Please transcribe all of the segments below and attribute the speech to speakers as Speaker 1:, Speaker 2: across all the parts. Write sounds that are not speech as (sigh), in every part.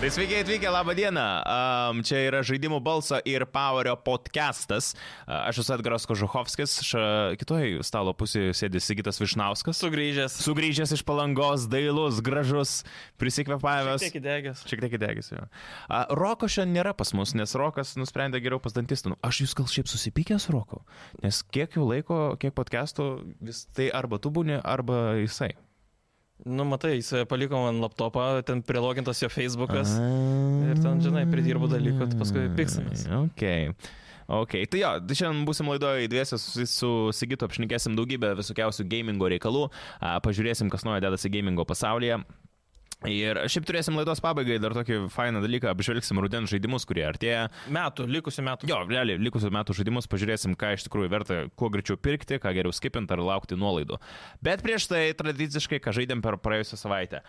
Speaker 1: Tai sveiki atvykę, laba diena. Um, čia yra žaidimų balso ir Powerio podcastas. Uh, aš esu Edgaras Kožuhovskis, ša, kitoj stalo pusėje sėdi Sigitas Višnauskas.
Speaker 2: Sugrįžęs.
Speaker 1: Sugrįžęs iš palangos, dailus, gražus, prisikvėpavęs.
Speaker 2: Tiek įdegęs.
Speaker 1: Šiek tiek įdegęs jo. A, Roko šiandien nėra pas mus, nes Rokas nusprendė geriau pas dantistų. Nu, Aš jūs gal šiaip susipykęs Roku, nes kiek jau laiko, kiek podcastų, vis tai arba tu būni, arba jisai.
Speaker 2: Nu, matai, jis e, paliko man laptopą, ten prilogintas jo Facebookas.
Speaker 1: Ir
Speaker 2: ten, žinai, pridirbo dalykų, tai paskui piksimės.
Speaker 1: Ok. Ok, tai jo, tai šiandien būsim laidoje dviesi su, su Sigitu apšnekėsim daugybę visokiausių gamingo reikalų, a, pažiūrėsim, kas naujo dedasi gamingo pasaulyje. Ir šiaip turėsim laidos pabaigai dar tokį fainą dalyką, apžvelgsim rudens žaidimus, kurie artėja.
Speaker 2: Metų, likusių metų.
Speaker 1: Jo, realiai, likusių metų žaidimus pažiūrėsim, ką iš tikrųjų verta kuo greičiau pirkti, ką geriau skipinti ar laukti nuolaidų. Bet prieš tai tradiciškai, ką žaidėm per praėjusią savaitę.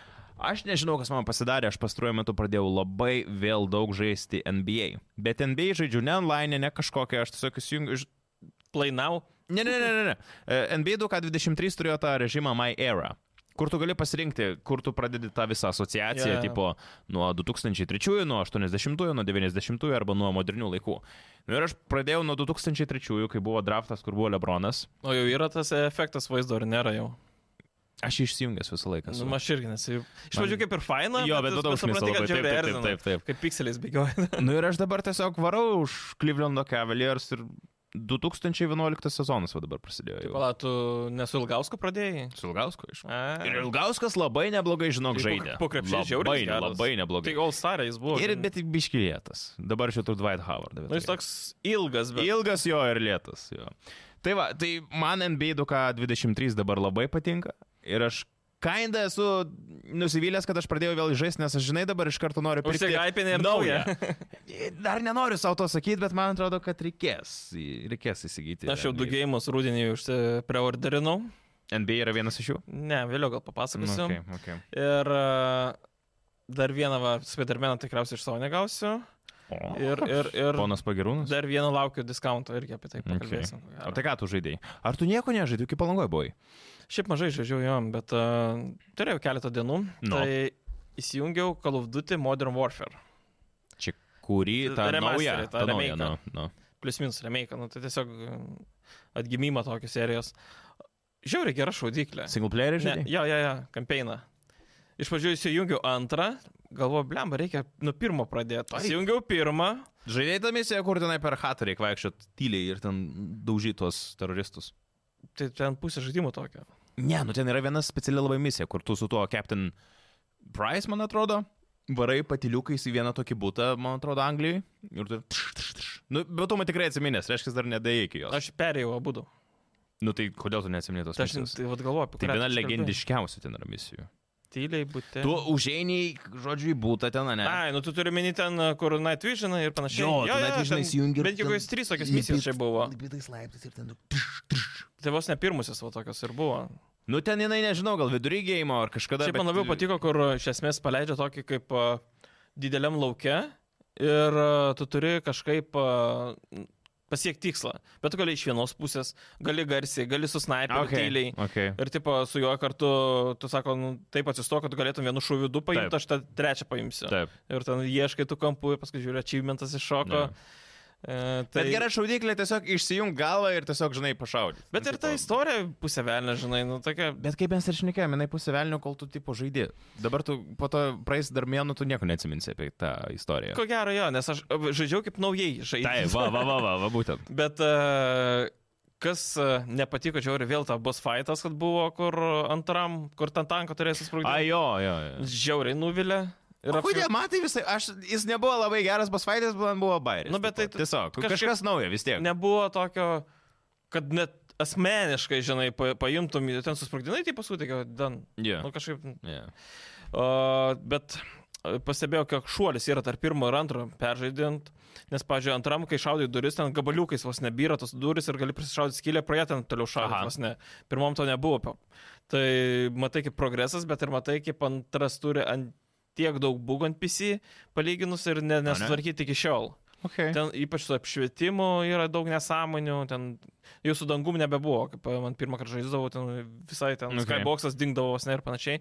Speaker 1: Aš nežinau, kas man pasidarė, aš pastaruoju metu pradėjau labai vėl daug žaisti NBA. Bet NBA žaidžiu ne online, ne kažkokią, aš tiesiog įsijungiu iš...
Speaker 2: Plainau.
Speaker 1: Ne, ne, ne, ne, ne. E, NBA 2K23 turėjo tą režimą My Era. Kur tu gali pasirinkti, kur tu pradedi tą visą asociaciją,
Speaker 2: Jo,
Speaker 1: yeah.
Speaker 2: jo.
Speaker 1: tipo nuo 2003, nuo 80, nuo 90 arba nuo modernių laikų. Nu ir aš pradėjau nuo 2003, kai buvo draftas, kur buvo Lebronas.
Speaker 2: O jau yra tas e, efektas vaizdo, ar nėra jau?
Speaker 1: Aš jį išsijungęs visą laiką. esu.
Speaker 2: Nu, aš irgi nesu. Iš pradžių kaip ir faina.
Speaker 1: Jo, bet tada užmiršau
Speaker 2: supranti,
Speaker 1: labai.
Speaker 2: kad
Speaker 1: Taip,
Speaker 2: žiauriai
Speaker 1: taip,
Speaker 2: erzina.
Speaker 1: taip, taip, taip.
Speaker 2: Kaip pikseliais
Speaker 1: (laughs)
Speaker 2: bėgioja.
Speaker 1: Nu ir aš dabar tiesiog varau už Clevelando Cavaliers ir 2011 sezonas va dabar prasidėjo. Jau.
Speaker 2: Pala, tu nesu Ilgausku pradėjai?
Speaker 1: Su Ilgausku iš.
Speaker 2: A.
Speaker 1: Ir Ilgauskas labai neblogai, žinok,
Speaker 2: Tai po-
Speaker 1: žaidė.
Speaker 2: po krepšiais žiauriai
Speaker 1: Labai,
Speaker 2: geras.
Speaker 1: labai
Speaker 2: Tai
Speaker 1: neblogai.
Speaker 2: All Star jis buvo.
Speaker 1: Ir
Speaker 2: žinai.
Speaker 1: bet tik biškilėtas. Dabar šitur Dwight Howard.
Speaker 2: Nu, jis toks ilgas, bet...
Speaker 1: Ilgas jo ir lėtas. Jo. Tai va, tai man NBA 2K23 dabar labai patinka. Ir aš kinda esu nusivylęs, kad aš pradėjau vėl žaisti, nes aš žinai dabar iš karto noriu pirkti.
Speaker 2: Užsihypini ir
Speaker 1: (laughs) Dar nenoriu savo to sakyti, bet man atrodo, kad reikės. Reikės įsigyti.
Speaker 2: Aš jau du
Speaker 1: NBA.
Speaker 2: gėjimus rudenį užsipreorderinau.
Speaker 1: NBA yra vienas iš jų. Nu,
Speaker 2: Ne, vėliau gal papasakosiu.
Speaker 1: okay, okay.
Speaker 2: Ir e, dar vieną va, Spidermaną tikriausiai iš savo negausiu.
Speaker 1: O,
Speaker 2: Ir, ir, ir
Speaker 1: Ponas Pagirūnas.
Speaker 2: dar vieną laukiu diskonto irgi apie tai
Speaker 1: Okay.
Speaker 2: pakalbėsim. ko gero.
Speaker 1: O tai ką tu žaidėjai? Ar tu nieko nežaidai, iki palangoje buvai?
Speaker 2: Šiaip mažai žaidžiau jom, bet uh, turėjau keletą dienų.
Speaker 1: Nu.
Speaker 2: Tai įsijungiau Call of Duty Modern Warfare.
Speaker 1: Čia kurį tą
Speaker 2: Remasterį,
Speaker 1: naują?
Speaker 2: tą
Speaker 1: Tą naują,
Speaker 2: remake'ą.
Speaker 1: nu. nu.
Speaker 2: Plius minus remake, nu, tai tiesiog mm, atgimimą tokios serijos. Žiauriai gera šaudyklė.
Speaker 1: Single player
Speaker 2: Ne,
Speaker 1: žaidėjai?
Speaker 2: jo, jo, jo, kampeiną. Iš pradžių įsijungiau antrą, galvoju, blemba, reikia nuo pirmo pradėti.
Speaker 1: Taip.
Speaker 2: Įsijungiau pirmą,
Speaker 1: Žaidėjai tą misiją, kur tenai per hatą reikia vaikščioti tyliai ir ten daužyti tuos teroristus.
Speaker 2: tai ten pusė žaidimo tokio.
Speaker 1: Ne, nu ten yra viena speciali labai misija, kur tu su tuo Captain Price, man atrodo, varai patiliukais į vieną tokį būtą, man atrodo, Anglijai. Ir tu... Tš, tš, tš. Nu, bet tu man tikrai atsiminęs, reiškia, dar nedėjai iki jos. Aš...
Speaker 2: Aš perėjau abu. du.
Speaker 1: Nu tai kodėl tu neatsiminė tos
Speaker 2: Tai aš
Speaker 1: misijos?
Speaker 2: tai, vat, galvoju apie
Speaker 1: Tai
Speaker 2: kurią
Speaker 1: viena
Speaker 2: tu čia kalbėjai.
Speaker 1: legendiškiausių ten yra misijų.
Speaker 2: Tyliai būti.
Speaker 1: Tu užėjai, žodžiu, į būtą ten, ne?
Speaker 2: Ai, nu tu turi meni ten, kur Night Vision ir panašiai.
Speaker 1: Jo, tu Night Visioną
Speaker 2: ten
Speaker 1: įsijungi ir
Speaker 2: Bent jau
Speaker 1: ten
Speaker 2: kokios trys tokios misijos čia buvo.
Speaker 1: Lipitais laiptais ir ten.
Speaker 2: Tai vos ne pirmusis va tokios ir buvo.
Speaker 1: Nu ten jinai, nežinau, gal vidury gėjimo ar kažkada.
Speaker 2: Šiaip
Speaker 1: bet-
Speaker 2: man labiau patiko, kur uh, iš esmės paleidžia tokį kaip a, dideliam laukia ir a, tu turi kažkaip a, n- pasiekti tikslą. Bet tu gali iš vienos pusės, gali garsiai, gali su snaiperiu okay. tyliai.
Speaker 1: Okay.
Speaker 2: Ir tipo su juo kartu, tu sako, nu, taip atsistok, kad tu galėtum vienu šūviu du paimti,
Speaker 1: Taip.
Speaker 2: aš tą trečią paimsiu.
Speaker 1: Taip.
Speaker 2: Ir ten ieškai tų kampų, ir paskui žiūri, achievementas iššoko.
Speaker 1: Jo.
Speaker 2: E,
Speaker 1: Tai... Bet gera šaudyklė tiesiog išsijung galą ir tiesiog, žinai, pašaudyti.
Speaker 2: Bet ir ta istorija pusė velnė, žinai, nu tokia.
Speaker 1: Bet kaip mes ir šnekėjome, jinai pusė velnio, kol tu tipo žaidži. Dabar tu po to praeis dar mėnų, tu nieko neatsiminsi apie tą istoriją.
Speaker 2: Ko gero jo, nes aš a, žaidžiau kaip naujai
Speaker 1: Tai,
Speaker 2: žaidžiau.
Speaker 1: va, va, va, va, va būtent.
Speaker 2: Bet e, kas e, nepatiko, žiauri, vėl ta boss fightas, kad buvo, kur antram, kur ten tanko turės susprogdinti.
Speaker 1: Ajo, jo, jo.
Speaker 2: Žiauriai nuvilė. Ir apsi-
Speaker 1: Kodėl, matai visai, aš, jis nebuvo labai geras pasvaitės, man buvo bairis.
Speaker 2: Nu, bet
Speaker 1: tipo.
Speaker 2: tai tu-
Speaker 1: tiesiog kažkas,
Speaker 2: kažkaip-
Speaker 1: kažkas naujo vis tiek. Ne...
Speaker 2: Nebuvo tokio, kad net asmeniškai, žinai, pa- paimtum, ir ten susprogdinai, tai paskui, tai dan.
Speaker 1: Yeah.
Speaker 2: Nu kažkaip.
Speaker 1: Yeah.
Speaker 2: O, bet e, pastebėjau, kiek šuolis yra tarp pirmo ir antro peržaidint, nes, pavyzdžiui, antram, kai šaudai duris, ten gabaliukais vos nebyra tos duris ir gali prisišaudyti skylę, praeitą ten toliau
Speaker 1: Aha.
Speaker 2: šaudai, vos ne. Pirmam to nebuvo. pa- Tai matai kaip progresas, bet ir matai kaip antras turi ant tiek daug bugų ant PC palyginus ir ne, nesutvarkyti iki šiol.
Speaker 1: Okay.
Speaker 2: Ten ypač su apšvietimu yra daug nesąmonių, ten jau su dangum nebebuvo, kaip e, man pirmą kartą žaisdavau, ten visai ten
Speaker 1: Okay.
Speaker 2: okay. skyboxas dingdavo vos ne ir panašiai,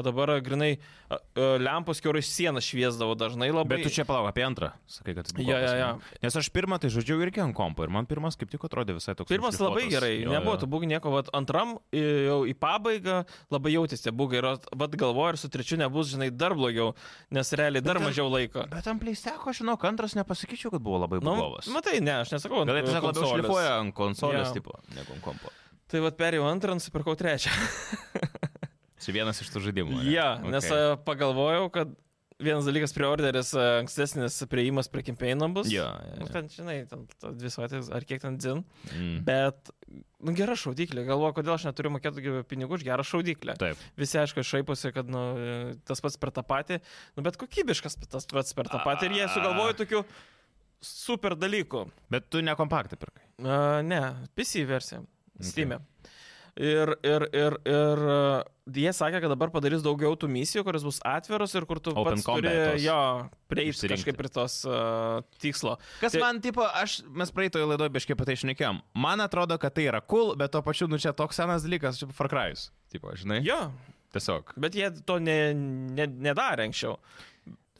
Speaker 2: o dabar e, grinai e, e, lempos kiaurai sieną šviesdavo dažnai labai.
Speaker 1: Bet tu čia palauk apie antrą, sakai, kad... buvo
Speaker 2: Jo, jo,
Speaker 1: kopas,
Speaker 2: jo.
Speaker 1: ne? Nes aš pirmą tai žodžiau irgi ant kompo ir man pirmas kaip tik atrodė visai toks...
Speaker 2: Pirmas labai
Speaker 1: užšlifuotas.
Speaker 2: gerai,
Speaker 1: Jo, jo.
Speaker 2: nebuvo tų būgų nieko, bet antram i, jau į pabaigą labai jautėsi tie būgai ir vad galvoju, ir su trečiu nebus, žinai, dar blogiau, nes realiai dar
Speaker 1: ten-
Speaker 2: mažiau laiko.
Speaker 1: Bet ant pleisteko, žinau, antras nepasakyčiau, kad buvo labai
Speaker 2: Nu,
Speaker 1: blogas.
Speaker 2: matai, ne, aš nesakau,
Speaker 1: Gal jie
Speaker 2: ant,
Speaker 1: tiesiog
Speaker 2: e,
Speaker 1: labiau
Speaker 2: konsolės.
Speaker 1: šlifuoja ant konsolės
Speaker 2: Jo.
Speaker 1: tipo, negu ant kompo.
Speaker 2: Tai vad perėjau antrą, nusipirkau trečią.
Speaker 1: Čia vienas iš tų žaidimų.
Speaker 2: Taip,
Speaker 1: ne?
Speaker 2: ja,
Speaker 1: Okay.
Speaker 2: okay. nes e, pagalvojau, kad vienas dalykas preorderis, e, ankstesnis prieimas prie kampeino bus.
Speaker 1: Jo, jo,
Speaker 2: Nu,
Speaker 1: jo.
Speaker 2: Ten, žinai, ten to dvi savaitės ar kiek ten dzin.
Speaker 1: Mm.
Speaker 2: Bet nu, gera šaudyklė. Galvoju, kodėl aš neturiu mokėti gi pinigų už gerą šaudyklę.
Speaker 1: Taip.
Speaker 2: Visi aišku šaiposi, kad nu, e, tas pats per tą patį, nu, bet kokybiškas tas pats per tą patį. Ir jie sugalvojo tokių super dalykų.
Speaker 1: Bet tu ne kompaktą pirkai.
Speaker 2: Uh, ne, PC versija.
Speaker 1: Okay.
Speaker 2: Steam. E. Ir, ir, ir, ir uh, jie sakė, kad dabar padarys daugiau tų misijų, kuris bus atviros ir kur tu
Speaker 1: Open
Speaker 2: pats
Speaker 1: combat
Speaker 2: turi
Speaker 1: tos.
Speaker 2: jo prieiti
Speaker 1: Išsirinkti.
Speaker 2: kažkaip prie tos uh, tikslo.
Speaker 1: Kas
Speaker 2: Tai-
Speaker 1: man, tipo, aš, mes praeitoje laidoje biškai apie tai šnekėjom. Man atrodo, kad tai yra cool, bet to pačiu, nu čia toks senas dalykas, čia Far Cry'us. Tipo, žinai?
Speaker 2: Jo,
Speaker 1: Tiesiog.
Speaker 2: bet jie to ne, ne, nedarė anksčiau.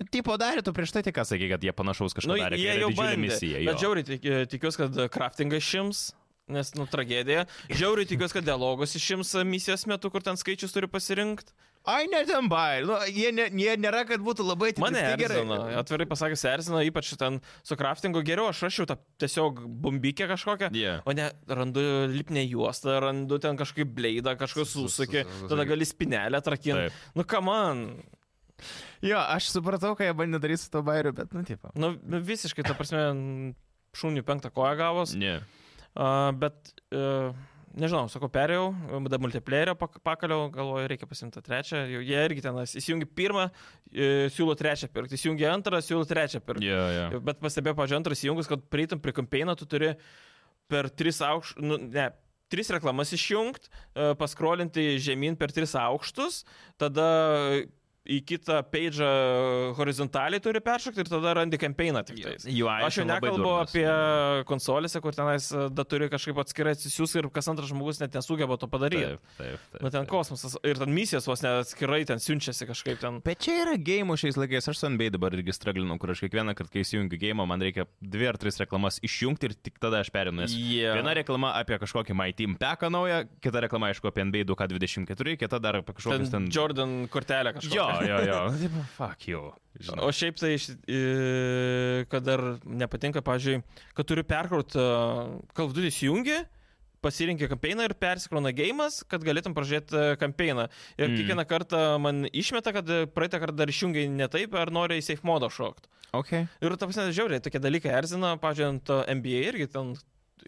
Speaker 1: Tipo darė, tu prieš tai tik ką sakė, kad jie panašaus kažką
Speaker 2: Nu,
Speaker 1: darė. kai
Speaker 2: jie
Speaker 1: yra
Speaker 2: jau
Speaker 1: didžiulė
Speaker 2: bandė.
Speaker 1: misija, jo.
Speaker 2: bet žiauriai tik, tikiuosi, kad craftingą išims, nes, nu, tragedija. Žiauriai tikiuosi, kad dialogus išims e, misijos metu, kur ten skaičius turi pasirinkti.
Speaker 1: Ai, ne ten bai. Nu, jie, ne, jie nėra, kad būtų labai atitikti
Speaker 2: Mane
Speaker 1: tai gerai.
Speaker 2: erzina, atvirai pasakęs, erzina, ypač ten su craftingu geriau, aš rašiau tą tiesiog bumbikę kažkokią.
Speaker 1: Yeah.
Speaker 2: O ne, randu lipnę juostą, randu ten kažkokį bleidą, kažkokį
Speaker 1: Su- su- su-
Speaker 2: susakį,
Speaker 1: su- su-
Speaker 2: tada gali spinelę atrakinti.
Speaker 1: Taip.
Speaker 2: Nu, kam man?
Speaker 1: Jo, aš supratau, ką jie bandė daryti su to bairiu, bet, nu, tipo.
Speaker 2: Nu, visiškai, ta prasme, n- šunių penktą koją gavos.
Speaker 1: Ne.
Speaker 2: Uh, bet, uh, nežinau, sakau, perėjau, tada multiplayerio pak pakaliau, galvoju, reikia pasimti tą trečią. Jau jie irgi ten, įsijungi pirmą, e, siūlo trečią pirkti, įsijungi antrą, siūlo trečią pirkti.
Speaker 1: Jo, jo.
Speaker 2: Bet pastebėjau, pažiūrėjau, antras įjungus, kad prieitum prie kampeino, tu turi per tris aukštus, nu, ne, tris reklamas išjungti, paskrolinti žemyn per tris aukštus, tada į kitą peidžą horizontaliai turi peršokti ir tada randi kampeino tik tais.
Speaker 1: UI
Speaker 2: Aš jau
Speaker 1: labai
Speaker 2: nekalbu
Speaker 1: durnas.
Speaker 2: apie konsolėse, kur tenais e, da turi kažkaip atskirai atsisiųsti ir kas antras žmogus net nesugeba to padaryti.
Speaker 1: Taip, taip, taip.
Speaker 2: Na Nu, ten
Speaker 1: taip.
Speaker 2: kosmosas ir ten misijos vos net atskirai ten siunčiasi kažkaip ten.
Speaker 1: Bet čia yra gėjimų šiais laikais, aš su NBA dabar irgi straglinau, kur aš kiekvieną kartą, kai įsijungiu gėjimą, man reikia dvi ar tris reklamas išjungti ir tik tada aš perinu. Nes
Speaker 2: Yeah.
Speaker 1: viena reklama apie kažkokį My Team Peką naują, kita reklama aišku apie NBA 2K24, kita dar apie
Speaker 2: ten,
Speaker 1: kažkokius ten...
Speaker 2: Jordan kortelė kažkokia.
Speaker 1: Jo, jo, jo. Taip, fuck you. Žinau.
Speaker 2: O šiaip tai, iš- i, kad dar nepatinka, pažiūrėjau, kad turiu perkrauti kalvdudį įjungi, pasirinkti kampeiną ir persikrona gėjimas, kad galėtum pražiūrėti kampeiną. Ir
Speaker 1: Mm.
Speaker 2: mm. kiekvieną kartą man išmeta, kad e, praeitą kartą dar išjungiai ne taip, ar nori į safe modo šokti.
Speaker 1: Okay.
Speaker 2: Ir ta prasme, žiauriai, tokie dalykai erzina, pažiūrėjant NBA irgi ten,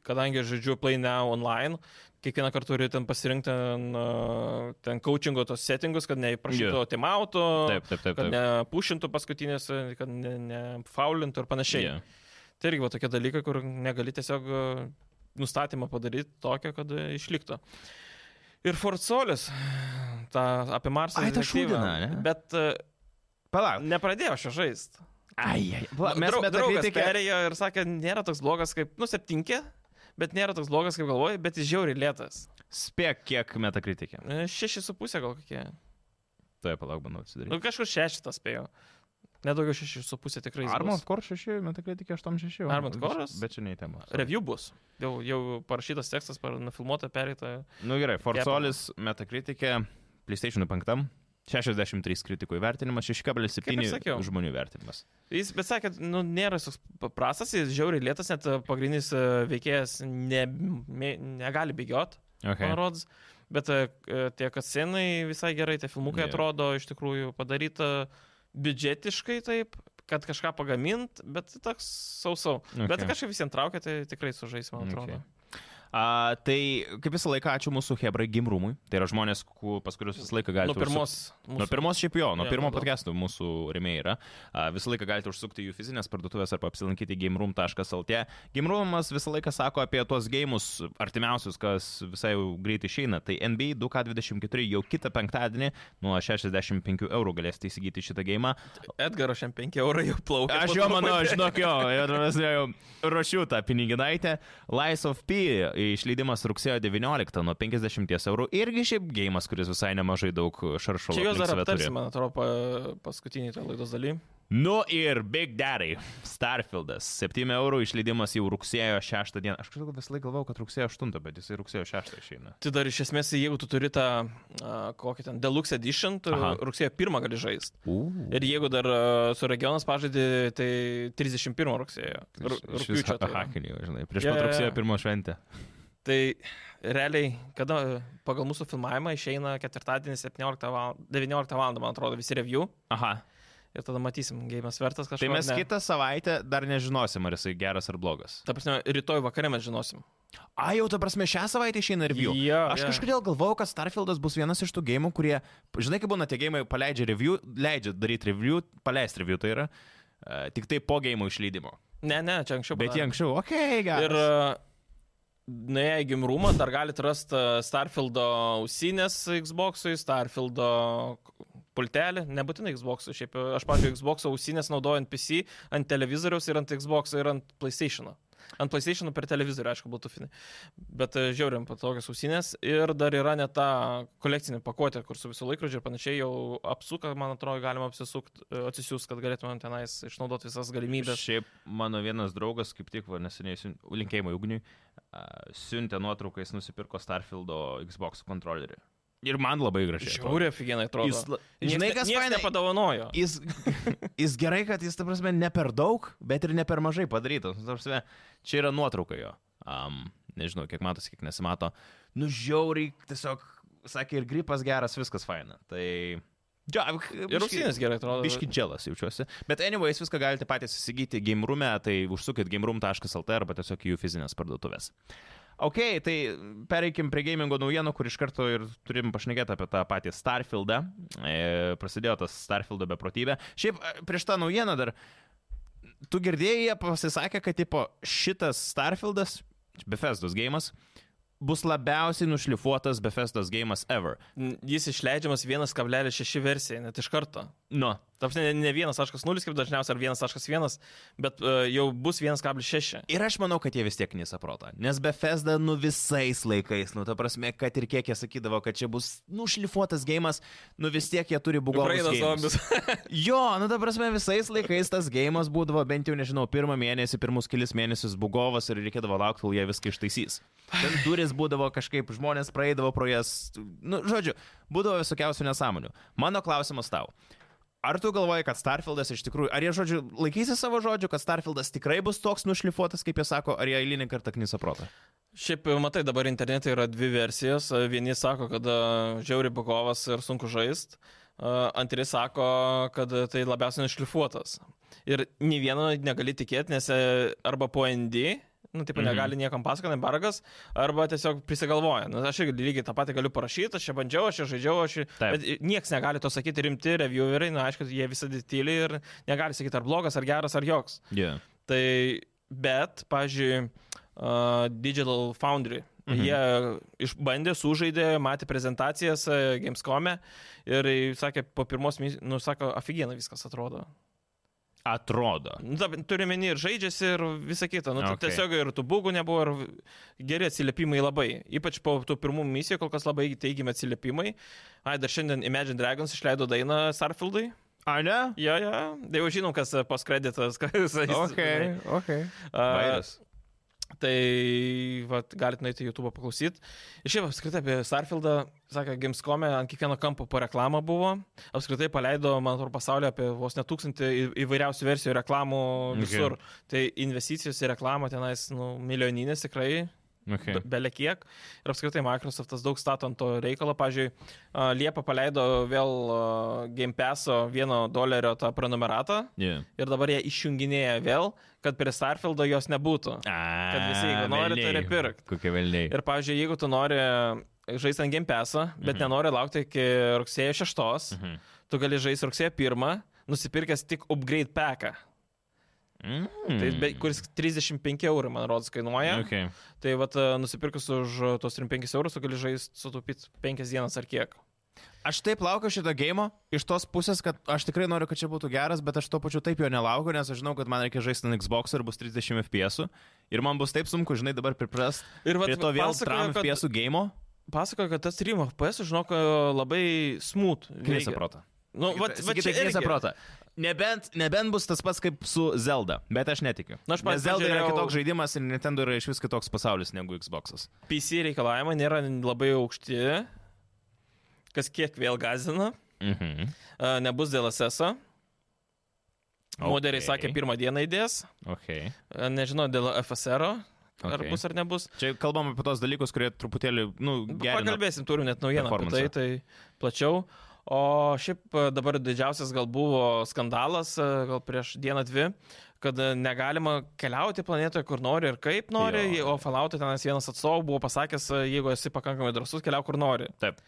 Speaker 2: kadangi žaidžiu Play Now online, kiekvieną kartą turiu ten pasirinkti ten, e, ten coachingo tos settingus, kad neįprašytų yeah. timauto.
Speaker 1: Taip, taip, taip.
Speaker 2: Kad
Speaker 1: taip.
Speaker 2: nepušintų paskutinės, kad nefaulintų ne ir panašiai.
Speaker 1: Jo.
Speaker 2: Yeah. Tai irgi buvo tokie dalykai, kur negali tiesiog e, nustatymą padaryti tokią, kad e, išliktų. Ir Forcolis, ta apie Marsą.
Speaker 1: Ai, tą
Speaker 2: detektyvą.
Speaker 1: šūdiną, ne?
Speaker 2: Bet e,
Speaker 1: Palauk.
Speaker 2: nepradėjau aš jo žaisti.
Speaker 1: Ai, ai. Va, mes tai
Speaker 2: draugai
Speaker 1: metakritikę.
Speaker 2: perėjo ir sakė, nėra toks blogas kaip, nu, septinkė, bet nėra toks blogas kaip galvoji, bet jis žiauriai lėtas.
Speaker 1: Spėk, kiek metakritikę.
Speaker 2: E, Šeši su pusė gal kokie.
Speaker 1: Taip, palauk, bandau atsidaryti.
Speaker 2: Nu, kažkur šešitas spėjau. Nedaugiau šeši su pusė tikrai. jis bus.
Speaker 1: Armand Core 6, metakritikę 8-6.
Speaker 2: Armored Core'as?
Speaker 1: Bet čia neįtema.
Speaker 2: Review bus. Jau, jau parašytas tekstas, par, nufilmuota, perėta.
Speaker 1: Nu gerai,
Speaker 2: Kepa.
Speaker 1: Forzolis, Metacritic'e, PlayStation 5, 63 kritikų įvertinimas,
Speaker 2: Kaip ir sakiau.
Speaker 1: 6,7 žmonių įvertinimas.
Speaker 2: Jis, bet sakė, nu, nėra toks paprastas, jis žiauriai lėtas, net e, pagrindinis e, veikėjas ne, mė, negali bėgiot, okay. man
Speaker 1: Okay.
Speaker 2: rodos. Bet e, e, tie kasinai visai gerai, tie filmukai
Speaker 1: Jo.
Speaker 2: yeah. atrodo iš tikrųjų padaryta biudžetiškai taip, kad kažką pagamint, bet toks sausau. Okay. Bet kažkaip visiems traukia, tai tikrai sužais, man atrodo.
Speaker 1: Okay. A, tai kaip visą laiką ačiū mūsų Hebrai Gimrumui. Tai yra žmonės, ku- pas kuriuos visą laiką
Speaker 2: Okay.
Speaker 1: galite.
Speaker 2: Nuo pirmos.
Speaker 1: Mūsų... Nuo pirmos šiaip jo, nuo
Speaker 2: Jo,
Speaker 1: pirmo
Speaker 2: nuo daug.
Speaker 1: podcast'o mūsų rėmėjai yra. A, Visą laiką galite užsukti į jų fizinės parduotuvės arba apsilankyti gameroom.lt. Gameroomas visą laiką sako apie tuos gėjimus artimiausius, kas visai jau greitai išeina. Tai NBA 2K24 jau kitą penktadienį nuo 65 eurų galėsite įsigyti šitą gėjimą.
Speaker 2: Edgaro šiam 5 eurai jau plaukia.
Speaker 1: Aš
Speaker 2: (laughs) po
Speaker 1: jo (laughs)
Speaker 2: truputį.
Speaker 1: manau, žinok jo, ir mes jau ruošiu tą piniginaitę. Lies of P išleidimas rugsėjo 19 nuo 50 eurų. Irgi šiaip gėjimas, kuris visai nemažai daug šaršalų.
Speaker 2: Čia juos dar
Speaker 1: aplink save turi.
Speaker 2: aptarsim, man atrodo, pa- paskutinį tą laidos dalį.
Speaker 1: Nu ir Big Daddy, Starfieldas, 7 eurų išleidimas jau rugsėjo 6 dieną. Aš kažkaip visą laiką galvojau, kad rugsėjo 8, bet jisai rugsėjo 6 išeina.
Speaker 2: Tai dar iš esmės, jeigu tu turi tą a, kokį ten Deluxe Edition, tu
Speaker 1: Aha.
Speaker 2: rugsėjo 1 gali žaisti.
Speaker 1: Uuu.
Speaker 2: Ir jeigu dar a, su regionas pažadė, tai 31 rugsėjo. Ru- Rūpiučio. tai yra.
Speaker 1: Hakinį, žinai, prieš
Speaker 2: Jo,
Speaker 1: pat
Speaker 2: jo, jo.
Speaker 1: rugsėjo pirmo šventę.
Speaker 2: Tai realiai, kada pagal mūsų filmavimą išeina ketvirtadienį 17 val. 19 val. man atrodo, visi review.
Speaker 1: Aha.
Speaker 2: Ir tada matysim, gėjimas vertas kažką.
Speaker 1: Tai mes kitą savaitę dar nežinosim, ar jisai geras ar blogas.
Speaker 2: Ta prasme, rytoj vakare mes žinosim.
Speaker 1: A, jau ta prasme, šią savaitę išeina review.
Speaker 2: Jo,
Speaker 1: Aš
Speaker 2: jo.
Speaker 1: kažkodėl galvojau, kad Starfieldas bus vienas iš tų gėjimų, kurie, žinai, kaip būna tie gėjimai, paleidžia review, leidžia daryti review, paleisti review, tai yra e, tik tai po gėjimo išleidimo.
Speaker 2: Ne, ne, čia anksčiau.
Speaker 1: Bet jie
Speaker 2: padarė.
Speaker 1: anksčiau, okei, okay,
Speaker 2: Ir e,
Speaker 1: gerai.
Speaker 2: nuėję į gimrumą dar galite rasti Starfieldo ausinės Xbox'ui, Starfieldo pultelį, nebūtinai Xbox'ui, šiaip e, aš pavyzdžiui Xbox'o ausinės naudoju ant PC, ant televizoriaus ir ant Xbox'o ir ant PlayStation'o. Ant PlayStation'o per televizorių, aišku, būtų finai. Bet e, žiauriam patogios ausinės ir dar yra net ta kolekcinė pakuotė, kur su visų laikrodžiu ir panašiai jau apsuka, man atrodo, galima apsisukti, atsisiųsti, kad galėtumėm tenais išnaudoti visas
Speaker 1: Ir...
Speaker 2: galimybės.
Speaker 1: Šiaip mano vienas draugas, kaip tik va, neseniai siun- linkėjimai ugniui, a, siuntė nuotrauką, jis nusipirko Starfieldo Xbox kontrolerį. Ir man labai gražiai. atrodo.
Speaker 2: Žiauriai afigenai atrodo.
Speaker 1: Jis la-
Speaker 2: Nieks
Speaker 1: Žinai,
Speaker 2: ne-
Speaker 1: kas
Speaker 2: nieks
Speaker 1: fainai?
Speaker 2: nepadovanojo.
Speaker 1: Jis, jis gerai, kad jis, ta prasme, ne per daug, bet ir ne per mažai padarytas. Nu, Ta prasme, čia yra nuotrauka jo. Um, nežinau, kiek matosi, kiek nesimato. Nu, žiauriai, tiesiog, sakė, ir gripas geras, viskas faina. Tai... Ja,
Speaker 2: Ir ausinės gerai atrodo.
Speaker 1: Biški dželas jaučiuosi. Bet anyways, viską galite patys įsigyti gamerume, tai užsukit gamerum.lt arba tiesiog į jų fizinės parduotuvės. Ok, tai pereikim prie gamingo naujienų, kur iš karto ir turim pašnekėti apie tą patį Starfieldą. E, prasidėjo tas Starfieldo beprotybė. Šiaip e, prieš tą naujieną dar, tu girdėjai, jie pasisakė, kad tipo, šitas Starfieldas, Befestos gėjimas, bus labiausiai nušlifuotas Befestos gėjimas ever.
Speaker 2: N- Jis išleidžiamas 1,6 versija, net iš karto.
Speaker 1: Nu,
Speaker 2: Taps ne, ne 1.0, kaip dažniausiai, ar 1.1, bet uh, jau bus 1,6.
Speaker 1: Ir aš manau, kad jie vis tiek nesaprota. Nes Bethesda nu visais laikais, nu ta prasme, kad ir kiek jie sakydavo, kad čia bus nušlifuotas gėjimas, nu vis tiek jie turi
Speaker 2: Ukrainos
Speaker 1: bugotas.
Speaker 2: zombius.
Speaker 1: Jo, nu ta prasme, visais laikais tas gėjimas būdavo bent jau, nežinau, pirmą mėnesį, pirmus kelius mėnesius bugovas ir reikėdavo laukti, kol jie viską ištaisys. Ten duris būdavo kažkaip, žmonės praeidavo pro jas, nu žodžiu, būdavo visokiausių nesąmonių. Mano klausimas tau. Ar tu galvoji, kad Starfieldas iš tikrųjų, ar jie, žodžiu, laikysi savo žodžių, kad Starfieldas tikrai bus toks nušlifuotas, kaip jie sako, ar jie eilinį kartą knisa protą?
Speaker 2: Šiaip jau matai, dabar internete yra dvi versijos. E, Vieni sako, kad e, žiauri bagovas ir sunku žaisti. Antri sako, kad e, tai labiausiai nušlifuotas. Ir nei vieno negali tikėti, nes e, arba po ND, nu, taip,
Speaker 1: Mhm.
Speaker 2: mhm. negali niekam pasakoti, bargas, arba tiesiog prisigalvoja. Nu, aš irgi lygiai tą patį galiu parašyti, aš čia bandžiau, aš čia žaidžiau, aš čia...
Speaker 1: Taip.
Speaker 2: Bet niekas negali to sakyti, rimti revieweriai, na, aišku, jie visada tyli ir negali sakyti, ar blogas, ar geras, ar joks.
Speaker 1: Yeah.
Speaker 2: Tai bet, pavyzdžiui, uh, Digital Foundry. Mhm.
Speaker 1: Mhm.
Speaker 2: Jie išbandė, sužaidė, matė prezentacijas uh, Gamescom'e ir sakė, po pirmos, mis- nu, sako, aфиgenai viskas atrodo.
Speaker 1: Atrodo.
Speaker 2: Nu, ta- Turiu menį ir žaidžiasi ir visa kita. Nu,
Speaker 1: Okay.
Speaker 2: okay. Tiesiog ir tų būgų nebuvo ir geri atsiliepimai labai. Ypač po tų pirmų misijų kol kas labai teigiami atsiliepimai. Ai, dar šiandien Imagine Dragons išleido dainą Starfieldai.
Speaker 1: Ar ne?
Speaker 2: Jo, jo, tai jau žinom, kas poskreditas, kas
Speaker 1: Ok, ok.
Speaker 2: A,
Speaker 1: Vairus.
Speaker 2: Tai vat, galite nueiti į YouTube paklausyti. Ir šiaip apskritai apie Starfieldą, sakė, Gamescom'e ant kiekvieno kampo po reklamą buvo. Apskritai paleido, man atrodo, pasaulyje apie vos net tūkstantį į- įvairiausių versijų reklamų visur. Okay. Tai investicijos į reklamą tenais, nu, milijoninės tikrai,
Speaker 1: Okay.
Speaker 2: be- bele kiek. Ir apskritai Microsoftas daug stato ant to reikalo. Pavyzdžiui, a, Liepa paleido vėl a, Game Pass'o vieno dolerio tą prenumeratą
Speaker 1: Yeah.
Speaker 2: ir dabar jie išjunginėja vėl, kad prie Starfieldo jos nebūtų.
Speaker 1: Kad
Speaker 2: visi, jeigu nori, turi pirkt.
Speaker 1: Kokie velniai.
Speaker 2: Ir, pavyzdžiui, jeigu tu nori žaisti ant Game Pass'o, bet
Speaker 1: Mhm.
Speaker 2: mhm. nenori laukti iki rugsėjo 6, mhm.
Speaker 1: Mhm.
Speaker 2: tu gali žaisti rugsėjo 1, nusipirkęs tik upgrade paką,
Speaker 1: Mm.
Speaker 2: mm.
Speaker 1: Mhm.
Speaker 2: tai, be, kuris 35 eurų, man rodos, kainuoja. Okay.
Speaker 1: Okay.
Speaker 2: Tai vat, e, nusipirkus už e, tuos 35 eurus, tu gali žaisti sutaupyti 5 dienas ar kiek.
Speaker 1: Aš taip laukiu šito gėjimo iš tos pusės, kad aš tikrai noriu, kad čia būtų geras, bet aš to pačiu taip jo nelaukiu, nes aš žinau, kad man reikia žaisti ant Xbox ir bus 30 FPS. Ir man bus taip sunku, žinai, dabar priprast
Speaker 2: Ir vat
Speaker 1: prie to vėl
Speaker 2: pasakojo,
Speaker 1: 3
Speaker 2: kad-
Speaker 1: FPS gėjimo.
Speaker 2: Pasakoju, kad tas stream FPS, žinok, labai smooth.
Speaker 1: Knysa
Speaker 2: veikia.
Speaker 1: protą.
Speaker 2: Nu, va, va čia
Speaker 1: knysa
Speaker 2: irgi.
Speaker 1: protą. Nebent, nebent bus tas pats kaip su Zelda, bet aš netikiu.
Speaker 2: Na,
Speaker 1: Nes
Speaker 2: aš pats
Speaker 1: Zelda yra
Speaker 2: pažiūrėjau-
Speaker 1: kitoks žaidimas ir Nintendo yra iš vis kitoks pasaulis negu Xbox'as.
Speaker 2: PC reikalavimai nėra labai aukšti, kas kiek vėl gazina.
Speaker 1: Mhm.
Speaker 2: E, Nebus DLSS. -o. Moderiai
Speaker 1: Ok.
Speaker 2: sakė, pirmą dieną įdės.
Speaker 1: Okay.
Speaker 2: E, Nežinau dėl FSR, -o, ar
Speaker 1: Ok.
Speaker 2: bus ar nebus.
Speaker 1: Čia kalbam apie tos dalykus, kurie truputėlį, nu, gerina.
Speaker 2: Pakalbėsim, turim net naujieną apie tai,
Speaker 1: performansą.
Speaker 2: tai plačiau. O šiaip e, dabar didžiausias gal buvo skandalas, e, gal prieš dieną dvi, kad e, negalima keliauti planetoje, kur nori ir kaip nori,
Speaker 1: Jo.
Speaker 2: jo. o Falautai tenas vienas atstovų buvo pasakęs, e, jeigu esi pakankamai drasus, keliauk kur nori.
Speaker 1: Taip.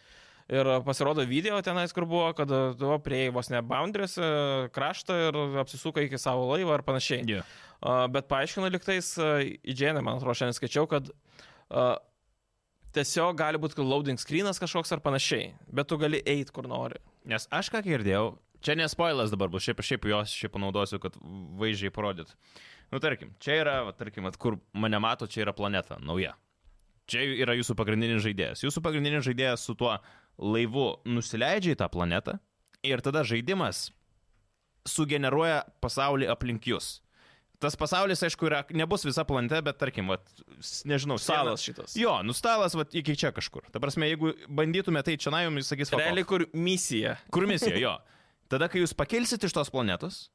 Speaker 2: Ir e, pasirodo video tenais, kur buvo, kad e, tu prieėjai vos ne boundaries, e, kraštą ir apsisuka iki savo laivo ar panašiai.
Speaker 1: Yeah.
Speaker 2: A, Bet paaiškino liktais į Dženę, man atrodo, šiandien skaičiau, kad a, tiesiog gali būti loading screenas kažkoks ar panašiai, bet tu gali eiti kur nori.
Speaker 1: Nes aš ką girdėjau, čia nespoilas dabar bus, šiaip, šiaip jos šiaip panaudosiu, kad vaizdžiai parodyt. Nu, tarkim, čia yra, va, tarkim, at, kur mane mato, čia yra planeta nauja. Čia yra jūsų pagrindinis žaidėjas. Jūsų pagrindinis žaidėjas su tuo laivu nusileidžia į tą planetą ir tada žaidimas sugeneruoja pasaulį aplink jūs. Tas pasaulis, aišku, yra, nebus visa planeta, bet tarkim, vat, s- nežinau,
Speaker 2: Salas
Speaker 1: siena-
Speaker 2: šitas.
Speaker 1: Jo, nustalas, va, iki čia kažkur. Ta prasme, jeigu bandytume tai čia, na, jums sakys, va,
Speaker 2: Realiai kur misija.
Speaker 1: Kur misija, jo. Tada, kai jūs pakelsit iš tos planetos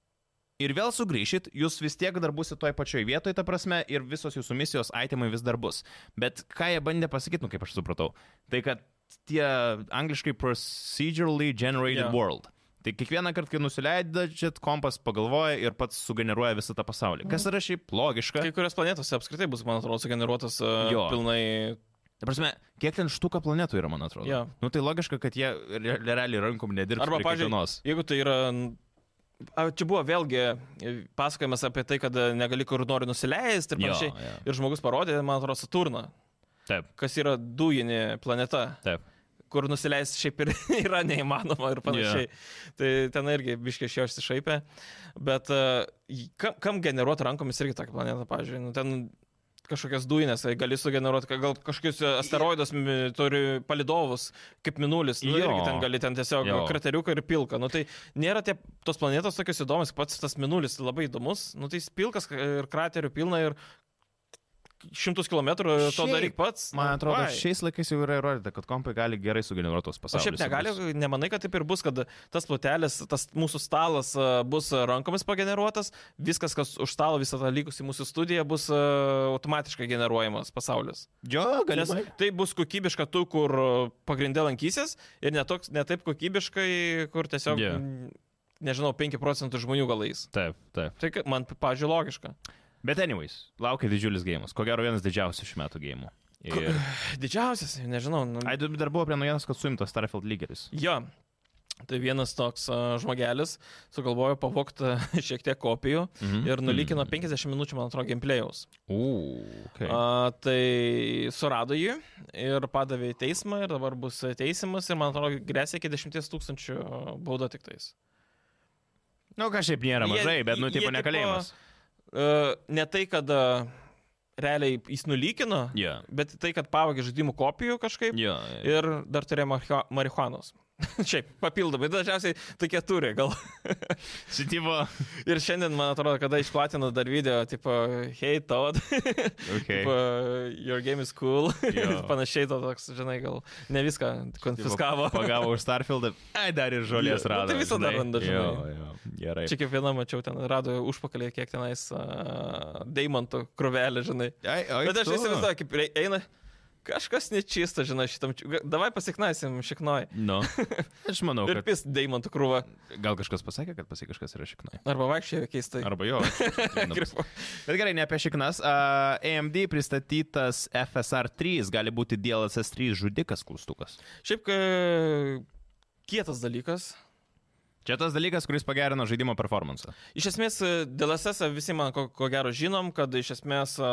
Speaker 1: ir vėl sugrįšit, jūs vis tiek dar būsit toj pačioj vietoje, ta prasme, ir visos jūsų misijos aitimai vis dar bus. Bet ką jie bandė pasakyti, nu kaip aš supratau, tai kad tie angliškai procedurally generated
Speaker 2: Jo.
Speaker 1: yeah. world. Tai kiekvieną kartą, kai nusileidžiat, kompas pagalvoja ir pats sugeneruoja visą tą pasaulį. Kas yra šiaip logiška.
Speaker 2: Mhm. Kai kurios planetose apskritai bus, man atrodo, sugeneruotas
Speaker 1: Jo.
Speaker 2: jo. pilnai.
Speaker 1: Ta prasme, kiek ten štuka planetų yra, man atrodo.
Speaker 2: Jo.
Speaker 1: Nu tai logiška, kad jie re- realiai rankom nedirbs.
Speaker 2: Arba,
Speaker 1: prie kiekvienos.
Speaker 2: pavyzdžiui, jeigu tai yra... n- a, Čia buvo vėlgi e, pasakojimas apie tai, kad e, negali kur nori nusileisti ir
Speaker 1: Jo,
Speaker 2: panašiai.
Speaker 1: jo.
Speaker 2: Ir žmogus parodė, man atrodo, Saturną,
Speaker 1: Taip,
Speaker 2: kas yra dujinė planeta.
Speaker 1: taip.
Speaker 2: kur nusileisti šiaip ir (laughs) yra neįmanoma ir panašiai. Yeah. Tai ten irgi biškai iš jo išsišaipė. Bet uh, kam, kam generuoti rankomis irgi tokią planetą, pavyzdžiui, nu, ten kažkokias dujines, tai gali sugeneruoti, ka- gal kažkokius asteroidus mi- turi palidovus, kaip minulis, nu,
Speaker 1: Jo.
Speaker 2: irgi ten gali ten tiesiog
Speaker 1: Jo.
Speaker 2: jo. krateriuką ir pilką. Nu, tai nėra tie, tos planetos tokios įdomios, pats tas minulis labai įdomus, nu, tai jis pilkas ka- ir kraterių pilna ir šimtus kilometrų to
Speaker 1: Šiaip,
Speaker 2: daryk pats.
Speaker 1: Man
Speaker 2: nu,
Speaker 1: atrodo,
Speaker 2: vai.
Speaker 1: šiais laikais jau yra įrodyta, kad kompai gali gerai sugeneruoti tos
Speaker 2: O
Speaker 1: pasaulius.
Speaker 2: šiaip negali, nemanai, kad taip ir bus, kad tas plotelis, tas mūsų stalas a, bus a, rankomis pageneruotas, viskas, kas už stalo, visą tą likusį mūsų studiją bus a, automatiškai generuojamas pasaulis.
Speaker 1: Jo,
Speaker 2: Nes tai bus kokybiška tu, kur a, pagrinde lankysis ir netoks, netaip kokybiškai, kur tiesiog,
Speaker 1: Jo.
Speaker 2: yeah. nežinau, 5 procentų žmonių galais.
Speaker 1: Taip, taip.
Speaker 2: Tai ka- man, pažiūrėjau, logiška.
Speaker 1: Bet anyways, laukia didžiulis gėjimas. Ko gero vienas didžiausių šių metų gėjimų. Ir...
Speaker 2: (sighs) Didžiausias, nežinau. Nu,
Speaker 1: Ai, dar buvo prie naujienos, kad suimtas Starfield lygeris.
Speaker 2: jo. Tai vienas toks a, žmogelis sugalvojo pavokti (laughs) šiek tiek kopijų
Speaker 1: Mhm. Mm.
Speaker 2: ir nulikino 50 minučių, man atrodo, gameplayaus.
Speaker 1: Uuu, okay. uh,
Speaker 2: A, tai surado jį ir padavė į teismą ir dabar bus teisimas ir, man atrodo, grėsia iki 10 tūkstančių bauda tik tais.
Speaker 1: nu, ką šiaip nėra
Speaker 2: jie-
Speaker 1: mažai, bet, nu,
Speaker 2: jie
Speaker 1: tipo,
Speaker 2: tipo-
Speaker 1: nekalėjimas.
Speaker 2: A, ne tai, kad a, realiai jis nulikino,
Speaker 1: Jo.
Speaker 2: bet tai, kad pavogė žaidimų kopijų kažkaip.
Speaker 1: Jo.
Speaker 2: Ir dar turėjo marihua- marihuanos. (laughs) Šiaip, papildomai, dažniausiai tokie turi, gal
Speaker 1: Šityvo.
Speaker 2: Ir šiandien, man atrodo, kada išplatino dar video, tipo, hey Todd,
Speaker 1: Okay.
Speaker 2: tipo, your game is cool, (laughs)
Speaker 1: Jo.
Speaker 2: panašiai to toks, žinai, gal ne viską konfiskavo.
Speaker 1: Pagavo už Starfieldą. Ai, dar ir žolės
Speaker 2: Jo, nu,
Speaker 1: rado.
Speaker 2: tai visada
Speaker 1: žinai.
Speaker 2: randa, žinai.
Speaker 1: Jo, jo. Gerai.
Speaker 2: Čia kiekviena, mačiau, ten rado užpakalį, kiek tenais uh, deimantų krovelį, žinai.
Speaker 1: Ai, oi,
Speaker 2: Bet aš
Speaker 1: tu.
Speaker 2: įsivaizduoju, kaip rei- eina. Kažkas nečista, žinai, šitam. či- ga- Davai pasiknaisim šiknoj. (laughs)
Speaker 1: Nu. Aš manau,
Speaker 2: Ir
Speaker 1: kad...
Speaker 2: pis deimantų krūva.
Speaker 1: Gal kažkas pasakė, kad pasi kažkas yra šiknai.
Speaker 2: Arba vaikščiai keistai.
Speaker 1: Arba
Speaker 2: (laughs)
Speaker 1: jo. nu.
Speaker 2: Grifu.
Speaker 1: Bet gerai, ne apie šiknas. A, AMD pristatytas FSR 3 gali būti DLSS 3 žudikas klaustukas.
Speaker 2: Šiaip, kai kietas dalykas.
Speaker 1: Čia tas dalykas, kuris pagerino žaidimo performance.
Speaker 2: Iš esmės, e, dėl SS visi man ko, ko gero žinom, kad iš esmės a,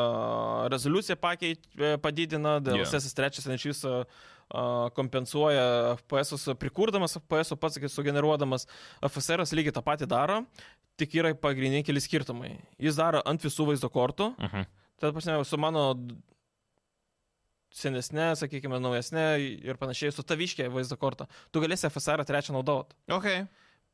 Speaker 2: rezoliuciją pakei, e, padidina,
Speaker 1: Jo.
Speaker 2: dėl yeah. SS trečias ten iš viso a, kompensuoja FPS, prikurdamas FPS, pats sakyt, sugeneruodamas FSR lygiai tą patį daro, tik yra pagrindiniai keli skirtumai. Jis daro ant visų vaizdo kortų,
Speaker 1: Mhm.
Speaker 2: Tad, pasinėjau, su mano d- senesne, sakykime, naujesne ir panašiai, su taviškė vaizdo kortą. Tu galėsi FSR trečią naudot.
Speaker 1: Okay.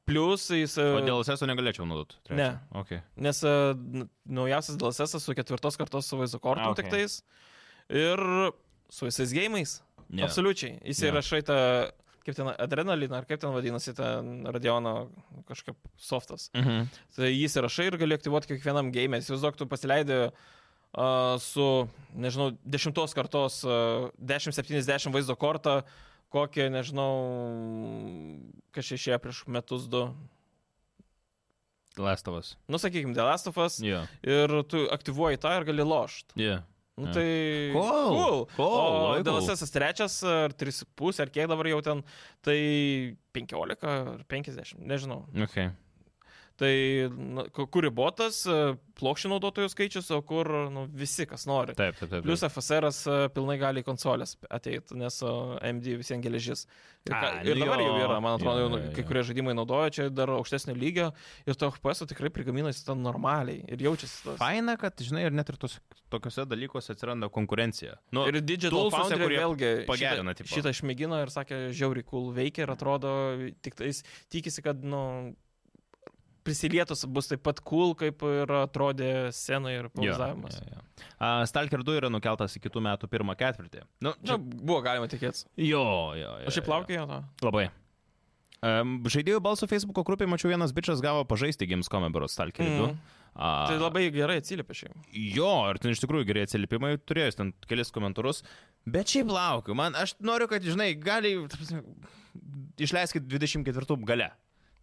Speaker 2: Plus jis... e,
Speaker 1: O dėl seso negalėčiau naudoti. trečią?
Speaker 2: Ne.
Speaker 1: Okay.
Speaker 2: Nes e, n- naujausias DLSS su ketvirtos kartos su vaizdo kortom
Speaker 1: A,
Speaker 2: okay.
Speaker 1: okei.
Speaker 2: tik tais. Ir su visais gėjimais.
Speaker 1: Ne.
Speaker 2: Absoliučiai. Jis
Speaker 1: Ne.
Speaker 2: yeah. įrašai tą, kaip ten, adrenaliną, ar kaip ten vadinasi, ten radiono kažkaip softas.
Speaker 1: Mhm.
Speaker 2: Tai jis įrašai ir gali aktyvuoti kiekvienam game. Įsivaizduok, tu pasileidai uh, su, nežinau, dešimtos kartos uh, 1070 vaizdo kortą, kokią, nežinau, kažkaip išėjo prieš metus du.
Speaker 1: Lastovas.
Speaker 2: Nu, sakykime, Delastofas
Speaker 1: Jo.
Speaker 2: ir tu aktyvuoji tą ir gali lošti.
Speaker 1: Jo.
Speaker 2: Nu,
Speaker 1: Jo.
Speaker 2: tai...
Speaker 1: Cool.
Speaker 2: cool.
Speaker 1: Cool,
Speaker 2: O
Speaker 1: labai cool.
Speaker 2: DLSS trečias, ar 3,5, ar kiek dabar jau ten, tai 15 ar 50, nežinau.
Speaker 1: Okay.
Speaker 2: Tai na, ku- kur ribotas e, plokščių naudotojų skaičius, o kur nu, visi, kas nori.
Speaker 1: Taip, taip, taip.
Speaker 2: Plius FSR e, pilnai gali į konsolės ateiti, nes e, AMD visiems geležis. Ir, ką,
Speaker 1: A,
Speaker 2: ir
Speaker 1: nu
Speaker 2: dabar jau
Speaker 1: jo.
Speaker 2: yra, man atrodo,
Speaker 1: Jo,
Speaker 2: jau nu-
Speaker 1: jo,
Speaker 2: kai
Speaker 1: jo.
Speaker 2: kurie žaidimai naudoja čia dar aukštesnio lygio ir to FPS tikrai prigaminasi ten normaliai ir jaučiasi tas.
Speaker 1: Faina, kad, žinai, ir net ir tos, tokiuose dalykuose atsiranda konkurencija. Nu,
Speaker 2: Ir Digital
Speaker 1: toolsuose,
Speaker 2: Foundry
Speaker 1: kurie
Speaker 2: vėlgi šitą-
Speaker 1: pagerina, tipo.
Speaker 2: šitą išmėgino ir sakė, žiauri cool veikia ir atrodo, tik tais tikisi, kad, nu, prisilietus bus taip pat cool, kaip ir atrodė scenoje ir
Speaker 1: Jo,
Speaker 2: pauzavimas.
Speaker 1: jo, jo. A, Stalker 2 yra nukeltas į kitų metų pirmą ketvirtį. Nu,
Speaker 2: Na,
Speaker 1: čia...
Speaker 2: buvo galima tikėtis.
Speaker 1: Jo, jo, jo.
Speaker 2: O šiaip
Speaker 1: jo.
Speaker 2: laukia jo to.
Speaker 1: Labai. Um, žaidėjų balsų Facebook grupėje mačiau vienas bičias gavo pažaisti Gamescom Ebro Stalkerį 2.
Speaker 2: Mm. Tai labai gerai atsiliepia šiaip.
Speaker 1: Jo, ir ten iš tikrųjų geri atsiliepimai, turėjus ten kelis komentarus, bet šiaip laukiu, man, aš noriu, kad, žinai, gali, ta prasme, išleiskit 24 gale.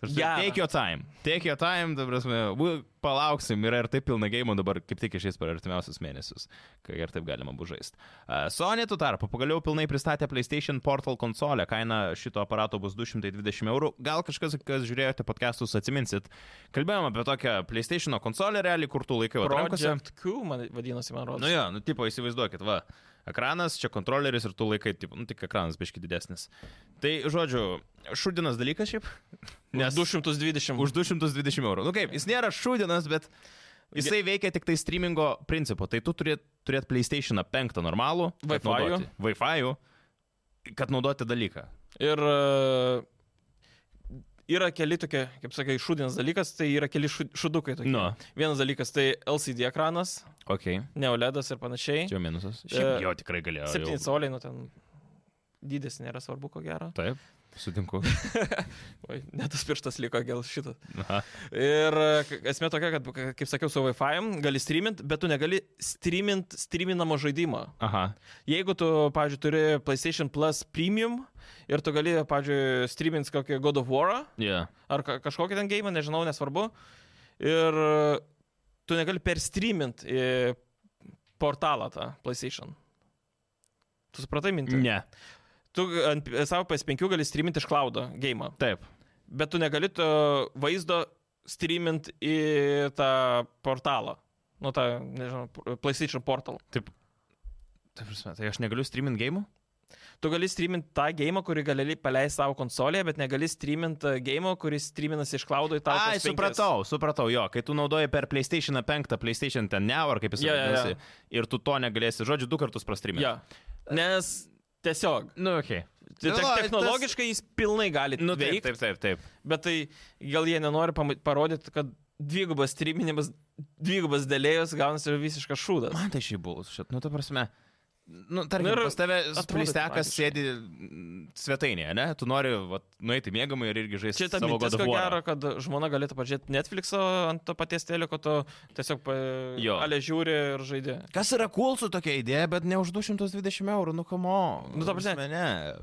Speaker 1: Ta prasme,
Speaker 2: Gera.
Speaker 1: Take your time, take your time, ta prasme, bu- palauksim, yra ir taip pilna gėjimų dabar, kaip tik išės per artimiausius mėnesius, kai ir taip galima bus žaisti. Uh, Sony tu tarpu pagaliau pilnai pristatė PlayStation Portal konsolę, kaina šito aparato bus 220 eurų, gal kažkas, kas žiūrėjote podcastus, atsiminsit, kalbėjom apie tokią PlayStation konsolę realiai, kur tu laikai atrankose.
Speaker 2: Project Q man vadinasi, man
Speaker 1: Nu
Speaker 2: rodos.
Speaker 1: jo, nu tipo įsivaizduokit, va, ekranas, čia kontroleris ir tu laikai, tipo, nu tik ekranas biški didesnis. Tai, žodžiu, šūdinas dalykas šiaip.
Speaker 2: Nes
Speaker 1: Nes
Speaker 2: 220.
Speaker 1: už 220 eurų. Nu kaip, jis nėra šūdinas, bet jisai veikia tik tai streamingo principu. Tai tu turėt, turėt PlayStation 5 normalų, kad
Speaker 2: Wi-Fi'ų.
Speaker 1: naudoti- Wi-Fi'ų, kad naudoti dalyką.
Speaker 2: Ir e, yra keli tokie, kaip sakai, šūdinas dalykas, tai yra keli šu- šūdukai tokie.
Speaker 1: Nu.
Speaker 2: Vienas dalykas tai LCD ekranas,
Speaker 1: Ok,
Speaker 2: neoledas E ir panašiai.
Speaker 1: čia jau minusas.
Speaker 2: E,
Speaker 1: Šiaip jo tikrai galėjo. jau-
Speaker 2: 7 coliai, nu ten dydis nėra svarbu, ko gero.
Speaker 1: Taip, sutinku.
Speaker 2: Oi, net tas pirštas liko, gal šitas.
Speaker 1: Aha.
Speaker 2: Ir e, k- esmė tokia, kad, k- kaip sakiau, su Wi-Fi gali streamint, bet tu negali streamint streaminamo žaidimo.
Speaker 1: Aha.
Speaker 2: Jeigu tu, pavyzdžiui, turi PlayStation Plus Premium ir tu gali, pavyzdžiui, streamint kokį God of War
Speaker 1: Yeah.
Speaker 2: ar ka- kažkokį ten game, nežinau, nesvarbu. Ir e, tu negali perstreamint į portalą tą PlayStation. Tu supratai mintį?
Speaker 1: Ne.
Speaker 2: Tu ant p- savo PS5 gali streamint iš klaudo game,
Speaker 1: Taip.
Speaker 2: bet tu negali to vaizdo streamint į tą portalą. Nu, tą, nežinau, p- PlayStation Portal.
Speaker 1: Taip, prasme, tai aš negaliu streamint game?
Speaker 2: Tu gali streamint tą game, kurį gali paleisti savo konsolėje, bet negali streamint e, game, kuris streaminas iš klaudo į tą
Speaker 1: Ai, supratau, supratau, jo, kai tu naudoji per PlayStation 5, PlayStation 10 Now ar kaip jis
Speaker 2: Jo, jo, jo.
Speaker 1: vadinasi, ir tu to negalėsi, žodžiu, du kartus prastrimė.
Speaker 2: Ja. Nes tiesiog. tai
Speaker 1: Nu, okei.
Speaker 2: Te technologiškai jis pilnai gali
Speaker 1: Nu, taip,
Speaker 2: veikti,
Speaker 1: taip, taip, taip.
Speaker 2: bet tai gal jie nenori pama- parodyti, kad dvigubas streaminimas, dvigubas dėlėjus gaunasi visiškas šūdas.
Speaker 1: Man tai šiaip buvo, šit, nu, ta prasme. Nu, tarkim,
Speaker 2: Nu, ir
Speaker 1: nu, pas tave
Speaker 2: atrodo
Speaker 1: plistekas
Speaker 2: tragiškai.
Speaker 1: sėdi mm, svetainėje, ne? Tu nori vat, nueiti mėgamai ir irgi žaisti
Speaker 2: Čia ta
Speaker 1: savo
Speaker 2: mintis, ko gero,
Speaker 1: godą.
Speaker 2: kad žmona galėtų pažiūrėti Netflix'o ant to paties teliko, tu tiesiog
Speaker 1: Jo.
Speaker 2: ale žiūri ir žaidži.
Speaker 1: Kas yra cool su tokia idėja, bet ne už 220 eurų, nu, kamo.
Speaker 2: Nu, ta prasme-
Speaker 1: Ne.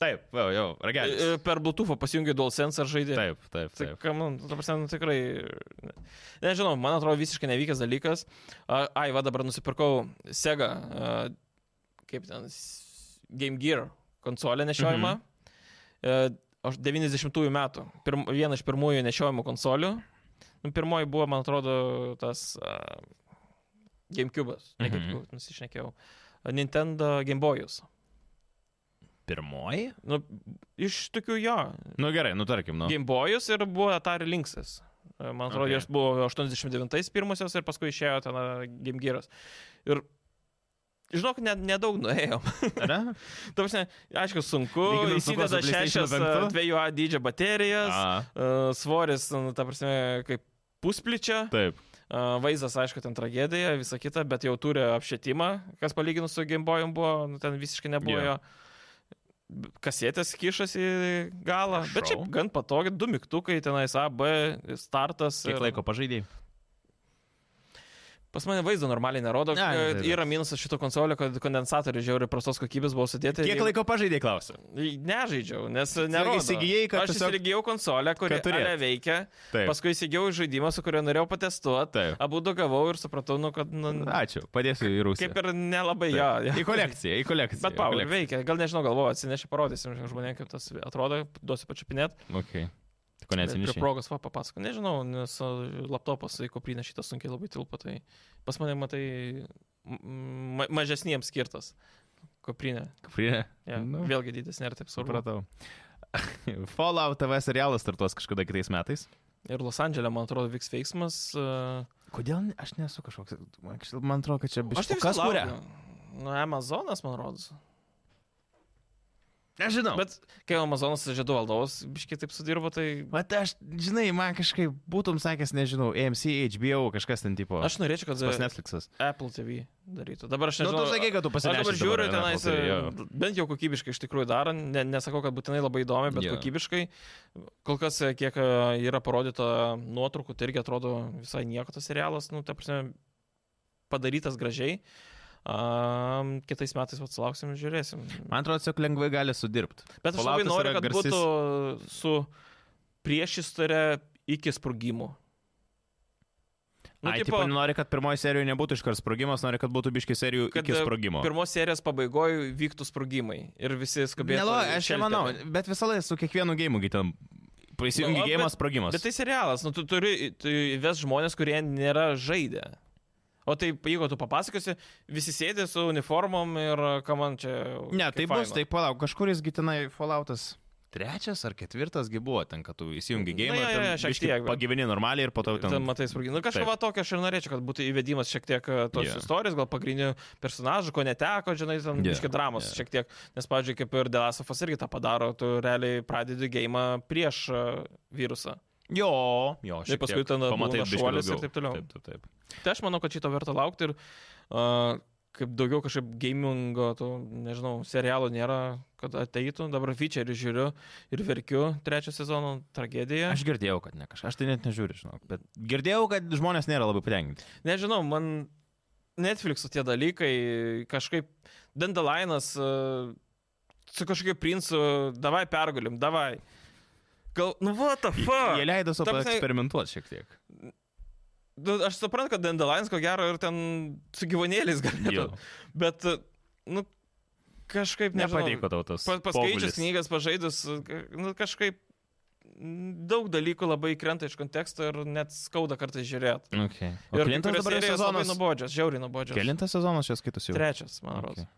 Speaker 1: Taip, jau, jau, ragelis.
Speaker 2: E, Per Bluetooth pasijungi DualSense ar žaidži.
Speaker 1: Taip, taip,
Speaker 2: Tai,
Speaker 1: taip.
Speaker 2: kam, nu, ta prasme, nu, tikrai. ne- Nežinau, man atrodo visiškai nevykęs dalykas. A- Ai, va dabar nusipirkau Sega, a, kaip ten, s- Game Gear konsolę nešiojimą. Mhm. 90-ųjų metų. Pirm, viena iš pirmųjų nešiojimų konsolių. Nu, pirmoji buvo, man atrodo, tas a, GameCube'as. Ne
Speaker 1: Mhm.
Speaker 2: GameCube, nusišnekėjau. Nintendo Game Boy'us.
Speaker 1: pirmoji?
Speaker 2: Nu, iš tokių jo.
Speaker 1: Nu gerai, nu tarkim, nu.
Speaker 2: Game Boy'us ir buvo Atari Linksas. Man atrodo,
Speaker 1: Okay.
Speaker 2: okay. jos buvo 89-ais pirmosios ir paskui išėjo ten a, Game Gear'as. Ir žinok, ne- nedaug nuėjom.
Speaker 1: Tada?
Speaker 2: (laughs) Ta prasme, aišku, sunku.
Speaker 1: Lyginant su kuo, su
Speaker 2: Įsideda
Speaker 1: PlayStation
Speaker 2: 6
Speaker 1: penktu?
Speaker 2: 2A dydžio baterijas,
Speaker 1: A,
Speaker 2: a, svoris, nu, ta prasme, kaip pusplyčia.
Speaker 1: taip.
Speaker 2: A, Vaizdas, aišku, ten tragedija, visa kita, bet jau turi apšvietimą, kas palyginus su Game Boy'um buvo, nu, ten visiškai
Speaker 1: Jo.
Speaker 2: nebuvo yeah. jo. B- Kasetės kišas į galą, bet šiaip
Speaker 1: Šau.
Speaker 2: gan patogi, du mygtukai tenais A, B, startas.
Speaker 1: Kiek
Speaker 2: ir-
Speaker 1: laiko pažaidėjai?
Speaker 2: Pas mane vaizdo normaliai nerodo,
Speaker 1: Ne,
Speaker 2: ne,
Speaker 1: ne, ne.
Speaker 2: yra minusas šito konsolio, kad kondensatoriai žiauriai prastos kokybės buvo sudėti.
Speaker 1: Kiek laiko pažaidėjai, klausiu.
Speaker 2: Nežaidžiau, nes nerodo.
Speaker 1: įsigijai, kad
Speaker 2: Aš
Speaker 1: tiesiog-
Speaker 2: įsigijau konsolę, kuri
Speaker 1: kad turėt.
Speaker 2: ale veikia,
Speaker 1: Taip.
Speaker 2: paskui įsigijau žaidimą, su kuriuo norėjau patestuoti.
Speaker 1: Taip.
Speaker 2: Abu du gavau ir supratau, nu, kad nu,
Speaker 1: Ačiū, padėsiu į rūsį.
Speaker 2: Kaip ir nelabai jo. jo.
Speaker 1: Į kolekciją, į kolekciją.
Speaker 2: (laughs) Bet Paulė veikia, gal nežinau, galvoju, atsinešiu, parodysim žmonėms, kaip tas atrodo, duosiu pačiupinėt.
Speaker 1: Okay. Ko
Speaker 2: Bet Prie
Speaker 1: neatsinešiai?
Speaker 2: progos va papasakau, nežinau, nes a, laptopas į kuprinę šitą sunkiai labai tilpo, tai pas mane, matai, m- ma mažesniems skirtas kuprinė.
Speaker 1: Prie...
Speaker 2: Ja,
Speaker 1: Nu.
Speaker 2: nu. Vėlgi didesnė ir taip svarbu.
Speaker 1: Supratau. (laughs) Fallout TV serialas startuos kažkada kitais metais.
Speaker 2: Ir Los Andželė, man atrodo, vyks veiksmas. a,
Speaker 1: Kodėl aš nesu kažkoks... Man kažkaip- Man atrodo, kad čia biškį...
Speaker 2: Aš tai viską
Speaker 1: kas kuria?
Speaker 2: laukiu. Nu, Amazonas, man rodos.
Speaker 1: Nežinau. Bet...
Speaker 2: Bet kai Amazonas žiedų valdovas, biškai taip sudirbo, tai
Speaker 1: Bet aš, žinai, man kažkaip būtum sakęs, nežinau, AMC, HBO, kažkas ten tipo.
Speaker 2: aš norėčiau, kad...
Speaker 1: pas Netflixas.
Speaker 2: Apple TV darytų. Dabar aš
Speaker 1: Nu,
Speaker 2: nežinau.
Speaker 1: tu sakei, kad tu
Speaker 2: Aš dabar
Speaker 1: pasirinkai.
Speaker 2: žiūriu tenais, e, bent jau kokybiškai iš tikrųjų daro, ne, nesakau, kad būtinai labai įdomi, bet
Speaker 1: Jo.
Speaker 2: yeah. kokybiškai. Kol kas, e, kiek e, yra parodyta nuotraukų, tai irgi atrodo visai nieko tas serialas, nu, ta prasme, padarytas gražiai. Um, kitais metais atsilauksim ir žiūrėsim.
Speaker 1: Man atrodo, tiesiog lengvai gali sudirbti.
Speaker 2: Bet aš
Speaker 1: Falloutas
Speaker 2: labai noriu,
Speaker 1: yra
Speaker 2: kad
Speaker 1: garsis-
Speaker 2: būtų su priešistorė iki sprogimų.
Speaker 1: Nu, Ai, tipo, tipo, nori, kad pirmoji serijoje nebūtų iškart sprogimas, nori, kad būtų biški serijų
Speaker 2: Kad, e,
Speaker 1: iki sprogimo.
Speaker 2: pirmos serijos pabaigoje vyktų sprogimai ir visi skubėtų.
Speaker 1: Nelo, aš
Speaker 2: šelterį.
Speaker 1: nemanau, bet visą laiką su kiekvienu gėjimu, kai ten prisijungi
Speaker 2: Nu,
Speaker 1: nu,
Speaker 2: bet-
Speaker 1: gėjimas, sprogimas.
Speaker 2: Bet tai serialas, nu tu turi, tu ves žmonės, kurie nėra žaidę. O tai jeigu tu papasakosi, visi sėdė su uniformom ir ką man čia.
Speaker 1: Ne,
Speaker 2: kaip
Speaker 1: tai bus,
Speaker 2: faina.
Speaker 1: tai palauk, kažkurisgi tenai Falloutas. Trečias ar ketvirtasgi buvo ten, kad tu įsijungi
Speaker 2: Na,
Speaker 1: gėjimą,
Speaker 2: jo, jo, jo, šiek tiek, bet-
Speaker 1: pagyveni normaliai ir po to ten...
Speaker 2: Ten matai sprogimą. Nu, kažką
Speaker 1: Taip.
Speaker 2: va tokio aš ir norėčiau, kad būtų įvedimas šiek tiek e,
Speaker 1: Jo.
Speaker 2: tos yeah. istorijos, gal pagrindinių personažų, ko neteko, žinai, ten
Speaker 1: Jo,
Speaker 2: yeah. iški dramos
Speaker 1: jo.
Speaker 2: yeah. šiek tiek. Nes, pavyzdžiui, kaip ir Delasofas irgi tą padaro, tu realiai pradedi gėjimą prieš e, virusą.
Speaker 1: Jo, jo, šiek
Speaker 2: Tai paskui
Speaker 1: tiek
Speaker 2: ten būna
Speaker 1: biškį
Speaker 2: šuolis ir
Speaker 1: daugiau.
Speaker 2: taip toliau.
Speaker 1: Taip, taip, taip.
Speaker 2: Tai aš manau, kad šito verta laukti ir uh, kaip daugiau kažkaip gamingo, to, nežinau, serialų nėra, kad ateitų. Dabar feature žiūriu ir verkiu trečio sezono tragediją.
Speaker 1: Aš girdėjau, kad ne kažkas, aš tai net nežiūriu, žinok, bet girdėjau, kad žmonės nėra labai patenkinti.
Speaker 2: Nežinau, man Netflix'o tie dalykai kažkaip Dandelainas uh, su kažkokiu princu, davai pergalim, davai. Gal, nu, what the fuck?
Speaker 1: Jie leido savo
Speaker 2: Ta prasme-
Speaker 1: eksperimentuoti šiek tiek.
Speaker 2: Nu, Aš suprantu, kad Dandelainas ko gero ir ten su gyvūnėliais galėtų.
Speaker 1: Jo.
Speaker 2: Bet, nu, kažkaip nežinau.
Speaker 1: Nepatiko tau tas.
Speaker 2: Pa, paskaičius
Speaker 1: pobūdis.
Speaker 2: knygas, pažaidus, ka- nu, kažkaip mm, daug dalykų labai krenta iš konteksto ir net skauda kartais žiūrėti.
Speaker 1: Okay. O kelintas dabar jau
Speaker 2: Labai
Speaker 1: sezonas.
Speaker 2: nuobodžias, žiauriai nuobodžias.
Speaker 1: Kelintas sezonas čia skaitosi jau.
Speaker 2: Trečias, man
Speaker 1: Okay.
Speaker 2: atrodo.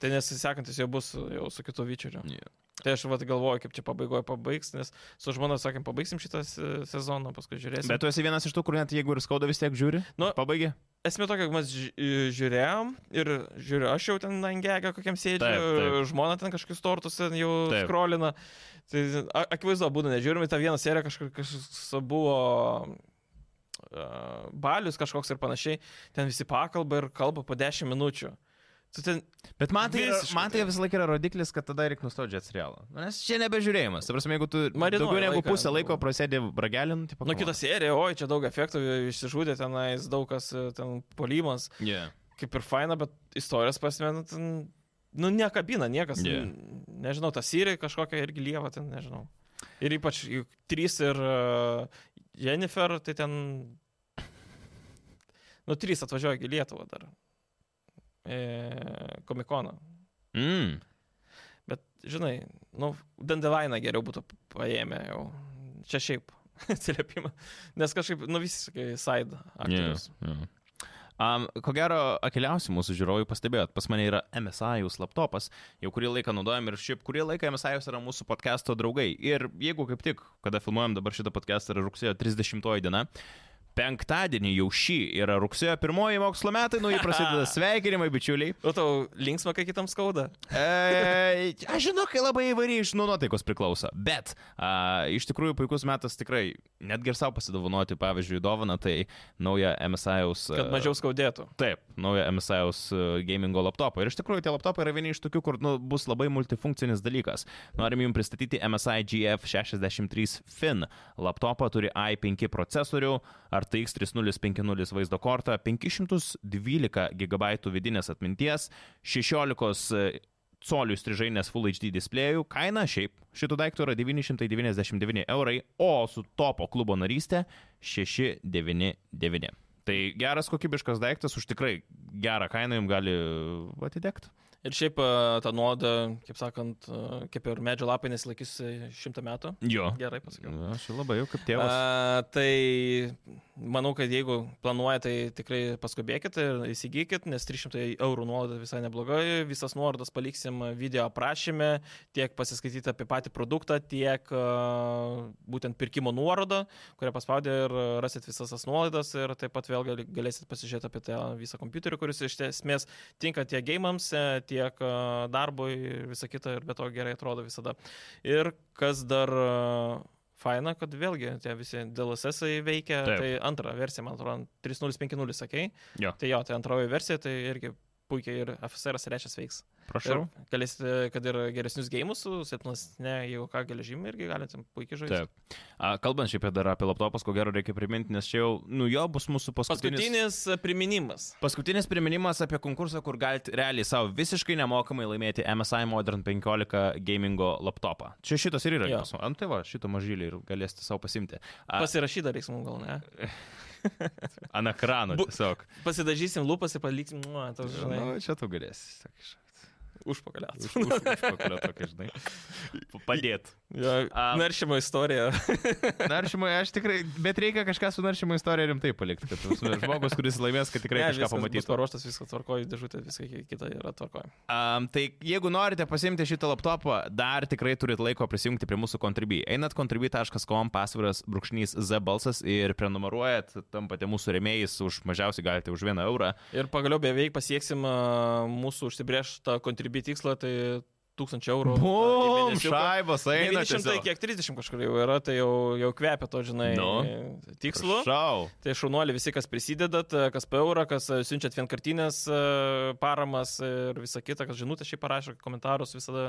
Speaker 2: Tai nesekantis jau bus jau su kitu vyčeriu.
Speaker 1: Jo.
Speaker 2: Tai aš vat galvoju, kaip čia pabaigoje pabaigs, nes su žmona sakėm, pabaigsim šitą se- sezoną, paskui žiūrėsim.
Speaker 1: Bet tu esi vienas iš tų, kur net jeigu ir skauda vis tiek žiūri.
Speaker 2: Nu,
Speaker 1: Pabaigė.
Speaker 2: esmė tokia, kad mes ži- i- žiūrėjom ir žiūriu, aš jau ten angegę kokiam
Speaker 1: Taip,
Speaker 2: sėdžiu,
Speaker 1: taip.
Speaker 2: žmona ten kažkokius tortus ten jau
Speaker 1: Taip.
Speaker 2: skrolina. Tai a- akivaizdu, būna nežiūrimi, ta viena serija kažkur- kažkoks buvo a, balius kažkoks ir panašiai, ten visi pakalba ir kalba po 10 minučių. Tu ten, nu,
Speaker 1: Bet man tai, yra-
Speaker 2: Visiškai.
Speaker 1: man tai vis laik yra rodiklis, kad tada reikia nustoti žiūrėti serialą. Nu, Nes čia nebežiūrėjimas. Ta prasme, jeigu tu
Speaker 2: Marinuoja
Speaker 1: daugiau negu
Speaker 2: laiką.
Speaker 1: pusę laiko prasėdė ragelin, tai
Speaker 2: nu kita serija, oi, čia daug efektų, išsižudė tenais, daug kas e, ten polimas,
Speaker 1: Yeah.
Speaker 2: kaip ir faina, bet istorijos prasme, nu, ten, nu nekabina niekas.
Speaker 1: Jo.
Speaker 2: Yeah. Nežinau, ta Sirija kažkokia irgi lieva ten, nežinau. Ir ypač juk trys ir uh, Jennifer, tai ten... Nu, trys atvažiuoja į Lietuvą dar. E, komikoną.
Speaker 1: Mm.
Speaker 2: Bet, žinai, nu, Dandelainą geriau būtų paėmę jau. Čia (laughs) šiaip atsiliepimą. Nes kažkaip, nu, visiškai side aktorius.
Speaker 1: Yeah. Yeah. Um, ko gero, akiliausi mūsų žiūrovai pastebėjot, pas mane yra MSIUS laptopas, jau kurį laiką naudojam ir šiaip kurį laiką MSIUS yra mūsų podcast'o draugai. Ir jeigu kaip tik, kada filmuojam dabar šitą podcast'ą, yra rugsėjo 30 diena, penktadienį jau šį yra rugsėjo pirmoji mokslo metai, nu jį
Speaker 2: (laughs)
Speaker 1: prasideda sveikinimai, bičiuliai.
Speaker 2: O tau linksma, kai kitam skauda?
Speaker 1: E, aš žinau, kai labai įvairiai iš nuo nuotaikos priklauso, bet a, iš tikrųjų puikus metas tikrai netgi ir savo pasidovanoti, pavyzdžiui, dovaną, tai naują MSIUS.
Speaker 2: Kad mažiau skaudėtų.
Speaker 1: Taip, naują MSIUS e, gamingo laptopą. Ir iš tikrųjų tie laptopai yra vieni iš tokių, kur nu, bus labai multifunkcinis dalykas. Norim jums pristatyti MSI GF63 Fin. Laptopą turi i5 procesorių, RTX 3050 vaizdo kortą, 512 GB vidinės atminties, 16 e, colių strižainės Full HD displejų. Kaina šiaip šito daikto yra 999 eurai, o su topo klubo narystė 699. Tai geras kokybiškas daiktas už tikrai gerą kainą jums gali atidegti.
Speaker 2: Ir šiaip e, ta nuoda, kaip sakant, e, kaip ir medžio lapai nesilaikys e, šimtą metų.
Speaker 1: Jo.
Speaker 2: Gerai pasakiau.
Speaker 1: Aš jau labai jau kaip Mm, tėvas.
Speaker 2: A, tai manau, kad jeigu planuojate, tai tikrai paskubėkit ir įsigykit, nes 300 eurų nuolaida visai neblogai. Visas nuorodas paliksim video aprašymę, tiek pasiskaityti apie patį produktą, tiek a, būtent pirkimo nuorodą, kurią paspaudę ir rasit visas tas nuolaidas ir taip pat vėl gali- galėsit pasižiūrėti apie tą visą kompiuterį, kuris iš esmės tinka tiek gėjimams, tiek a, darbui ir visa kita ir be to gerai atrodo visada. Ir kas dar a, faina, kad vėlgi tie visi DLSS veikia,
Speaker 1: Taip.
Speaker 2: Taip. tai antra versija, man atrodo, 3050 sakei.
Speaker 1: Jo.
Speaker 2: Tai jo, tai antroji versija, tai irgi puikiai ir FSR trečias veiks.
Speaker 1: Prašau.
Speaker 2: Ir galėsite, kad ir geresnius gėjimus su silpnesne, jeigu ką, geležimi irgi galite puikiai žaisti.
Speaker 1: Taip. A, kalbant šiaip dar apie laptopus, ko gero reikia priminti, nes čia jau, nu jo, bus mūsų paskutinis.
Speaker 2: Paskutinis e, priminimas.
Speaker 1: Paskutinis priminimas apie konkursą, kur galite realiai savo visiškai nemokamai laimėti MSI Modern 15 gamingo laptopą. Čia šitas ir yra.
Speaker 2: Jo.
Speaker 1: pas mu- Ant tai va, šito mažylį ir galėsite savo pasimti. A, Pas...
Speaker 2: Pasirašyta reiks mums gal, ne?
Speaker 1: Ant ekrano
Speaker 2: Bu-
Speaker 1: tiesiog.
Speaker 2: Pasidažysim lūpas ir paliksim, nu, tas žinai,
Speaker 1: Nu, čia tu galėsi. sak, iš-
Speaker 2: užpakaliaus.
Speaker 1: Už, už, užpakalio tokį, žinai. Padėt.
Speaker 2: (laughs)
Speaker 1: Am.
Speaker 2: Naršymo istorija.
Speaker 1: Naršymui aš tikrai, bet reikia kažką su naršymo istorija rimtai palikti, kad ta prasme, žmogus, kuris laimės, kad tikrai
Speaker 2: Ne,
Speaker 1: kažką
Speaker 2: viskas bus
Speaker 1: pamatytų.
Speaker 2: Paruoštas viskas tvarkoji, dėžutė, viskas kita yra tvarkoji.
Speaker 1: Um, tai jeigu norite pasimti šitą laptopą, dar tikrai turit laiko prisijungti prie mūsų kontribį. Einat kontribį.com, pasviras, brūkšnys Z balsas ir prenumeruojat, tampate mūsų remėjais, už mažiausiai galite už vieną eurą.
Speaker 2: Ir pagaliau beveik pasieksim a, mūsų užsibriežtą kontribį tikslą, tai 1000 eurų. e,
Speaker 1: Bum,
Speaker 2: į mėnesį.
Speaker 1: šaibas eina.
Speaker 2: 900, kiek 30 kažkur jau yra, tai jau, jau kvepia to, žinai,
Speaker 1: Nu.
Speaker 2: tikslu.
Speaker 1: Šau.
Speaker 2: Tai šaunuoli visi, kas prisidedat, e, kas per eurą, kas e, siunčiat vienkartinės e, paramas ir visa kita, kas žinutę šį parašo, komentarus visada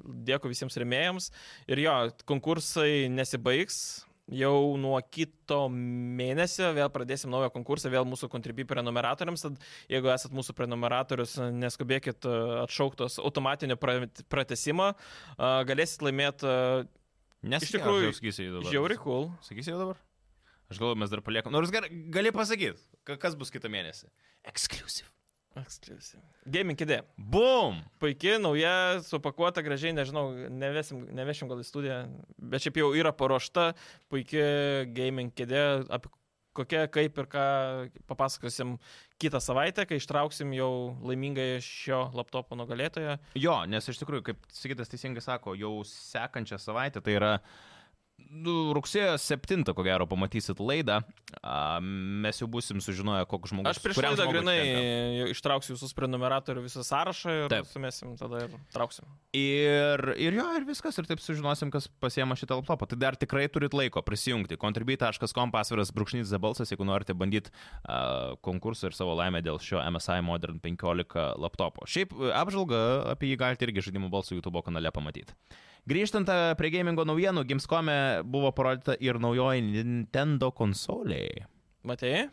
Speaker 2: dėkui visiems remėjams. Ir jo, konkursai nesibaigs. Jau nuo kito mėnesio vėl pradėsim naują konkursą, vėl mūsų kontribį prenumeratoriams. Tad jeigu esat mūsų prenumeratorius, e, neskubėkit e, atšauktos automatinio pra- pratesimo, e, galėsit laimėti
Speaker 1: Nes
Speaker 2: Iš tikrųjų,
Speaker 1: sakysiu jau dabar.
Speaker 2: žiauri cool.
Speaker 1: Sakysiu jau dabar? Aš galvoju, mes dar paliekam. Nors ger, gali pasakyti, kas bus kitą mėnesį. Exclusive.
Speaker 2: Exclusive. Gaming E. kėdė.
Speaker 1: Bum!
Speaker 2: Puikiai, nauja, supakuota gražiai, nežinau, nevesim, nevešim gal į studiją, bet šiaip jau yra paruošta, puikiai gaming kėdė, apie kokią, kaip ir ką papasakosim kitą savaitę, kai ištrauksim jau laimingai šio laptopo nugalėtoją.
Speaker 1: Jo, nes iš tikrųjų, kaip Sigitas teisingai sako, jau sekančią savaitę, tai yra nu, rugsėjo 7, ko gero, pamatysit laidą, a, mes jau busim sužinoję, koks žmogus.
Speaker 2: Aš prieš
Speaker 1: kuriam
Speaker 2: laidą
Speaker 1: žmogui tenka.
Speaker 2: grinai ištrauksiu visus prenumeratorių visą sąrašą ir
Speaker 1: Taip.
Speaker 2: sumėsim tada ir trauksim.
Speaker 1: Ir, ir jo, ir viskas, ir taip sužinosim, kas pasiema šitą laptopą. Tai dar tikrai turit laiko prisijungti. contribit.com pasviras brūkšnys zabalsas, jeigu norite bandyti uh, konkursą ir savo laimę dėl šio MSI Modern 15 laptopo. Šiaip e, apžvalgą apie jį galite irgi žaidimų balsų YouTube kanale pamatyti. Grįžtant e, prie gamingo naujienų, Gamescome buvo parodyta ir naujoji Nintendo konsolė.
Speaker 2: Matėjai?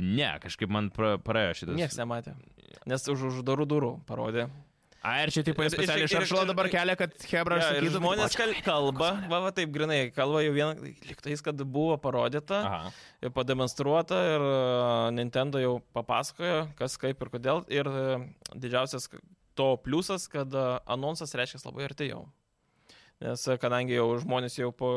Speaker 1: Ne, kažkaip man pra- praėjo šitas.
Speaker 2: Niekas nematė. Nes už uždarų durų parodė.
Speaker 1: A, ir čia taip
Speaker 2: Ir- ir-
Speaker 1: specialiai
Speaker 2: ir- ir-
Speaker 1: šaršalo
Speaker 2: ir-
Speaker 1: dabar kelia, kad Hebra
Speaker 2: Jo, ir
Speaker 1: sakytų.
Speaker 2: žmonės kal kalba, va, va taip grinai, kalba jau vien, liktais, kad buvo parodyta,
Speaker 1: Aha.
Speaker 2: ir pademonstruota ir e, Nintendo jau papasakojo, kas kaip ir kodėl. Ir e, didžiausias to pliusas, kad e, anonsas reiškia labai arti jau. Nes e, kadangi jau žmonės jau po,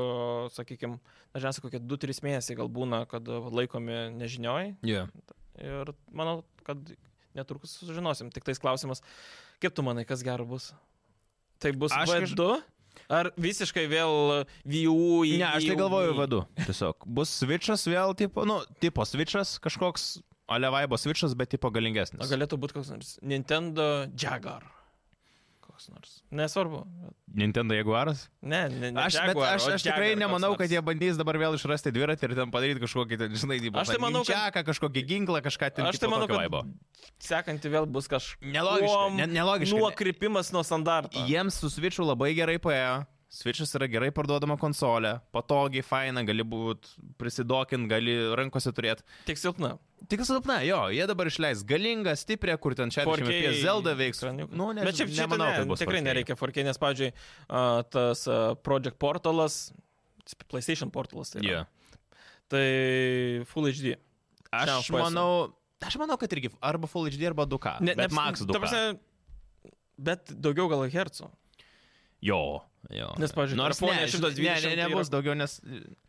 Speaker 2: sakykime, dažniausiai kokie 2-3 mėnesiai gal būna, kad e, laikomi nežinioj,
Speaker 1: Yeah.
Speaker 2: Ir manau, kad netrukus sužinosim. Tik tais klausimas, kaip tu manai, kas gero bus? Tai bus
Speaker 1: Aš kaž-
Speaker 2: V2? Ar visiškai vėl VU į...
Speaker 1: Ne, aš tai
Speaker 2: į-
Speaker 1: galvoju
Speaker 2: į-
Speaker 1: vadu. Tiesiog bus switchas vėl, tipo, nu, tipo switchas kažkoks, alevaibo switchas, bet tipo galingesnis.
Speaker 2: O galėtų būti koks nors Nintendo Jaguar. Koks nors. Nesvarbu.
Speaker 1: Nintendo Jaguaras?
Speaker 2: Ne, ne, ne
Speaker 1: Aš, bet
Speaker 2: Jaguar,
Speaker 1: aš,
Speaker 2: o
Speaker 1: aš tikrai
Speaker 2: Jaguar koks
Speaker 1: nemanau,
Speaker 2: nors.
Speaker 1: kad jie bandys dabar vėl išrasti dviratį ir ten padaryti kažkokį, ten, žinai, tipo,
Speaker 2: Aš tai manau, kad-
Speaker 1: čiaką, kažkokį ginklą, kažką ten.
Speaker 2: Aš tai
Speaker 1: tipo
Speaker 2: manau,
Speaker 1: tokio
Speaker 2: kad
Speaker 1: vaibo.
Speaker 2: sekanti vėl bus kažkoks.
Speaker 1: Nelogiška, ne- nelogiška, ne-
Speaker 2: Nuokrypimas nuo standarto.
Speaker 1: Jiems su Switch'u labai gerai paėjo. Switch'as yra gerai parduodama konsolė, patogiai, faina, gali būt prisidokint, gali rankose turėti.
Speaker 2: Tik silpna.
Speaker 1: Tik silpna, jo, jie dabar išleis galingą, stiprią, kur ten čia
Speaker 2: 4K
Speaker 1: apie Zelda veiks.
Speaker 2: ekraniuką.
Speaker 1: Nu, ne,
Speaker 2: Bet šiaip šito
Speaker 1: nemanau,
Speaker 2: ne,
Speaker 1: kad bus
Speaker 2: tikrai
Speaker 1: 4K.
Speaker 2: nereikia 4K, nes, pavyzdžiui, a, tas a, Project Portalas, PlayStation Portalas, tai,
Speaker 1: Jo.
Speaker 2: yeah. tai Full HD. Šiam
Speaker 1: Aš
Speaker 2: FPS.
Speaker 1: manau, aš manau, kad irgi arba Full HD, arba 2K. Ne, bet Max
Speaker 2: ta
Speaker 1: 2K.
Speaker 2: prasme, Bet daugiau gal hercų.
Speaker 1: Jo. jo.
Speaker 2: Nes, pavyzdžiui,
Speaker 1: nors
Speaker 2: Japonija
Speaker 1: ne,
Speaker 2: 120
Speaker 1: ne, ne,
Speaker 2: yra-
Speaker 1: nebus daugiau, nes...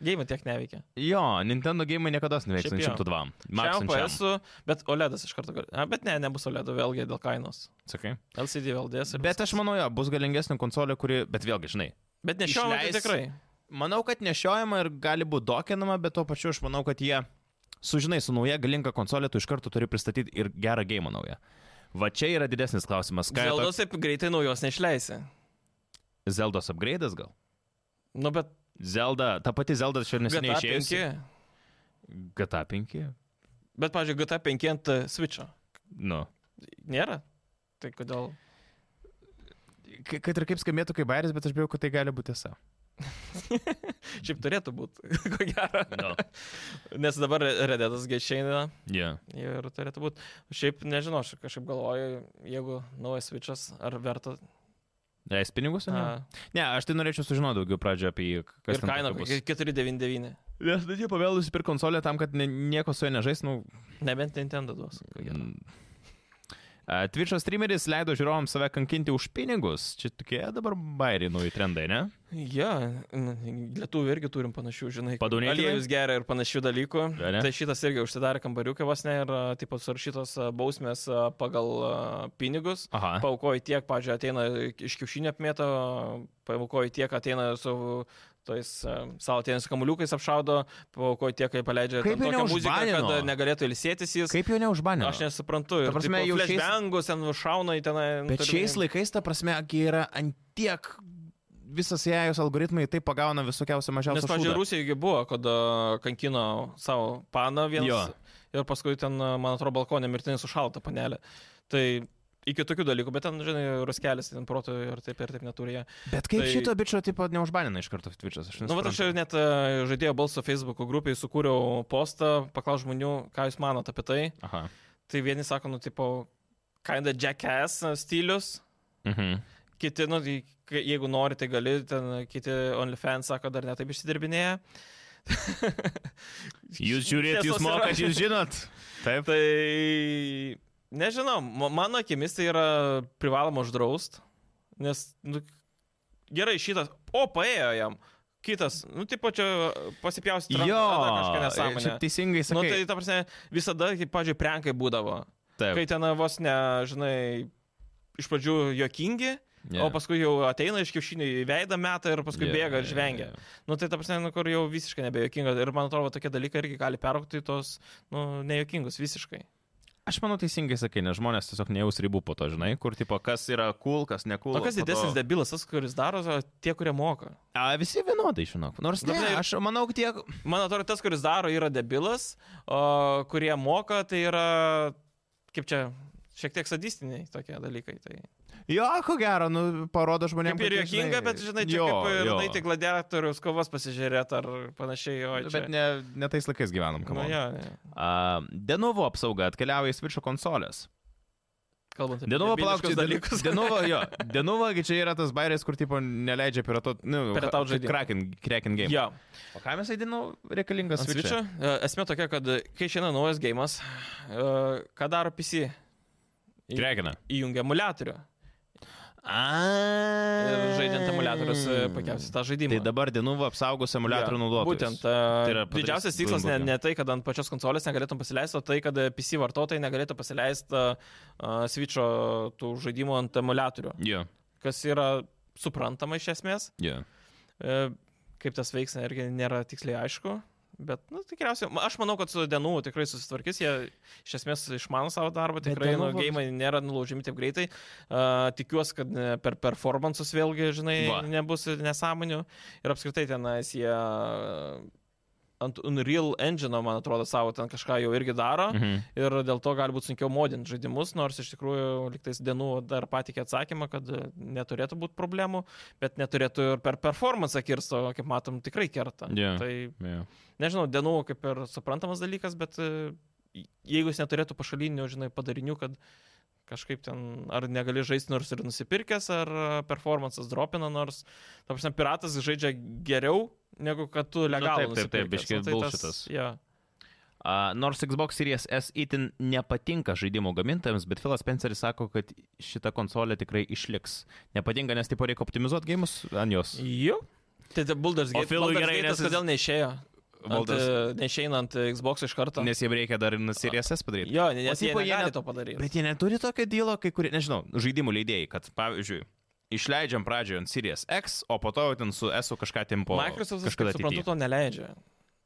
Speaker 2: Gėjimai tiek neveikia.
Speaker 1: Jo, Nintendo gėjimai niekada neveiks
Speaker 2: Šiaip jo.
Speaker 1: 102. Max
Speaker 2: Šiam PS, bet OLEDas iš karto. gal- A, bet ne, nebus OLED vėlgi dėl kainos.
Speaker 1: Sakai.
Speaker 2: LCD vėl dės. ir
Speaker 1: Bet
Speaker 2: viskas.
Speaker 1: aš manau, jo, bus galingesnė konsolė, kuri, bet vėlgi, žinai,
Speaker 2: Bet nešiojama tai
Speaker 1: išleis-
Speaker 2: tikrai.
Speaker 1: Manau, kad nešiojama ir gali būti dokinama, bet tuo pačiu aš manau, kad jie sužinai su nauja galinga konsolė, tu iš karto turi pristatyti ir gerą gėjimą naują. Va čia yra didesnis klausimas. Ką jie
Speaker 2: Zeldos taip greitai naujos neišleisi.
Speaker 1: to... Zeldos upgraidas gal?
Speaker 2: Nu, bet
Speaker 1: Zelda, ta pati Zelda čia neseniai
Speaker 2: GTA
Speaker 1: išėjusi.
Speaker 2: 5.
Speaker 1: GTA 5.
Speaker 2: Bet, pavyzdžiui, GTA 5 ant e, Switch'o.
Speaker 1: Nu.
Speaker 2: Nėra. Tai kodėl?
Speaker 1: K- Kad ir kaip skambėtų kaip bairis, bet aš bijau, kad tai gali būti tiesa.
Speaker 2: Šiaip turėtų būti, (laughs) ko gero.
Speaker 1: (laughs) No.
Speaker 2: Nes dabar Redetas išeina
Speaker 1: Yeah.
Speaker 2: ir turėtų būti. Šiaip nežinau, aš kažkaip galvoju, jeigu naujas Switch'as, ar verta.
Speaker 1: Leis pinigus? ar Ne?
Speaker 2: a,
Speaker 1: ne, aš tai norėčiau sužinoti daugiau pradžioje apie jį. kas
Speaker 2: Ir
Speaker 1: ten
Speaker 2: kaina
Speaker 1: tokio bus.
Speaker 2: kokia 499.
Speaker 1: Nes tai jie pavėlus per konsolę tam, kad ne, nieko su juo nežais, nu,
Speaker 2: Nebent Nintendo duos. ko gero.
Speaker 1: Mm. A, Twitch'o streameris leido žiūrovams save kankinti už pinigus. Čia tokie dabar bairiai nauji trendai, ne?
Speaker 2: Jo, n- lietuvių irgi turim panašių, žinai, kaip
Speaker 1: Padūnėti?
Speaker 2: aliejus geria ir panašių dalykų.
Speaker 1: Jo, ne?
Speaker 2: Tai šitas irgi užsidarė kambariuką vos ne ir a, taip pat surašytos a, bausmės a, pagal a, pinigus.
Speaker 1: Aha.
Speaker 2: Paukoji tiek, pažiūrėjau, ateina iš kiaušinio apmėta, paukoji tiek, ateina su tais a, savo ateinais kamuliukais apšaudo, paukoji tiek, kai paleidžia
Speaker 1: Kaip
Speaker 2: ten
Speaker 1: jo
Speaker 2: tokią muziką, kad a,
Speaker 1: neužbanino?
Speaker 2: negalėtų ilsėtis jis.
Speaker 1: Kaip jau neužbanė?
Speaker 2: Aš nesuprantu.
Speaker 1: Ta prasme, jau šiais-
Speaker 2: flashbangus ten šauna į tenai. nu,
Speaker 1: Bet
Speaker 2: turiu
Speaker 1: šiais
Speaker 2: omeny-
Speaker 1: laikais, ta prasme, kai yra ant tiek visas jais algoritmai taip pagauna visokiausią
Speaker 2: Nes,
Speaker 1: mažiausią
Speaker 2: pažiūrėjau,
Speaker 1: šūdą.
Speaker 2: Rusijoje buvo, kad a, kankino savo paną
Speaker 1: Jo.
Speaker 2: vieną. Ir paskui ten, a, man atrodo, balkonė mirtinai sušalta panelė. Tai iki tokių dalykų, bet ten, žinai, ruskelis, ten protų ir taip ir taip neturi. jie.
Speaker 1: Bet kaip
Speaker 2: tai-
Speaker 1: šito bičio tipo neužbanina iš karto Twitch'as? Aš
Speaker 2: Nu, va, aš jau
Speaker 1: nesuprantu.
Speaker 2: net a, žaidėjo balso Facebook grupiai, sukūriau postą, paklaus žmonių, ką jūs manote apie tai.
Speaker 1: Aha.
Speaker 2: Tai vieni sako, nu, tipo, kinda jackass a, stilius,
Speaker 1: Mhm.
Speaker 2: Kiti, nu, tai kai- jeigu nori, tai gali, ten kiti OnlyFans sako, dar netaip išsidirbinėja.
Speaker 1: Jūs žiūrėt, jūs
Speaker 2: Tiesos
Speaker 1: mokat,
Speaker 2: yra.
Speaker 1: jūs žinot. Taip.
Speaker 2: Tai nežinau, ma- mano akimis tai yra privaloma uždraust, nes nu, gerai šitas, o paėjo jam, kitas, nu, tipo čia pasipjausti
Speaker 1: Jo,
Speaker 2: kažką nesąmonę.
Speaker 1: čia teisingai
Speaker 2: Nu, tai,
Speaker 1: sakai.
Speaker 2: ta prasme, visada, kaip, pažiūrėjau, prenkai būdavo. Kai
Speaker 1: Taip.
Speaker 2: ten vos ne, žinai, iš pradžių jokingi,
Speaker 1: Jo.
Speaker 2: yeah. tai- o paskui jau ateina iš kiaušinių į veidą metą ir paskui
Speaker 1: Jo,
Speaker 2: yeah, bėga ir
Speaker 1: jo,
Speaker 2: žvengia.
Speaker 1: jo.
Speaker 2: Nu tai ta prasme, nu, kur jau visiškai nebejokinga. Ir man atrodo, tokie dalykai irgi gali peraukti į tos, nu, nejokingus visiškai.
Speaker 1: Aš manau teisingai sakai, nes žmonės tiesiog nejaus ribų po to, žinai, kur tipo, kas yra cool, kas ne cool.
Speaker 2: O Nu, kas
Speaker 1: po to-
Speaker 2: didesnis debilas, tas, kuris daro, ar tie, kurie moka.
Speaker 1: A, visi vienodai, žinok. Nors ne,
Speaker 2: Ta prasme, ir-
Speaker 1: aš manau, kad tiek.
Speaker 2: Man atrodo, tas, kuris daro, yra debilas, o kurie moka, tai yra, kaip čia, šiek tiek sadistiniai tokie dalykai. Tai.
Speaker 1: Jo, ko gero, nu, parodo žmonėms.
Speaker 2: Kaip ir juokinga, bet žinai, čia jo, kaip ir tai tik gladiatorius kovas pasižiūrėti ar panašiai, o čia.
Speaker 1: Bet ne, ne tais laikais gyvenam, kam.
Speaker 2: nu,
Speaker 1: Nu,
Speaker 2: jo, ne.
Speaker 1: Denovo apsauga atkeliauja į Switch'o konsolės.
Speaker 2: Kalbant apie
Speaker 1: Denovo palaukti
Speaker 2: debiliškus dalykus.
Speaker 1: Denovo,
Speaker 2: (laughs)
Speaker 1: jo. Denovo, čia yra tas bairės, kur tipo neleidžia piratot. Nu,
Speaker 2: Pirataut žaidimą.
Speaker 1: Kraken game.
Speaker 2: Jo.
Speaker 1: O kam jisai denu reikalingas
Speaker 2: Ant
Speaker 1: Switch'e?
Speaker 2: Switch'o. E, Esmė tokia, kad kai išeina naujas gėjimas, ką daro PC?
Speaker 1: Krekina.
Speaker 2: Įjungia emulatorių. Ir
Speaker 1: Ir
Speaker 2: E, žaidžiant emuliatorius pakepsi tą žaidimą.
Speaker 1: Tai dabar Denuvo apsaugos emuliatorių
Speaker 2: Jo,
Speaker 1: naudotojus.
Speaker 2: Būtent.
Speaker 1: Tai
Speaker 2: Tai
Speaker 1: yra padarys
Speaker 2: didžiausias tikslas ne,
Speaker 1: Chromebook'e.
Speaker 2: ne tai, kad ant pačios konsolės negalėtum pasileisti, o tai, kad e, PC vartotojai negalėtų pasileisti uh, Switch'o tų žaidimų ant emulatorių.
Speaker 1: Jo,
Speaker 2: Kas yra suprantama iš esmės.
Speaker 1: jo.
Speaker 2: E, kaip tas veiks, irgi nėra tiksliai aišku. Bet, na, nu, tikriausiai, ma- aš manau, kad su Denu tikrai susitvarkys, jie iš esmės išmano savo darbą,
Speaker 1: Bet
Speaker 2: tikrai, nu,
Speaker 1: Denuvo-
Speaker 2: gėjimai nėra nulaužimi taip greitai. Uh, tikiuosi, kad ne, per performances vėlgi, žinai,
Speaker 1: Va.
Speaker 2: Va. nebus nesąmonių. Ir apskritai tenais jie a, ant Unreal Engine, man atrodo, savo ten kažką jau irgi daro. Mhm.
Speaker 1: Mhm.
Speaker 2: Ir dėl to gali būti sunkiau modinti žaidimus, nors iš tikrųjų liktais dienų dar patikė atsakymą, kad e, neturėtų būti problemų, bet neturėtų ir per performance kirsto, kaip matom, tikrai kerta.
Speaker 1: Jo.
Speaker 2: Tai
Speaker 1: Jo.
Speaker 2: nežinau, dienų kaip ir suprantamas dalykas, bet e, jeigu jis neturėtų pašalinių, žinai, padarinių, kad kažkaip ten ar negali žaisti nors ir nusipirkęs, ar e, performances dropina nors, ta prasme, piratas žaidžia geriau, negu kad tu legalų.
Speaker 1: taip, taip, taip,
Speaker 2: nusipirkęs.
Speaker 1: biškį
Speaker 2: Nu, tai tas-
Speaker 1: bullshitas.
Speaker 2: jo.
Speaker 1: A, Nors Xbox Series S itin nepatinka žaidimų gamintojams, bet Filas Spenceris sako, kad šita konsolė tikrai išliks. Nepatinka, nes tipo reikia optimizuoti gėjimus ant jos.
Speaker 2: Jų. Tai tai Baldur's
Speaker 1: O
Speaker 2: Gate.
Speaker 1: Philui
Speaker 2: Baldur's
Speaker 1: gerai,
Speaker 2: Gate'as
Speaker 1: nes jis-
Speaker 2: kodėl neišėjo? Ant,
Speaker 1: Baldur's-
Speaker 2: e, neišeina ant Xbox iš karto.
Speaker 1: Nes jiem reikia dar ir nuo Series S padaryti.
Speaker 2: Jo, nes jie,
Speaker 1: tipo, jie
Speaker 2: jie
Speaker 1: net-
Speaker 2: net to padaryti.
Speaker 1: Bet jie neturi tokio dylo, kai kurie, nežinau, žaidimų leidėjai, kad pavyzdžiui, išleidžiam pradžioje ant Series X, o po to jau ten su S kažką timpo.
Speaker 2: Microsoft, aš kaip suprantu, to neleidžia.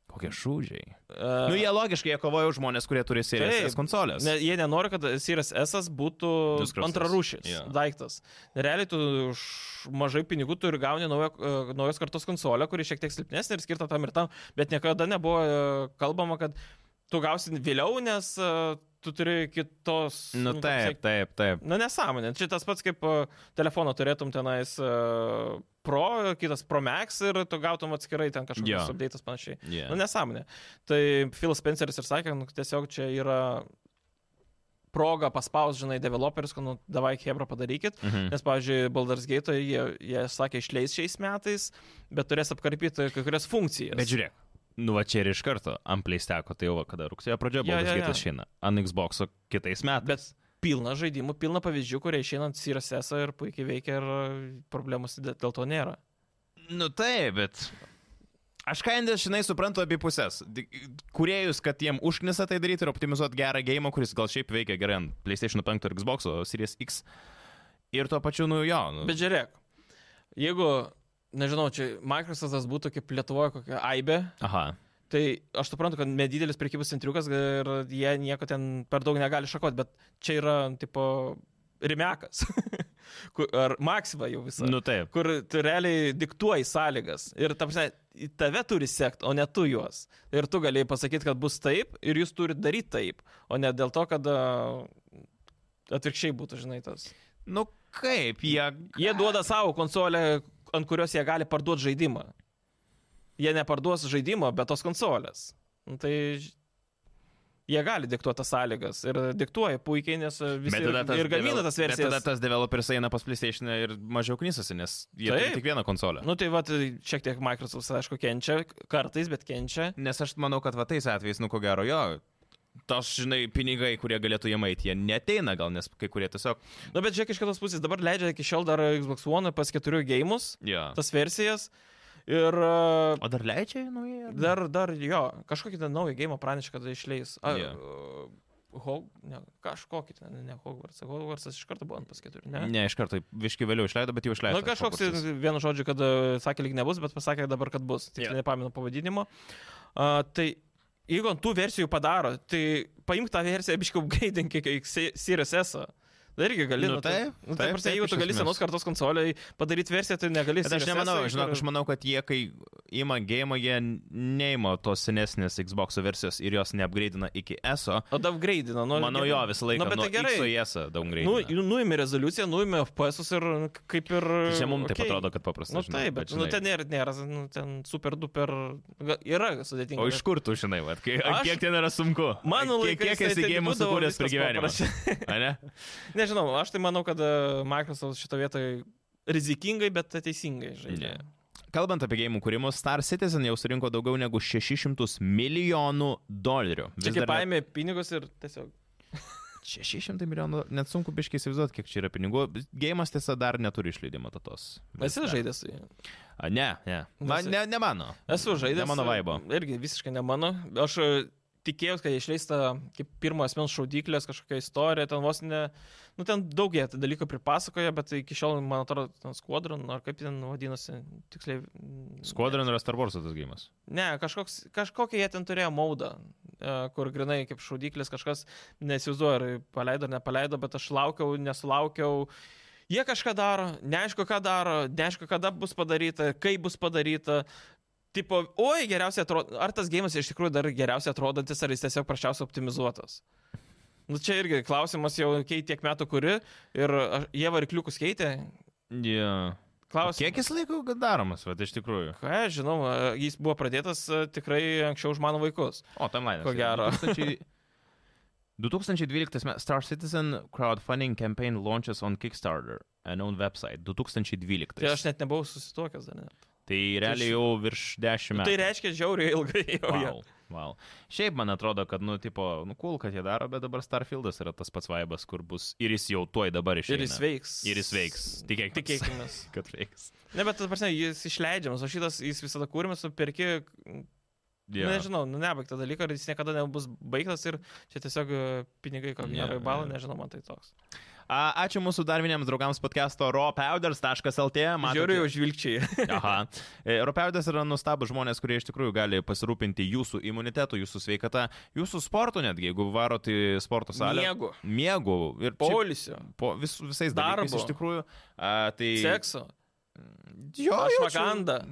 Speaker 1: Kokie šūdžiai.
Speaker 2: Uh,
Speaker 1: Nu, jie logiškai, jie kovoja už žmonės, kurie turi Series
Speaker 2: Taip.
Speaker 1: S konsolės.
Speaker 2: Ne, jie nenori, kad Series S būtų
Speaker 1: Nuskrostas.
Speaker 2: antrarūšis
Speaker 1: Jo.
Speaker 2: yeah. daiktas. Realiai tu už mažai pinigų turi gauni naują, e, naujos kartos konsolę, kuri šiek tiek silpnesnė ir skirta tam ir tam, bet niekada nebuvo e, kalbama, kad tu gausi vėliau, nes e, tu turi kitos...
Speaker 1: Nu,
Speaker 2: ta prasme,
Speaker 1: taip, taip, taip.
Speaker 2: Na nesąmonė, čia tas pats kaip e, telefoną turėtum tenais e, Pro, kitas Pro Max ir tu gautum atskirai ten kažkokius
Speaker 1: Jo.
Speaker 2: yeah. updates panašiai.
Speaker 1: Yeah.
Speaker 2: Nu, nesąmonė. Tai Phil Spenceris ir sakė, nu, tiesiog čia yra proga paspaus, žinai, developerius, kad, nu, davai, Hebra padarykit.
Speaker 1: Mhm.
Speaker 2: Nes, pavyzdžiui, Baldur's Gate jie, jie sakė, išleis šiais metais, bet turės apkarpyti kai kurias funkcijas.
Speaker 1: Bet žiūrėk, nu va čia ir iš karto, ant pleisteko, tai jau va kada rugsėjo pradžioje
Speaker 2: Jo,
Speaker 1: buvo tas
Speaker 2: jo, jo.
Speaker 1: gėtas šeina, ant Xbox kitais metais.
Speaker 2: bet pilna žaidimų, pilna pavyzdžių, kurie išeinant CRSS ir puikiai veikia ir e, problemų su- dėl to nėra.
Speaker 1: Bet, nu taip, bet. Aš kaindas, žinai, suprantu abi pusės. Di- Kūrėjus, kad jiem užknisa tai daryti ir optimizuoti gerą gėjimą, kuris gal šiaip veikia gerai ant PlayStation 5 ir Xbox, o Series X. Ir tuo pačiu, nu jo. Nu,
Speaker 2: Bet žiūrėk, jeigu, nežinau, čia Microsoft'as būtų kaip Lietuvoje kokia AIBE,
Speaker 1: Aha.
Speaker 2: Tai aš suprantu, kad nedidelis prekybos centriukas ir jie nieko ten per daug negali šakot, bet čia yra, tipo, rimekas. (laughs) Ku- Ar maksva jau visą.
Speaker 1: Nu taip.
Speaker 2: Kur tu realiai diktuoji sąlygas. Ir, ta prasme, į tave turi sekti, o ne tu juos. Ir tu galėjai pasakyti, kad bus taip, ir jūs turite daryti taip, o ne dėl to, kad a, atvirkščiai būtų, žinai, tas.
Speaker 1: Nu kaip, jie.
Speaker 2: Jie duoda savo konsolę, ant kurios jie gali parduoti žaidimą. Jie neparduos žaidimo, bet tos konsolės. Nu, Tai ž- jie gali diktuoti tas sąlygas ir diktuoja puikiai, nes visi
Speaker 1: Bet tada tas
Speaker 2: ir gamina
Speaker 1: devel-
Speaker 2: tas
Speaker 1: Bet tada
Speaker 2: versijas.
Speaker 1: tas developeris eina pas PlayStation ir mažiau knysasi, nes jie turi
Speaker 2: Taip.
Speaker 1: tik vieną konsolę.
Speaker 2: Nu tai va, šiek tiek Microsoft, aišku, kenčia kartais, bet kenčia.
Speaker 1: Nes aš manau, kad va tais atvejais, nu ko gero, jo, tos, žinai, pinigai, kurie galėtų jiem eiti, jie neteina gal, nes kai kurie tiesiog...
Speaker 2: Nu bet žiūrėk iš kitos pusės, dabar leidžia iki šiol dar Xbox One pas keturių gėjimus,
Speaker 1: Jo.
Speaker 2: tas versijas. Ir a,
Speaker 1: O dar leidžia naujai?
Speaker 2: dar, dar jo, kažkokį ten naują gėjimą pranešė, kad išleis. A,
Speaker 1: Jo.
Speaker 2: yeah. Hog, ne, kažkokį ten, ne Hogwarts. Hogwartsas iš karto buvo ant paskaitų, ne?
Speaker 1: Ne, ne iš karto, viški vėliau išleido, bet jau
Speaker 2: Na
Speaker 1: išleido.
Speaker 2: nu, kažkoks, vienu žodžiu, kad e, sakė lyg nebus, bet pasakė dabar, kad bus. Tik
Speaker 1: Jo.
Speaker 2: yeah. nepamenu pavadinimo. A, tai jeigu ant tų versijų padaro, tai paimk tą versiją, biškiau gaidink iki Series S. Dar irgi gali.
Speaker 1: Nu,
Speaker 2: tai-
Speaker 1: taip,
Speaker 2: nu, tai
Speaker 1: taip,
Speaker 2: prasme,
Speaker 1: taip,
Speaker 2: jeigu
Speaker 1: iš
Speaker 2: tu gali
Speaker 1: esmės.
Speaker 2: senos kartos konsoliai padaryti versiją, tai negali.
Speaker 1: Bet aš
Speaker 2: Series
Speaker 1: nemanau,
Speaker 2: S,
Speaker 1: žinok,
Speaker 2: kur-
Speaker 1: aš manau, kad jie, kai ima gėjimą, jie neima tos senesnės Xbox versijos ir jos neapgreidina iki ESO.
Speaker 2: O downgrade'ina, nu.
Speaker 1: Manau,
Speaker 2: gerai.
Speaker 1: jo visą laiką.
Speaker 2: Na, bet tai gerai.
Speaker 1: Su ESO daug
Speaker 2: Nu,
Speaker 1: greičiau.
Speaker 2: nuėmė rezoliuciją, nuėmė FPS ir nu, kaip ir...
Speaker 1: Tai Čia mums taip
Speaker 2: okei.
Speaker 1: atrodo, kad paprasta.
Speaker 2: Nu
Speaker 1: žinai,
Speaker 2: taip, bet nu,
Speaker 1: žinai,
Speaker 2: ten nėra, nėra nu, ten super duper... ga- Yra sudėtinga.
Speaker 1: O iš kur tu žinai, va, kai,
Speaker 2: Aš-
Speaker 1: kiek ten yra sunku?
Speaker 2: Mano
Speaker 1: Kiek-
Speaker 2: laikais
Speaker 1: Kiek
Speaker 2: tai
Speaker 1: esi
Speaker 2: ten
Speaker 1: gėjimų
Speaker 2: būdavo
Speaker 1: sukūręs per
Speaker 2: viskas
Speaker 1: gyvenimą?
Speaker 2: paprasčiau.
Speaker 1: (laughs)
Speaker 2: (laughs)
Speaker 1: Ane?
Speaker 2: Nežinau, aš tai manau, kad e, Microsoft šito vietoje rizikingai, bet teisingai žaidžia.
Speaker 1: Ne. Kalbant apie gėjimų kūrimus, Star Citizen jau surinko daugiau negu 600 milijonų dolerių.
Speaker 2: Čia
Speaker 1: Vis
Speaker 2: kaip
Speaker 1: dar net-
Speaker 2: paėmė pinigus ir tiesiog.
Speaker 1: 600 milijonų, net sunku biškiai įsivaizduoti, kiek čia yra pinigų. Gėjimas tiesa dar neturi išleidimo datos.
Speaker 2: Esi žaidęs su juo.
Speaker 1: A, Ne, ne. Man,
Speaker 2: Nesi-
Speaker 1: ne, ne mano.
Speaker 2: Esu žaidęs.
Speaker 1: Ne
Speaker 2: e-
Speaker 1: mano vaibo.
Speaker 2: Irgi visiškai ne mano. Aš e, tikėjausi, kad jie išleis tą kaip pirmo asmens šaudyklės kažkokią istoriją, ten vos ne... Nu, ten daug jie tų dalykų pripasakoja, bet iki šiol, man atrodo, ten Squadron, ar kaip ten vadinasi, tiksliai... mm,
Speaker 1: Squadron yra Star Wars tas gėjimas.
Speaker 2: Ne, kažkoks, kažkokia jie ten turėjo maudą, e, kur grinai kaip šaudyklės kažkas, nesivizuoju, ar paleido ar nepaleido, bet aš laukiau, nesulaukiau. Jie kažką daro, neaišku, ką daro, neaišku, kada bus padaryta, kaip bus padaryta. Tipo, oi, geriausiai atrodo, ar tas gėjimas iš tikrųjų dar geriausiai atrodantis, ar jis tiesiog prašiausiai optimizuotas. Nu čia irgi klausimas jau kei tiek metų kuri ir aš- jie varikliukus keitė.
Speaker 1: Yeah.
Speaker 2: Klausimas.
Speaker 1: Kiek jis laiko kad daromas, va, iš tikrųjų?
Speaker 2: Ką, aš žinau, e, jis buvo pradėtas e, tikrai anksčiau už mano vaikus.
Speaker 1: O, timeline.
Speaker 2: Ko gero.
Speaker 1: 2012 me- Star Citizen crowdfunding campaign launches on Kickstarter and on website 2012.
Speaker 2: Tai aš net nebuvau susituokęs dar. Net.
Speaker 1: Tai realiai jau virš 10 metų.
Speaker 2: Tai reiškia žiauriai ilgai jau. jie.
Speaker 1: Wow, wow. Šiaip man atrodo, kad, nu, tipo, nu, cool, kad jie daro, bet dabar Starfieldas yra tas pats vaibas, kur bus ir jis jau tuoj dabar išeis.
Speaker 2: Ir jis veiks.
Speaker 1: Ir jis veiks. Tikėkimės.
Speaker 2: Tikėkime.
Speaker 1: Kad veiks.
Speaker 2: Ne, bet, ta prasme, jis išleidžiamas, o šitas jis visada kūrimas, tu perki, yeah.
Speaker 1: Yeah.
Speaker 2: nežinau, nu, nebaigtą dalyką, ar jis niekada nebus baigtas ir čia tiesiog e, pinigai, ko
Speaker 1: Yeah,
Speaker 2: gero, yeah, balą,
Speaker 1: yeah.
Speaker 2: yeah. nežinau, man tai toks.
Speaker 1: A, ačiū mūsų dar vieniems draugams podcast'o ropeuders.lt.
Speaker 2: Žiauriai jau žvilgčiai.
Speaker 1: (laughs) Aha. E, Ropeudas yra nustabus žmonės, kurie iš tikrųjų gali pasirūpinti jūsų imunitetu, jūsų sveikata, jūsų sportu netgi, jeigu varot į sporto salę.
Speaker 2: Miegu.
Speaker 1: Miegu. Ir šiaip
Speaker 2: Polisio.
Speaker 1: po vis, visais darbais
Speaker 2: Darbo.
Speaker 1: iš tikrųjų. A, tai...
Speaker 2: Sekso.
Speaker 1: Jo, jaučiu-
Speaker 2: Ašvaganda.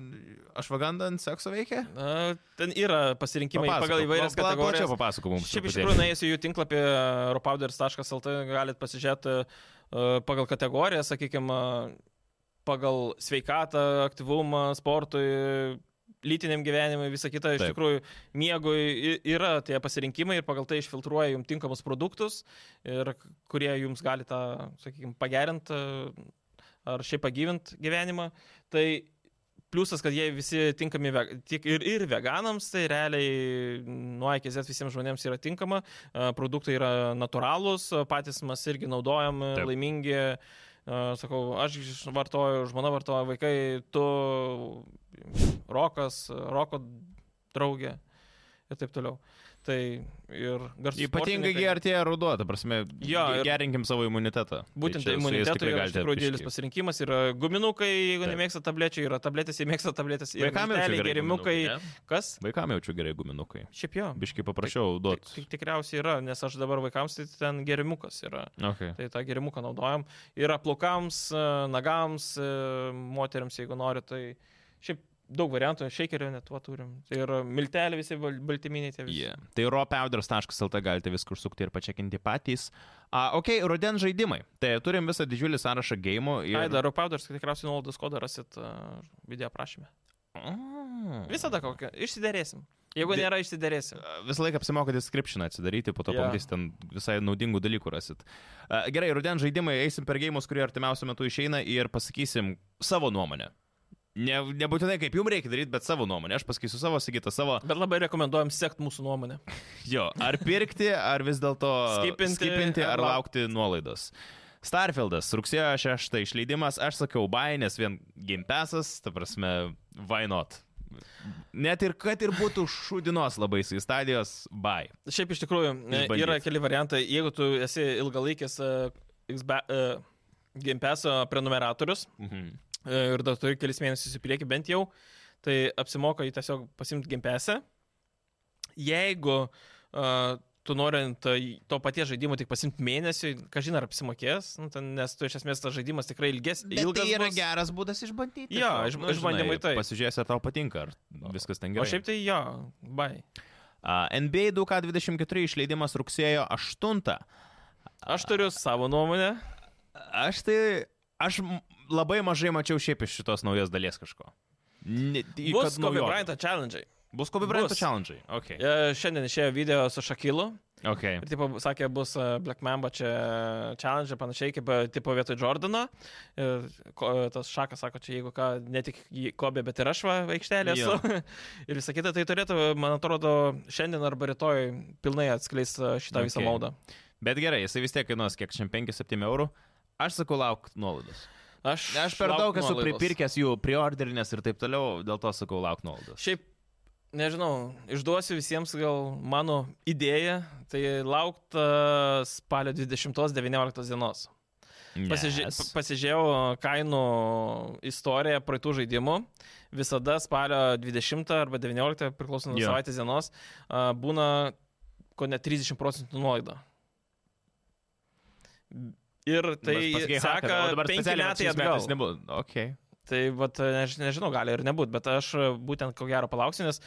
Speaker 1: Ašvaganda ant sekso veikia?
Speaker 2: Na, ten yra pasirinkimai
Speaker 1: Papasakok,
Speaker 2: pagal įvairias
Speaker 1: pla- pla-
Speaker 2: kategorijas.
Speaker 1: Plačiau papasakok mums.
Speaker 2: Šiaip iš
Speaker 1: truputėlį.
Speaker 2: tikrųjų, nuėjus į jų tinklapį eh, ropauders.lt galit pasižiūrėti e, pagal kategoriją, eh, sakykime, pagal sveikatą, aktyvumą, sportui, lytiniam gyvenimui, visą kitą. Iš
Speaker 1: Taip.
Speaker 2: tikrųjų, miegui i- yra tie pasirinkimai ir pagal tai išfiltruoja jums tinkamus produktus, ir k- kurie jums gali tą, sakykime, pagerinti ar šiaip pagyvinti gyvenimą. Tai Pliusas, kad jie visi tinkami ve- tiek ir, ir veganams, tai realiai nuo A iki Z visiems žmonėms yra tinkama, E, produktai yra natūralūs, e, patys mes irgi naudojam, e,
Speaker 1: Taip.
Speaker 2: laimingi, E, sakau, aš iš- vartoju, žmona vartoja, vaikai, tu, rokas, e, roko draugė ir taip toliau. Tai ir garsiai.
Speaker 1: Ypatingai kai artėja ruduo, ta prasme,
Speaker 2: Jo,
Speaker 1: ge-
Speaker 2: ir-
Speaker 1: gerinkim savo imunitetą.
Speaker 2: Būtent
Speaker 1: čia su
Speaker 2: tai
Speaker 1: jais
Speaker 2: imunitetui
Speaker 1: tikrai
Speaker 2: yra iš
Speaker 1: galite
Speaker 2: tikrųjų didelis
Speaker 1: biškį.
Speaker 2: pasirinkimas. Yra guminukai, jeigu
Speaker 1: Taip.
Speaker 2: nemėgsta tablečiai, yra tabletės, jei mėgsta tabletės, yra
Speaker 1: Vaikam jaučiu
Speaker 2: milteliai,
Speaker 1: gerai
Speaker 2: gerimukai.
Speaker 1: guminukai. ne?
Speaker 2: Kas?
Speaker 1: Vaikam jaučiu gerai guminukai.
Speaker 2: Šiaip jo.
Speaker 1: Biškai paprašiau
Speaker 2: Tik,
Speaker 1: duoti.
Speaker 2: tik, tikriausiai yra, nes aš dabar vaikams tai ten gerimukas yra.
Speaker 1: Okay.
Speaker 2: Tai tą gerimuką naudojam. Yra plaukams, e, nagams, e, moteriams, jeigu nori, tai šiaip daug variantų, šeikerio net tuo turim. Tai yra milteliai visi, bal- baltyminiai tie visi.
Speaker 1: Yeah. Tai ropeuders.lt galite viskur sukti ir pačiakinti patys. Uh, ok, ruden žaidimai. Tai turim visą didžiulį sąrašą gėjimų. Ir...
Speaker 2: Ir... Ai, dar Rupaudas, tikriausiai nuolaidos kodą rasit uh, video aprašymę.
Speaker 1: Mm.
Speaker 2: Visada kokią. Išsiderėsim. Jeigu
Speaker 1: Di-
Speaker 2: nėra, išsiderėsim.
Speaker 1: Visą laiką apsimoka description atsidaryti, po to
Speaker 2: Jo.
Speaker 1: yeah. pamatysite, ten visai naudingų dalykų rasit. A, Gerai, ruden žaidimai, eisim per gėjimus, kurie artimiausiu metu išeina ir pasakysim savo nuomonę. Ne, nebūtinai kaip jums reikia daryti, bet savo nuomonę. Aš pasakysiu savo, sakytą savo.
Speaker 2: Bet labai rekomenduojam sekti mūsų nuomonę.
Speaker 1: Jo, ar pirkti, ar vis dėlto
Speaker 2: Skipinti,
Speaker 1: skipinti, ar
Speaker 2: ar lau-
Speaker 1: laukti nuolaidos. Starfieldas, rugsėjo 6 išleidimas, aš sakiau bai, nes vien game pasas, ta prasme, why not. Net ir kad ir būtų šūdinos labai su stadijos, bai.
Speaker 2: Šiaip iš tikrųjų e,
Speaker 1: Išbandyt.
Speaker 2: yra keli variantai. Jeigu tu esi ilgalaikis uh, uh, Game Pass prenumeratorius
Speaker 1: Mhm.
Speaker 2: uh, ir dar turi kelis mėnesius į priekį bent jau, tai apsimoka jį tiesiog pasimti Game Pass'e. Jeigu uh, tu norint e, to paties žaidimo tik pasimti mėnesiui, kažin ar apsimokės, nu, ten, nes tu iš esmės tas žaidimas tikrai ilges, ilgas. bus.
Speaker 1: tai geras būdas išbandyti.
Speaker 2: Jo, iš- išbandymai taip.
Speaker 1: Nu, Pasižiūrėsi, ar tau patinka, ar viskas ten
Speaker 2: O
Speaker 1: gerai.
Speaker 2: šiaip tai jo, bai.
Speaker 1: A, NBA 2K24 išleidimas rugsėjo 8.
Speaker 2: Aš turiu savo nuomonę.
Speaker 1: Aš tai... Aš m- labai mažai mačiau šiaip iš šitos naujos dalies kažko. Ne, tai,
Speaker 2: Bus
Speaker 1: kad
Speaker 2: Kobe
Speaker 1: naujovių.
Speaker 2: Bryant challenge.
Speaker 1: Bus Kobe Bryant
Speaker 2: Bus.
Speaker 1: challenge. Okay.
Speaker 2: E, Šiandien išėjo video su Šakilu.
Speaker 1: Okay.
Speaker 2: Ir, tipo, sakė, bus e, Black Mamba čia challenge, ir panašiai kaip, e, tipo, vietoj Jordano. Ir ko- e, tas šakas sako, čia jeigu ką, ne tik jį Kobe, bet ir aš va, aikštelė esu. (laughs) ir visą kitą, tai turėtų, man atrodo, šiandien arba rytoj pilnai atskleis e, šitą visą
Speaker 1: Okay.
Speaker 2: maudą.
Speaker 1: Bet gerai, jisai vis tiek kainuos kiek šiam 5-7 eurų. Aš sakau, lauk nuolaidos.
Speaker 2: Aš,
Speaker 1: Aš per
Speaker 2: lauk
Speaker 1: daug esu
Speaker 2: nuolaidos.
Speaker 1: pripirkęs jų priorderinės ir taip toliau, dėl to sakau, lauk nuolaidos.
Speaker 2: Šiaip, nežinau, išduosiu visiems gal mano idėją, tai laukta spalio 20-19 dienos. Pasiži
Speaker 1: Nes.
Speaker 2: pa- Pasižiūrėjau kainų istoriją praeitų žaidimų. Visada spalio 20 arba 19, priklausomai nuo
Speaker 1: Jo.
Speaker 2: savaitės dienos, a, būna ko net 30 procentų nuolaida. Ir
Speaker 1: Mas
Speaker 2: tai
Speaker 1: pasakei haką, o
Speaker 2: seka
Speaker 1: dabar
Speaker 2: 5
Speaker 1: specialiai vat
Speaker 2: metai
Speaker 1: šiais metais
Speaker 2: atgal.
Speaker 1: nebuvo. Okay.
Speaker 2: Tai vat, než, nežinau, gali ir nebūt, bet aš e, būtent ko gero palauksiu, nes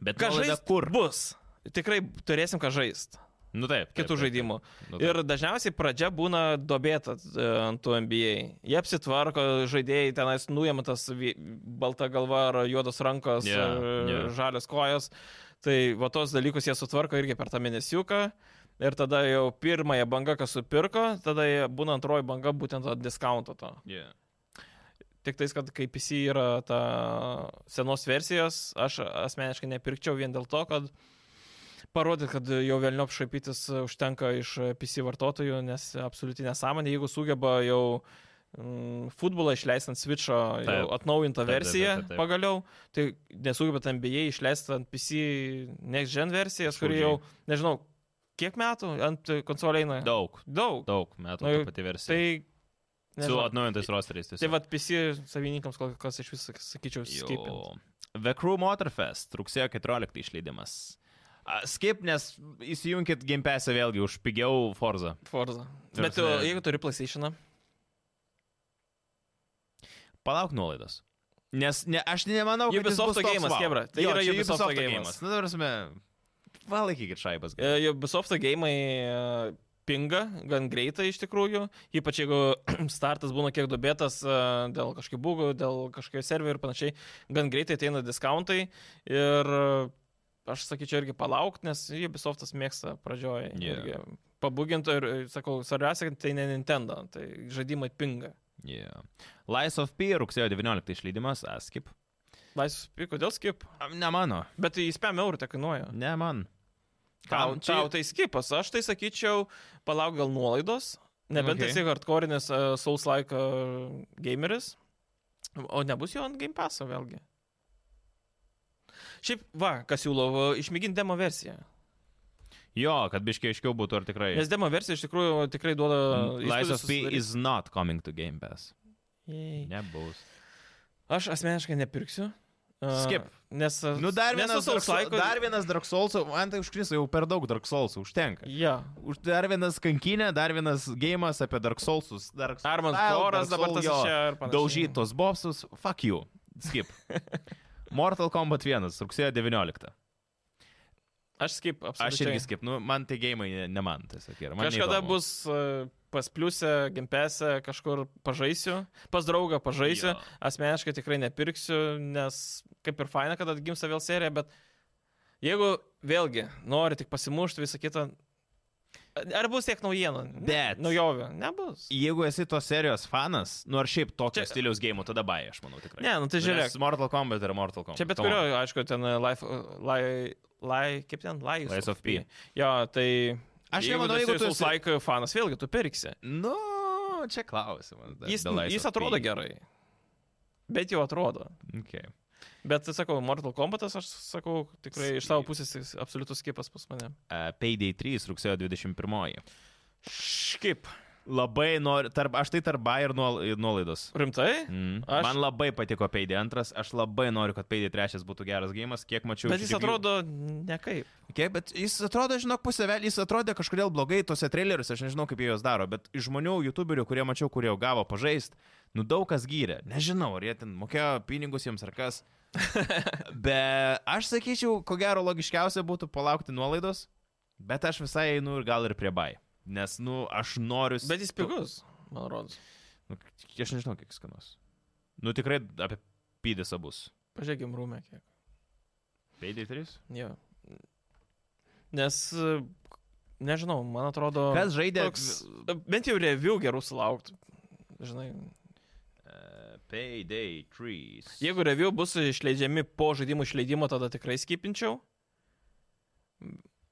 Speaker 1: Bet
Speaker 2: ką
Speaker 1: nuolaida
Speaker 2: žaist kur? Bus. Tikrai turėsim ką žaist
Speaker 1: Nu taip.
Speaker 2: kitų žaidimų.
Speaker 1: Nu, taip.
Speaker 2: Ir dažniausiai pradžia būna dobėta e, ant tų NBA. Jie apsitvarko, žaidėjai tenais nuėmė tas vi- balta galva ar juodos rankos,
Speaker 1: Jo,
Speaker 2: yeah,
Speaker 1: jo.
Speaker 2: yeah. žalios kojos. Tai va tos dalykus jie sutvarko irgi per tą mėnesiuką. Ir tada jau pirmąją bangą, kas supirko, tada jie būna antroji banga būtent to diskounto to.
Speaker 1: Yeah.
Speaker 2: Tik tais, kad kaip jis yra ta senos versijos, aš asmeniškai nepirkčiau vien dėl to, kad parodyt, kad jau vėliau apšaipytis užtenka iš PC vartotojų, nes absoliuti nesąmonė, jeigu sugeba jau mm, futbolą išleisti ant Switch'o jau
Speaker 1: Taip.
Speaker 2: atnaujintą
Speaker 1: Taip, taip,
Speaker 2: versiją
Speaker 1: taip, taip, taip.
Speaker 2: pagaliau, tai nesugeba ten NBA išleisti ant PC Next Gen versijas, kuri jau,
Speaker 1: Skaudžiai.
Speaker 2: nežinau, kiek metų ant konsolė eina?
Speaker 1: Daug,
Speaker 2: Daug.
Speaker 1: daug metų
Speaker 2: Nu,
Speaker 1: ta pati versija.
Speaker 2: Tai...
Speaker 1: Su
Speaker 2: nežinau.
Speaker 1: atnaujintais rosteriais.
Speaker 2: Tai
Speaker 1: tiesiog.
Speaker 2: vad PC savininkams kol kas iš viso, sakyčiau,
Speaker 1: Jo.
Speaker 2: skipint.
Speaker 1: The Crew Motorfest, rugsėjo 14 išleidimas. A, Skip, nes įsijunkit Game Pass'ą vėlgi už pigiau Forza.
Speaker 2: Forza.
Speaker 1: Ta
Speaker 2: Bet tu,
Speaker 1: prasme-
Speaker 2: jeigu turi PlayStation,
Speaker 1: Palauk nuolaidos. Nes ne, aš nemanau, kad jis
Speaker 2: Ubisofto
Speaker 1: bus toks
Speaker 2: geimas,
Speaker 1: vau.
Speaker 2: chebra, tai
Speaker 1: jo,
Speaker 2: yra
Speaker 1: čia Nu,
Speaker 2: Ubisofto
Speaker 1: Ubisofto
Speaker 2: geimas.
Speaker 1: geimas. Na, dabar mes. Valaikykit šaibas.
Speaker 2: E,
Speaker 1: gal.
Speaker 2: Ubisofto gėjimai e, pinga gan greitai iš tikrųjų, ypač jeigu (clears throat) startas būna kiek dubėtas dėl kažkokių bugų, dėl kažkokio serverio ir panašiai, gan greitai ateina diskontai ir e, aš sakyčiau irgi palaukti, nes Ubisoftas mėgsta pradžioje.
Speaker 1: Jo.
Speaker 2: Yeah. Pabuginto ir, e, sakau, svarbiausia, kad tai ne Nintendo, tai žaidimai pinga.
Speaker 1: Yeah. Lies of P, rugsėjo 19 išleidimas, a, skip.
Speaker 2: Laisvas, kodėl skip?
Speaker 1: A, Ne mano.
Speaker 2: Bet tai jis 5 eurų te kainuoja.
Speaker 1: Ne man.
Speaker 2: Tau,
Speaker 1: Kam čia-
Speaker 2: tau tai skipas, aš tai sakyčiau, palauk gal nuolaidos, nebent
Speaker 1: Okay.
Speaker 2: okay. esi hardcore'inis uh, Souls-like uh, gameris, o nebus jo ant Game Pass'o vėlgi. Šiaip, va, kas siūlau, išmėginti demo versiją.
Speaker 1: Jo, kad biškiai aiškiau būtų, ar tikrai.
Speaker 2: Nes demo versija iš tikrųjų tikrai duoda...
Speaker 1: Mm, Lies
Speaker 2: įspūdį
Speaker 1: of P
Speaker 2: susidaryt.
Speaker 1: is not coming to Game Pass.
Speaker 2: Jei.
Speaker 1: Nebus.
Speaker 2: Aš asmeniškai nepirksiu. a,
Speaker 1: Skip.
Speaker 2: Nes... a,
Speaker 1: Nu, dar vienas,
Speaker 2: nes su
Speaker 1: Dark Souls,
Speaker 2: Souls-like'u-
Speaker 1: dar vienas Dark Souls, man tai užkriso jau per daug Dark Souls, užtenka.
Speaker 2: Jo.
Speaker 1: Už dar vienas kankinė, dar vienas gėjimas apie Dark Souls. Dark Souls
Speaker 2: Armand
Speaker 1: style, Dark
Speaker 2: Koras dabar
Speaker 1: Soul,
Speaker 2: tas
Speaker 1: jo.
Speaker 2: čia ir panašiai.
Speaker 1: Daužytos bobsus, fuck you.
Speaker 2: (laughs)
Speaker 1: Skip. Mortal Kombat 1, rugsėjo 19.
Speaker 2: Aš skip,
Speaker 1: Aš
Speaker 2: absoliučiai.
Speaker 1: irgi skip, nu, man tie gėjimai ne, ne man, tai sakė.
Speaker 2: Kažkada įdomu. bus e, pas pliusę, gimpesę, kažkur pažaisiu, pas draugą pažaisiu,
Speaker 1: Jo.
Speaker 2: jo. asmeniškai tikrai nepirksiu, nes kaip ir faina, kad atgimsta vėl serija, bet jeigu vėlgi nori tik pasimušti visą kitą, ar bus tiek naujienų? Ne,
Speaker 1: Bet-
Speaker 2: Naujovių? Nebus.
Speaker 1: Jeigu esi tos serijos fanas, nu ar šiaip tokio
Speaker 2: Čia-
Speaker 1: stiliaus gėjimų, tada bai, aš manau tikrai.
Speaker 2: Ne, nu tai žiūrėk.
Speaker 1: Nes Mortal Kombat yra Mortal Kombat.
Speaker 2: Čia bet
Speaker 1: Come on.
Speaker 2: kurio, aišku, ten e, life, e, lai, lai, kaip ten, lai,
Speaker 1: Lies of P.
Speaker 2: Jo, tai...
Speaker 1: Aš nemanau, jeigu tu esi-
Speaker 2: esi... Like fanas, vėlgi, tu pirksi.
Speaker 1: Nu, čia klausimas. dar
Speaker 2: Jis,
Speaker 1: dėl Lies
Speaker 2: jis
Speaker 1: of P.
Speaker 2: atrodo gerai. Bet jau atrodo.
Speaker 1: Okay.
Speaker 2: Bet, tai sakau, Mortal Kombatas, aš sakau, tikrai iš savo
Speaker 1: Skip.
Speaker 2: pusės jis absoliutus skipas pas mane.
Speaker 1: Uh, Payday 3 rugsėjo 21.
Speaker 2: Škip.
Speaker 1: Labai noriu, tarp, aš tai tarp bai ir nuol, ir nuolaidos.
Speaker 2: Rimtai?
Speaker 1: Mm.
Speaker 2: Mhm. Aš-
Speaker 1: Aš... Man labai patiko Payday 2, aš labai noriu, kad Payday 3 būtų geras gėjimas, kiek mačiau.
Speaker 2: Bet
Speaker 1: iš
Speaker 2: jis
Speaker 1: review-
Speaker 2: atrodo nekaip.
Speaker 1: Okay, bet jis atrodo, žinok, pusėvelį, jis atrodė kažkodėl blogai tose traileriuose, aš nežinau, kaip jie juos daro, bet iš žmonių, youtuberių, kurie mačiau, kurie jau gavo pažaist, nu daug kas gyrė. Nežinau, ar jie ten mokėjo pinigus jiems ar
Speaker 2: (laughs)
Speaker 1: kas. bet aš sakyčiau, ko gero logiškiausia būtų palaukti nuolaidos, bet aš visai einu ir gal ir prie bai. Nes, nu, aš noriu...
Speaker 2: Bet jis pigus, man rodos.
Speaker 1: Nu, aš nežinau, kiek skanus. Nu, tikrai apie pydės abus.
Speaker 2: Pažiūrėkim rūmę kiek.
Speaker 1: Pėdė 3?
Speaker 2: Jo. Nes, e, nežinau, man atrodo.
Speaker 1: Kas žaidė?
Speaker 2: Toks, bent jau review gerų sulauktų. Žinai,
Speaker 1: Uh, payday 3.
Speaker 2: jeigu review bus išleidžiami po žaidimų išleidimo, tada tikrai skipinčiau.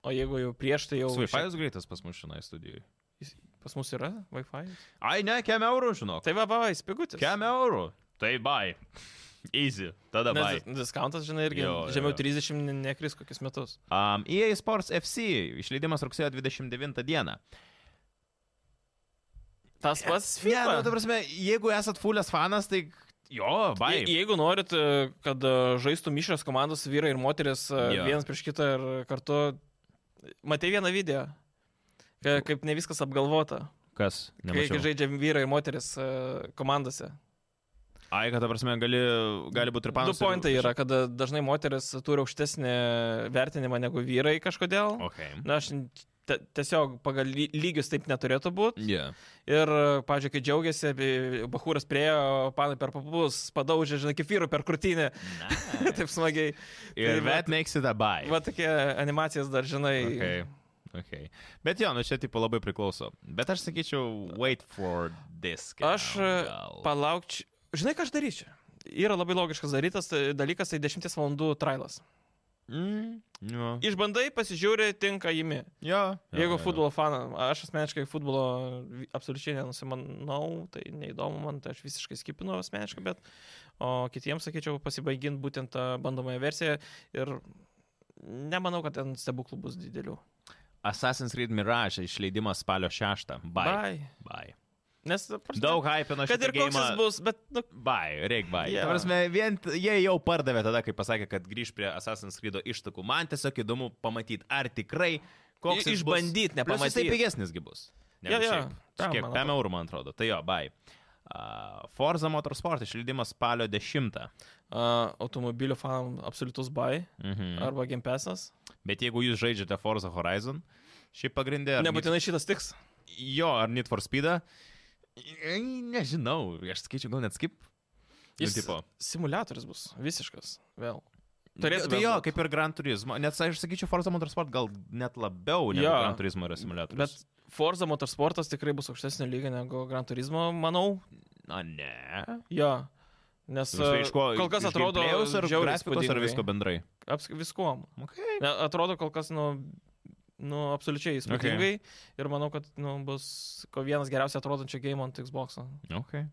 Speaker 2: O jeigu jau prieš tai jau... šiek-
Speaker 1: Wi-Fi'as greitas pas mus šiandien studijai.
Speaker 2: Jis- Pas mus yra Wi-Fi.
Speaker 1: Ai, ne, kem eurų, žinok.
Speaker 2: Tai va, va, va, spigutis.
Speaker 1: Kem eurų. Tai bai. (laughs) Easy. Tada bai.
Speaker 2: Nes dis- diskantas, žinai, irgi
Speaker 1: Jo, jo,
Speaker 2: žemiau
Speaker 1: jo.
Speaker 2: 30 ne- nekris kokius metus.
Speaker 1: Um, EA Sports FC išleidimas rugsėjo 29 dieną.
Speaker 2: Tas pats
Speaker 1: Ne, nu, ta
Speaker 2: FIFA.
Speaker 1: prasme, jeigu esat fulės fanas, tai jo,
Speaker 2: Je,
Speaker 1: bai.
Speaker 2: jeigu norit, e, kad e, žaistų mišrios komandos vyrai ir moteris e,
Speaker 1: Jo.
Speaker 2: vienas prieš kitą ir kartu... Matei vieną video, ka- kaip ne viskas apgalvota.
Speaker 1: Kas?
Speaker 2: Kai, kai
Speaker 1: Nemačiau.
Speaker 2: žaidžia vyrai ir moteris e, komandose.
Speaker 1: Ai, kad, ta prasme, gali, gali būti ir
Speaker 2: Du
Speaker 1: panas.
Speaker 2: pointai yra, kad e, dažnai moteris turi aukštesnį vertinimą negu vyrai kažkodėl.
Speaker 1: Ok.
Speaker 2: Na, aš te, tiesiog pagal ly- lygius taip neturėtų būti.
Speaker 1: Yeah.
Speaker 2: Ir, pažiūrėk, kai džiaugiasi, abi- Bahūras priejo, panai per papus, padaužė, žinai, kaip vyru per krūtinę, (laughs)
Speaker 1: Nice.
Speaker 2: taip smagiai.
Speaker 1: Ir
Speaker 2: Tai
Speaker 1: that makes it a buy.
Speaker 2: Va tokie animacijas dar, žinai.
Speaker 1: Okay. Okay. Bet jo, nu čia tipo labai priklauso. Bet aš sakyčiau, wait for this.
Speaker 2: Aš e,
Speaker 1: gal.
Speaker 2: palaukčiau. Žinai, ką aš daryčiau? Yra labai logiškas darytas e, dalykas, tai 10 valandų trailas.
Speaker 1: Mm, jo.
Speaker 2: Išbandai, pasižiūri, tinka įimi.
Speaker 1: Jo.
Speaker 2: Jeigu
Speaker 1: Jo, jo,
Speaker 2: futbolo fanas, aš asmeniškai futbolo vi- absoliučiai nenusimanau, tai neįdomu man, tai aš visiškai skipinu asmeniškai, bet o kitiems, sakyčiau, pasibaigint būtent tą bandomąją versiją ir nemanau, kad ten stebuklų bus didelių.
Speaker 1: Assassin's Creed Mirage išleidimas spalio 6. Bye. Bye.
Speaker 2: Nes, ta prasme,
Speaker 1: Daug hypino
Speaker 2: kad ir koks jis bus, bet, nu,
Speaker 1: Bai, reik bai.
Speaker 2: Jo.
Speaker 1: Yeah. Prasme, vien, t- jie jau pardavė tada, kai pasakė, kad grįž prie Assassin's Creed ištakų. Man tiesiog įdomu pamatyti, ar tikrai koks
Speaker 2: I-
Speaker 1: jis
Speaker 2: išbandyt,
Speaker 1: bus. Plus Jisai
Speaker 2: nepamatyt.
Speaker 1: pigesnisgi bus. negu
Speaker 2: Jo, jo.
Speaker 1: šiaip.
Speaker 2: Tam,
Speaker 1: Kiek
Speaker 2: man
Speaker 1: 5 eurų, man atrodo. Tai jo, bai. Uh, Forza Motorsport išleidimas spalio 10.
Speaker 2: a, automobilių fanam absoliutus bai
Speaker 1: Mhm.
Speaker 2: arba gimpesas.
Speaker 1: Bet jeigu jūs žaidžiate Forza Horizon, šiaip pagrindė. ar
Speaker 2: Nebūtinai šitas tiks.
Speaker 1: Need- Jo, ar Need for Speedą? Ei, Nežinau, aš skaičiu gal net skip. Nu,
Speaker 2: Jis
Speaker 1: tipo.
Speaker 2: simulatorius bus, visiškas, vėl.
Speaker 1: Turėtų
Speaker 2: Turėtų
Speaker 1: tai
Speaker 2: bent
Speaker 1: jo,
Speaker 2: būt.
Speaker 1: kaip ir Gran Turismo. Net aš sakyčiau, Forza Motorsport gal net labiau negu
Speaker 2: Jo.
Speaker 1: Gran Turismo yra simuliatorius.
Speaker 2: Bet Forza motorsportas tikrai bus aukštesnio lygio negu Gran Turismo, manau.
Speaker 1: Bet, na ne.
Speaker 2: Jo. Nes
Speaker 1: Visai
Speaker 2: e,
Speaker 1: iš ko?
Speaker 2: kol kas
Speaker 1: iš
Speaker 2: atrodo,
Speaker 1: gameplayaus ar
Speaker 2: žiauriai
Speaker 1: grafikos ar
Speaker 2: įspūdingai.
Speaker 1: visko bendrai?
Speaker 2: Aps, viskuom.
Speaker 1: Okay.
Speaker 2: Ne, Atrodo kol kas, nu, nu absoliučiai įspūdingai. Ir manau, kad nu, bus ko vienas geriausiai atrodančio game ant Xbox.
Speaker 1: okay.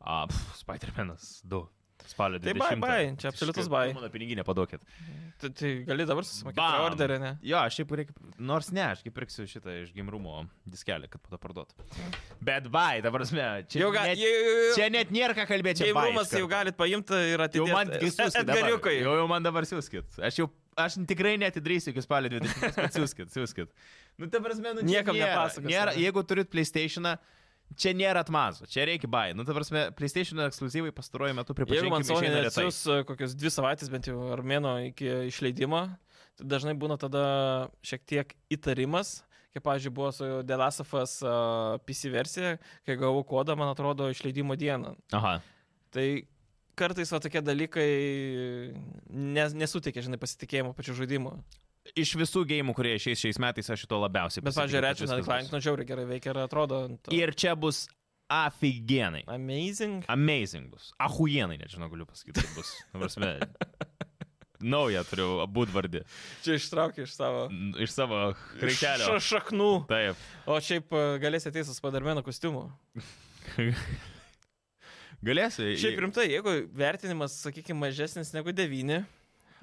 Speaker 1: A, pff, Spider-Man'as 2. Spalio 20.
Speaker 2: Tai bai, bai, čia absoliutus bai.
Speaker 1: Mano piniginė padokit.
Speaker 2: Tai, tai gali dabar susimokėti
Speaker 1: Bam.
Speaker 2: orderį, ne?
Speaker 1: Jo, aš šiaip reikia, nors ne, aš kaip pirksiu šitą iš gimrumo diskelį, kad po to parduot. Bet bai, dabar mes, čia,
Speaker 2: Jau ga,
Speaker 1: net-
Speaker 2: jau, jau, jau.
Speaker 1: čia net nėra ką kalbėti. čia bai iš
Speaker 2: Geimumas
Speaker 1: karto.
Speaker 2: jau galit paimti ir
Speaker 1: Jau
Speaker 2: atidėti.
Speaker 1: man siūskit. dabar.
Speaker 2: Edgariukai.
Speaker 1: Jau, jau man dabar siūskit. Aš jau, aš tikrai netidrysiu iki spalio 20. bet Siūskit, siūskit. Nu, ta prasme, nu, čia
Speaker 2: Niekam
Speaker 1: nėra-
Speaker 2: nepasakosiu.
Speaker 1: Nėra, jeigu turit PlayStationą, čia nėra atmazo, čia reikia bai. Nu, ta prasme, PlayStation ekskluzyvai pastaruoju metu
Speaker 2: Jeigu man
Speaker 1: pripažįstami
Speaker 2: Sony
Speaker 1: išeina retai.
Speaker 2: atsiūs e, kokias dvi savaitės bent jau ar mėno iki išleidimo, tai dažnai būna tada šiek tiek įtarimas, kaip, pavyzdžiui, buvo su Delasafas PC e, versija, kai gavau kodą, man atrodo, išleidimo dieną.
Speaker 1: Aha.
Speaker 2: Tai kartais va tokie dalykai nes, nesuteikia, žinai, pasitikėjimo pačiu žaidimu.
Speaker 1: Iš visų gėjimų, kurie išeis šiais metais, aš šito labiausiai.
Speaker 2: Bet,
Speaker 1: pasitikiu,
Speaker 2: pavyzdžiui,
Speaker 1: kad
Speaker 2: Ratchet and
Speaker 1: viskas
Speaker 2: Clank,
Speaker 1: bus.
Speaker 2: nu, žiauriai gerai veikia ir atrodo. ant to-
Speaker 1: Ir čia bus aфиgenai.
Speaker 2: Amazing.
Speaker 1: Amazing bus. Ahujenai, nežinau, galiu pasakyti, kaip bus. Ta
Speaker 2: (laughs)
Speaker 1: prasme, Naują turiu būdvardį.
Speaker 2: Čia ištraukia iš savo.
Speaker 1: N- Iš savo
Speaker 2: Ša
Speaker 1: kreikelio.
Speaker 2: šaknų.
Speaker 1: Taip.
Speaker 2: O šiaip e, galėsi ateiti su padarmeno kostiumu.
Speaker 1: Galėsi.
Speaker 2: Šiaip rimtai, jeigu vertinimas, sakykime, mažesnis negu 9,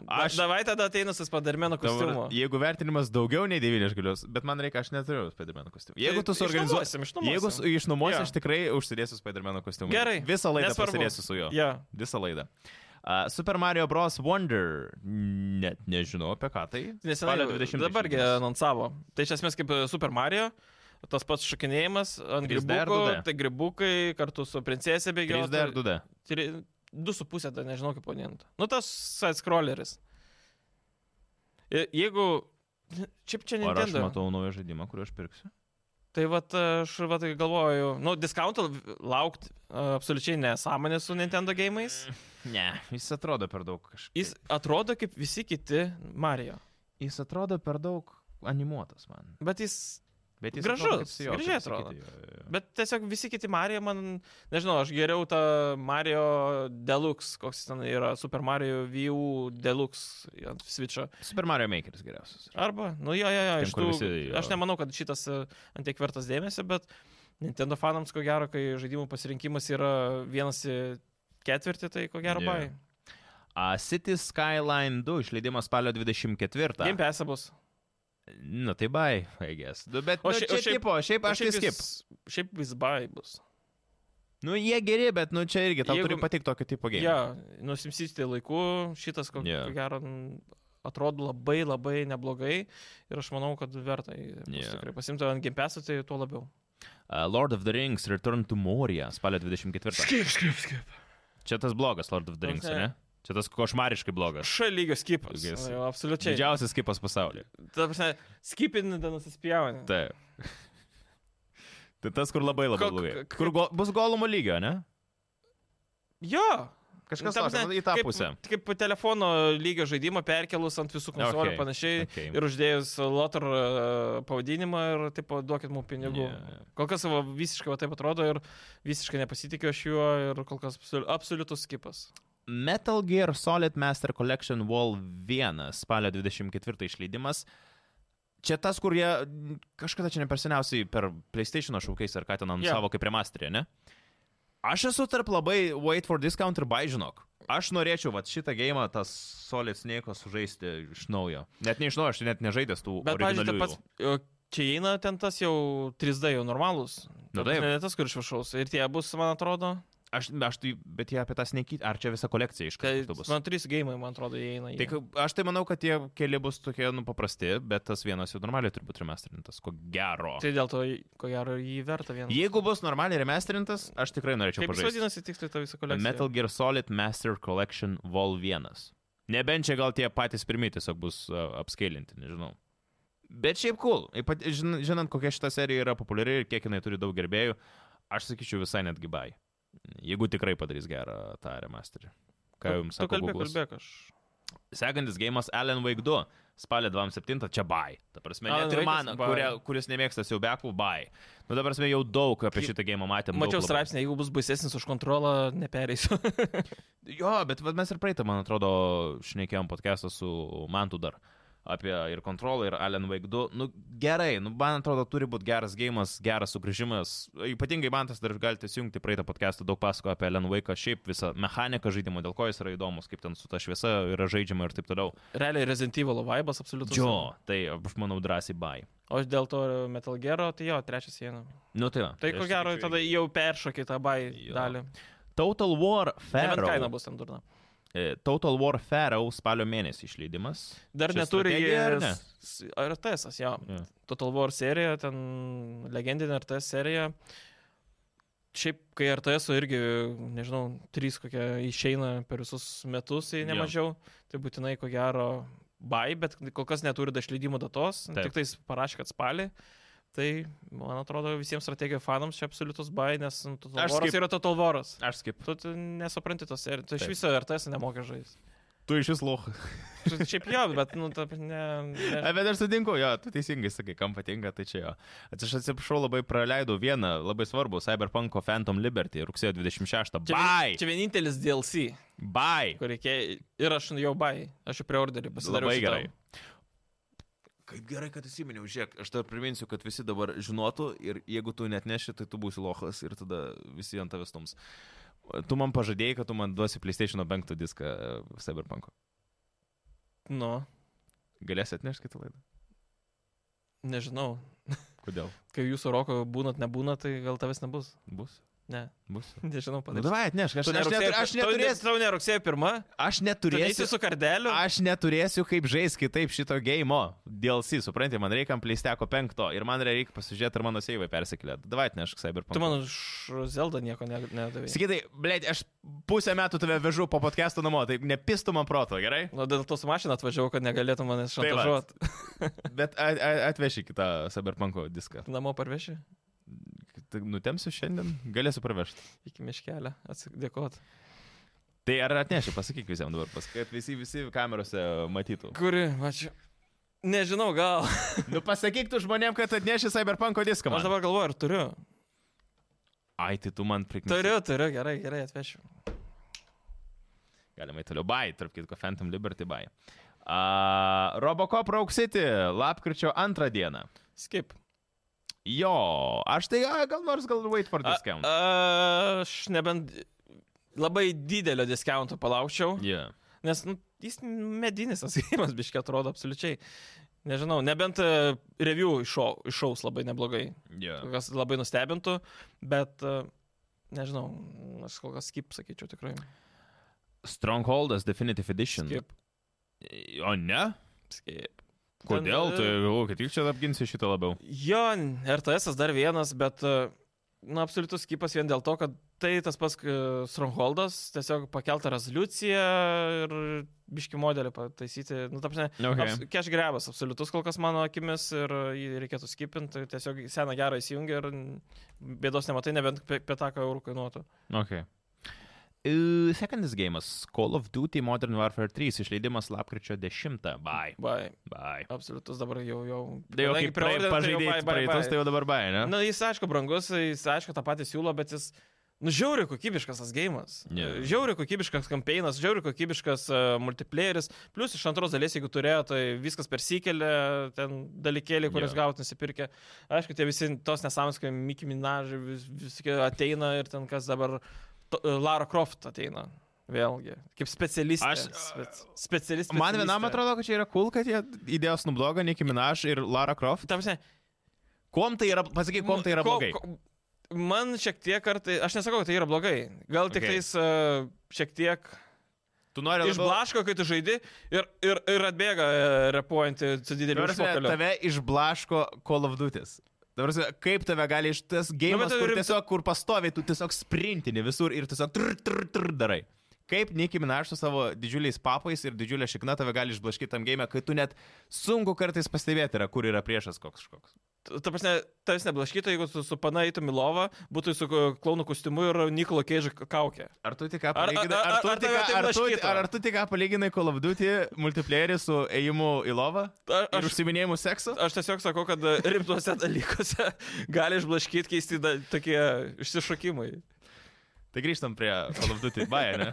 Speaker 1: Aš-
Speaker 2: aš davai tada ateinu su spadarmeno kostiumu.
Speaker 1: Dabar, jeigu vertinimas daugiau nei 9 aš galiu, bet man reikia, aš neturiu Spidermano kostiumų. Jeigu
Speaker 2: Tai
Speaker 1: tu suorganizuosi,
Speaker 2: Išnuomosim, išnuomosim.
Speaker 1: jeigu su- išnuomosi,
Speaker 2: Jo.
Speaker 1: aš tikrai užsidėsiu Spidermano kostiumą.
Speaker 2: Gerai,
Speaker 1: Visą laidą
Speaker 2: nesvarbu.
Speaker 1: pasidėsiu su juo.
Speaker 2: Ja.
Speaker 1: Visą laidą. Uh, Super Mario Bros. Wonder. Net nežinau apie ką tai.
Speaker 2: Nesenai,
Speaker 1: Spalio 20
Speaker 2: dabargi
Speaker 1: išleidimas.
Speaker 2: anonsavo. Tai iš esmės kaip e, Super Mario, tas pats šokinėjimas ant
Speaker 1: 3D ar
Speaker 2: gribukų,
Speaker 1: 2D?
Speaker 2: tai gribukai kartu su princesė
Speaker 1: 3D ar
Speaker 2: bėgioja.
Speaker 1: 2D.
Speaker 2: 2,5, tai nežinau kaip ponint. Nu tas side scrolleris. Je- Jeigu... Čia čia
Speaker 1: Ar aš
Speaker 2: Nintendo.
Speaker 1: matau naują žaidimą, kurį aš pirksiu?
Speaker 2: Tai vat aš vat ir galvoju, nu, diskonto laukti absoliučiai nesąmonė su Nintendo gėjimais.
Speaker 1: Ne, jis atrodo per daug kažkaip.
Speaker 2: Jis atrodo kaip visi kiti Mario.
Speaker 1: jis atrodo per daug animuotas man.
Speaker 2: Bet jis
Speaker 1: Bet jis
Speaker 2: Gražus,
Speaker 1: atrodo kaip su jo,
Speaker 2: gražiai
Speaker 1: kaip sakyti,
Speaker 2: atrodo.
Speaker 1: jo, jo, jo.
Speaker 2: Bet tiesiog visi kiti Mario, man, nežinau, aš geriau tą Mario Deluxe, koks jis ten yra, Super Mario VU Deluxe ant Switch'o.
Speaker 1: Super Mario Makeris geriausias.
Speaker 2: Arba, nu jo, jo, jo,
Speaker 1: Ten,
Speaker 2: iš
Speaker 1: kur
Speaker 2: tų,
Speaker 1: visi, jo.
Speaker 2: aš nemanau, kad šitas antiek vertas dėmesio, bet Nintendo fanams, ko gero, kai žaidimų pasirinkimas yra vienas į ketvirtį, tai ko gero,
Speaker 1: Jo.
Speaker 2: yeah.
Speaker 1: A, City Skyline 2 išleidimas spalio 24.
Speaker 2: bai. Game Pass bus.
Speaker 1: Na tai bai, aigės. Bet
Speaker 2: O
Speaker 1: nu,
Speaker 2: šia-
Speaker 1: čia
Speaker 2: o šiaip-
Speaker 1: tipo, šiaip aš tai skip.
Speaker 2: jis- Šiaip vis bai bus.
Speaker 1: Nu jie geri, bet nu čia irgi tau
Speaker 2: Jeigu-
Speaker 1: turi patikti tokio tipo game.
Speaker 2: Taip, ja, nusimsysite laiku, šitas, ko,
Speaker 1: Jo.
Speaker 2: yeah. ko gero, n- atrodo labai labai neblogai ir aš manau, kad verta jį bus
Speaker 1: Jo.
Speaker 2: tikrai pasimti ant Game Pass, tai tuo labiau.
Speaker 1: A, Lord of the Rings Return to Moria spalio 24.
Speaker 2: Skip, skip, skip.
Speaker 1: Čia tas blogas Lord of the Rings,
Speaker 2: Ne.
Speaker 1: ne? Čia tas košmariškai blogas.
Speaker 2: Šia lygio skipas.
Speaker 1: Jis-
Speaker 2: Jau, Absoliučiai.
Speaker 1: Didžiausias skipas pasaulyje.
Speaker 2: Ta prasme, skipindamas įspjauni.
Speaker 1: Taip. Tai tas, kur labai labai
Speaker 2: Ko-
Speaker 1: blogai.
Speaker 2: ko-
Speaker 1: Kur go, bus golumo lygio, ne?
Speaker 2: Jo.
Speaker 1: Kažkas
Speaker 2: Ta
Speaker 1: tokio,
Speaker 2: prasme,
Speaker 1: į tą
Speaker 2: kaip-
Speaker 1: pusę.
Speaker 2: Kaip po telefono lygio žaidimą perkelus ant visų
Speaker 1: Okay,
Speaker 2: konsolių ir panašiai.
Speaker 1: okay.
Speaker 2: Ir uždėjus Lotar э, pavadinimą ir taip duokit mums pinigų.
Speaker 1: Ne.
Speaker 2: Kol kas va, visiškai va, taip atrodo ir visiškai nepasitikiu aš juo ir kol kas absoliu- absoliutus skipas.
Speaker 1: Metal Gear Solid Master Collection Wall 1 spalio 24 išleidimas. Čia tas, kur jie m, kažkada čia ne per seniausiai per PlayStation šaukiais ar ką ten ant
Speaker 2: Jo.
Speaker 1: savo kaip remasterį, ne? Aš esu tarp labai wait for discount ir buy, žinok. Aš norėčiau vat, šitą gėjimą, tas Solid Snake sužaisti iš naujo. Net ne iš naujo, aš net nežaidęs tų
Speaker 2: Bet, pavyzdžiui,
Speaker 1: originalių.
Speaker 2: tai pats... o, Čia įeina ten tas jau 3D jau normalus.
Speaker 1: Nu taip.
Speaker 2: Ne tas, kur iš viršaus. Ir tie bus, man atrodo.
Speaker 1: Aš, aš tai, bet jie apie tą Snake, ar čia visa kolekcija iš
Speaker 2: Tai,
Speaker 1: karto bus?
Speaker 2: man trys gėjimai, man atrodo, įeina. į
Speaker 1: Tai
Speaker 2: jį.
Speaker 1: ka- aš tai manau, kad tie keli bus tokie, nu, paprasti, bet tas vienas jau normaliai turi būti remasterintas, ko gero.
Speaker 2: Tai dėl to, ko gero, jį verta vieną.
Speaker 1: Jeigu bus normaliai remasterintas, aš tikrai norėčiau
Speaker 2: Kaip jis
Speaker 1: pažaisti.
Speaker 2: vadinasi tiksliai ta visa kolekcija?
Speaker 1: Metal Gear Solid Master Collection Vol 1. Nebent čia gal tie patys pirmie tiesiog bus uh, apskailinti, nežinau. Bet šiaip cool, Ypat, žin, žinant, kokia šita serija yra populiari ir kiek jinai turi daug gerbėjų, aš sakyčiau visai netgi bai. Jeigu tikrai padarys gerą tą remasterį. Ką jums
Speaker 2: Tu
Speaker 1: sako?
Speaker 2: kalbėk,
Speaker 1: Google'as?
Speaker 2: kalbėk aš.
Speaker 1: Sekantis gėjimas Alan Wake 2, spalio 27, čia bai. Ta prasme,
Speaker 2: Alan
Speaker 1: net ir
Speaker 2: Wake'as
Speaker 1: man,
Speaker 2: bai.
Speaker 1: kuria, kuris nemėgsta siaubekų, bai. Nu, ta prasme, jau daug apie
Speaker 2: Kaip-
Speaker 1: šitą gėjimą matėm. daug
Speaker 2: Mačiau
Speaker 1: labai.
Speaker 2: straipsnį, jeigu bus baisesnis už kontrolą, nepereisiu. (laughs)
Speaker 1: Jo, bet vat mes ir praeitą, man atrodo, šnekėjom podcastą su Mantu dar apie ir kontrolą, ir Alan Wake 2. Nu, gerai, nu, man atrodo, turi būti geras gėjimas, geras sugrįžimas. Ypatingai Mantas dar galite įsijungti praeitą podcastą, daug pasako apie Alan Wake, šiaip visą mechaniką žaidimo, dėl ko jis yra įdomus, kaip ten su ta šviesa yra žaidžiama ir taip toliau.
Speaker 2: Realiai Resident Evil vaibas absoliutus.
Speaker 1: Jo, tai aš manau drąsiai bai.
Speaker 2: O dėl to Metal Gero, tai jo, trečia siena.
Speaker 1: Nu tai, va,
Speaker 2: Tai
Speaker 1: aš
Speaker 2: ko gero,
Speaker 1: sakyčiau,
Speaker 2: tada jau peršokiai tą bai
Speaker 1: Jo.
Speaker 2: dalį.
Speaker 1: Total War
Speaker 2: Nebent kaina
Speaker 1: Pharaoh.
Speaker 2: bus ten durna.
Speaker 1: E, Total War Pharaoh spalio mėnesį išleidimas.
Speaker 2: Dar
Speaker 1: Čia
Speaker 2: neturi jie.
Speaker 1: strategija, ar ne?
Speaker 2: Ar RTS, jo.
Speaker 1: Jo.
Speaker 2: Total War serija, ten legendinė RTS serija. Šiaip, kai RTS -o irgi, nežinau, trys kokie išeina per visus metus, jei
Speaker 1: Jo.
Speaker 2: nemažiau, tai būtinai ko gero bai, bet kol kas neturi dar išleidimo datos,
Speaker 1: Taip.
Speaker 2: Taip. tik tais parašė, kad spalį. Tai, man atrodo, visiems strategijų fanams čia absoliutus bai, nes nu, Total
Speaker 1: Aš
Speaker 2: Waras
Speaker 1: kaip-
Speaker 2: yra Total Waras.
Speaker 1: Aš kaip.
Speaker 2: Tu, tu nesupranti tos serijos, tu iš
Speaker 1: Taip.
Speaker 2: viso RTS nemokai žaisti.
Speaker 1: Tu iš vis loch.
Speaker 2: Tu Šiaip jo, bet, nu, taip,
Speaker 1: (laughs)
Speaker 2: ne. ne.
Speaker 1: Bet aš sutinku, jo, tu teisingai sakai, kam patinka, tai čia jo. Ats- Aš atsiprašau, labai praleidau vieną labai svarbų Cyberpunk Phantom Liberty rugsėjo 26.
Speaker 2: Čia, vien-
Speaker 1: Bai!
Speaker 2: čia vienintelis DLC.
Speaker 1: Bai!
Speaker 2: kur reikėjo. Ir aš jau bai, aš jau preorderį pasidariau.
Speaker 1: Labai
Speaker 2: šitam.
Speaker 1: gerai. Kaip gerai, kad įsiminiau, žiūrėk, aš dar priminsiu, kad visi dabar žinotų ir jeigu tu net neši, tai tu būsi lohas ir tada visi ant tavęs tums. Tu man pažadėjai, kad tu man duosi PlayStation 5 diską e, Cyberpunk.
Speaker 2: Nu,
Speaker 1: Galėsi atnešti kitą laidą.
Speaker 2: nežinau.
Speaker 1: Kodėl?
Speaker 2: Kai jūsų roko būnat, nebūna, tai gal tavęs nebus.
Speaker 1: Bus.
Speaker 2: Ne, (laughs)
Speaker 1: Bus.
Speaker 2: nežinau,
Speaker 1: Na,
Speaker 2: panašiai.
Speaker 1: Nu, davai, atnešk. Aš, aš, netur, aš, neturės,
Speaker 2: Tau ne rugsėjo pirmą,
Speaker 1: aš
Speaker 2: turėsi
Speaker 1: neturėsiu.
Speaker 2: su kardeliu.
Speaker 1: Aš neturėsiu kaip žaisti kitaip šito gėjimo. DLC, suprantate, man reikia pleisteko penkto ir man reikia pasižiūrėti, ar mano seivai persikėlė. Davai atnešk Cyberpunk.
Speaker 2: Tu man už Zeldą nieko ne- nedavai.
Speaker 1: Sakytai, blėt, aš pusę metų tave vežu po podcast'o namo, tai nepistų man proto,
Speaker 2: (laughs)
Speaker 1: gerai?
Speaker 2: Nu, dėl tos mašiną atvažiavau, kad negalėtum manęs
Speaker 1: Tai vat.
Speaker 2: šantažuoti.
Speaker 1: Bet a- a- atveši kitą Cyberpunk'o diską.
Speaker 2: Namo parveši
Speaker 1: Tai Nutemsiu šiandien, galėsiu pravežti.
Speaker 2: iki miškelio. Atsidėkot.
Speaker 1: Tai ar atneši, pasakyk visiems dabar, pas, kad visi, visi kamerose matytų.
Speaker 2: Kuri, ačiū. Nežinau, gal.
Speaker 1: Nu pasakyk tu žmonėm, kad atneši Cyberpunk diską. man.
Speaker 2: Aš dabar galvoju, ar turiu.
Speaker 1: Ai, tai tu man prikniai.
Speaker 2: Turiu, turiu, gerai, gerai, atvešiu.
Speaker 1: Galima į toliau. Bai, tarp kitko, Phantom Liberty bai. Uh, Robocop Rauk City, lapkričio antrą dieną.
Speaker 2: Skip.
Speaker 1: Jo, aš tai a, gal nors gal wait for discount.
Speaker 2: A, aš nebent labai didelio discounto palaukčiau,
Speaker 1: Yeah.
Speaker 2: nes nu, jis medinis tas gėjimas, biškiai atrodo absoliučiai. Nežinau, nebent e, review išau- išaus labai neblogai,
Speaker 1: Yeah.
Speaker 2: kas labai nustebintų, bet e, nežinau, aš kol kas skip sakyčiau tikrai.
Speaker 1: Strongholdas Definitive Edition.
Speaker 2: Skip.
Speaker 1: O ne?
Speaker 2: skip.
Speaker 1: Kodėl?
Speaker 2: Ten,
Speaker 1: Tai,
Speaker 2: e,
Speaker 1: o, kad tik čia apginsi šitą labiau.
Speaker 2: Jo, RTS dar vienas, bet, e, na, absoliutus skipas vien dėl to, kad tai tas pats e, Strongholdas, tiesiog pakeltą rezoliuciją ir biški modelį pataisyti. Nu, ta prasme,
Speaker 1: Okay.
Speaker 2: okay. Keš grebas, absoliutus kol kas mano akimis ir jį reikėtų skipinti, tiesiog seną gerą įsijungi ir bėdos nematai, nebent pe- pietaką eurų kainuotų.
Speaker 1: okay. E, Sekantis gėjimas - Call of Duty Modern Warfare 3 išleidimas lapkričio 10. Bye.
Speaker 2: Bai,
Speaker 1: Bye.
Speaker 2: absoliutus dabar jau jau.
Speaker 1: Tai jau
Speaker 2: Kadangi
Speaker 1: kaip prae-
Speaker 2: preorder, tai jau
Speaker 1: pažaidėjai
Speaker 2: bye, bye,
Speaker 1: praeitus,
Speaker 2: bye.
Speaker 1: tai jau dabar bye, ne?
Speaker 2: Na, jis aišku brangus, jis aišku tą patį siūlo, bet jis... Nu, žiauri kokybiškas tas gėjimas.
Speaker 1: Jo.
Speaker 2: Žiauri kokybiškas kampeinas, žiauri kokybiškas uh, multiplayeris. Plus iš antros dalies, jeigu turėjo, tai viskas persikėlė, ten dalykėlė, kurias
Speaker 1: Jo.
Speaker 2: yeah. gauti nusipirkė. Aišku, tie visi tos nesąmonės, kai Mickey Minaj vis, visokie ateina ir ten kas dabar to, e, Lara Croft ateina. Vėlgi, kaip specialistė.
Speaker 1: Aš-
Speaker 2: spec, specialistė.
Speaker 1: Man vienam atrodo, kad čia yra cool, kad jie įdėjo Snoop Dogg, Nicki Minaj ir Lara Croft.
Speaker 2: Tam, ne,
Speaker 1: Kuom tai yra, pasakyk, kuom tai yra
Speaker 2: Nu, Ko-
Speaker 1: blogai?
Speaker 2: ko- Man šiek tiek kartai, aš nesakau, kad tai yra blogai. Gal tik
Speaker 1: Okay.
Speaker 2: okay. tais uh, šiek tiek
Speaker 1: Tu nori labiau...
Speaker 2: išblaško, kai tu žaidi ir, ir, ir atbėga e, repuojantį su
Speaker 1: Ta
Speaker 2: dideliu
Speaker 1: prasme,
Speaker 2: užpakaliu.
Speaker 1: Tave išblaško Call of Duty. Prasme, kaip tave gali iš tas
Speaker 2: Nu, bet
Speaker 1: gėjimas,
Speaker 2: tu
Speaker 1: kur
Speaker 2: rimtai-
Speaker 1: tiesiog, kur pastovi, tu tiesiog sprintini visur ir tiesiog tr, tr, tr darai. Kaip Nicki Minaj su savo didžiuliais papais ir didžiulė šikna tave gali išblaškyti tam gėjimą, kai tu net sunku kartais pastebėti yra, kur yra priešas koks kažkoks.
Speaker 2: T- Ta prasme, tas neblaškytų, jeigu tu su pana eitum į lovą, būtų su ko- klounų kostiumu ir Nikolo Keidžo kaukė.
Speaker 1: Ar tu tik ką
Speaker 2: ar-
Speaker 1: palyginai-
Speaker 2: ar-
Speaker 1: ar tu
Speaker 2: ar
Speaker 1: tik
Speaker 2: tave
Speaker 1: ką-
Speaker 2: taip
Speaker 1: ar tu-
Speaker 2: blaškytų?
Speaker 1: ar- ar tu tik ką palyginai Call of Duty multiplayerį su ėjimu į lovą
Speaker 2: A-
Speaker 1: ir
Speaker 2: Aš,
Speaker 1: užsiminėjimu seksu?
Speaker 2: aš tiesiog sakau, kad e, rimtuose dalykuose (laughs) gali išblaškyti keisti da, tokie išsišokimai.
Speaker 1: Tai grįžtam prie Call of Duty. Bai,
Speaker 2: (laughs)
Speaker 1: ne?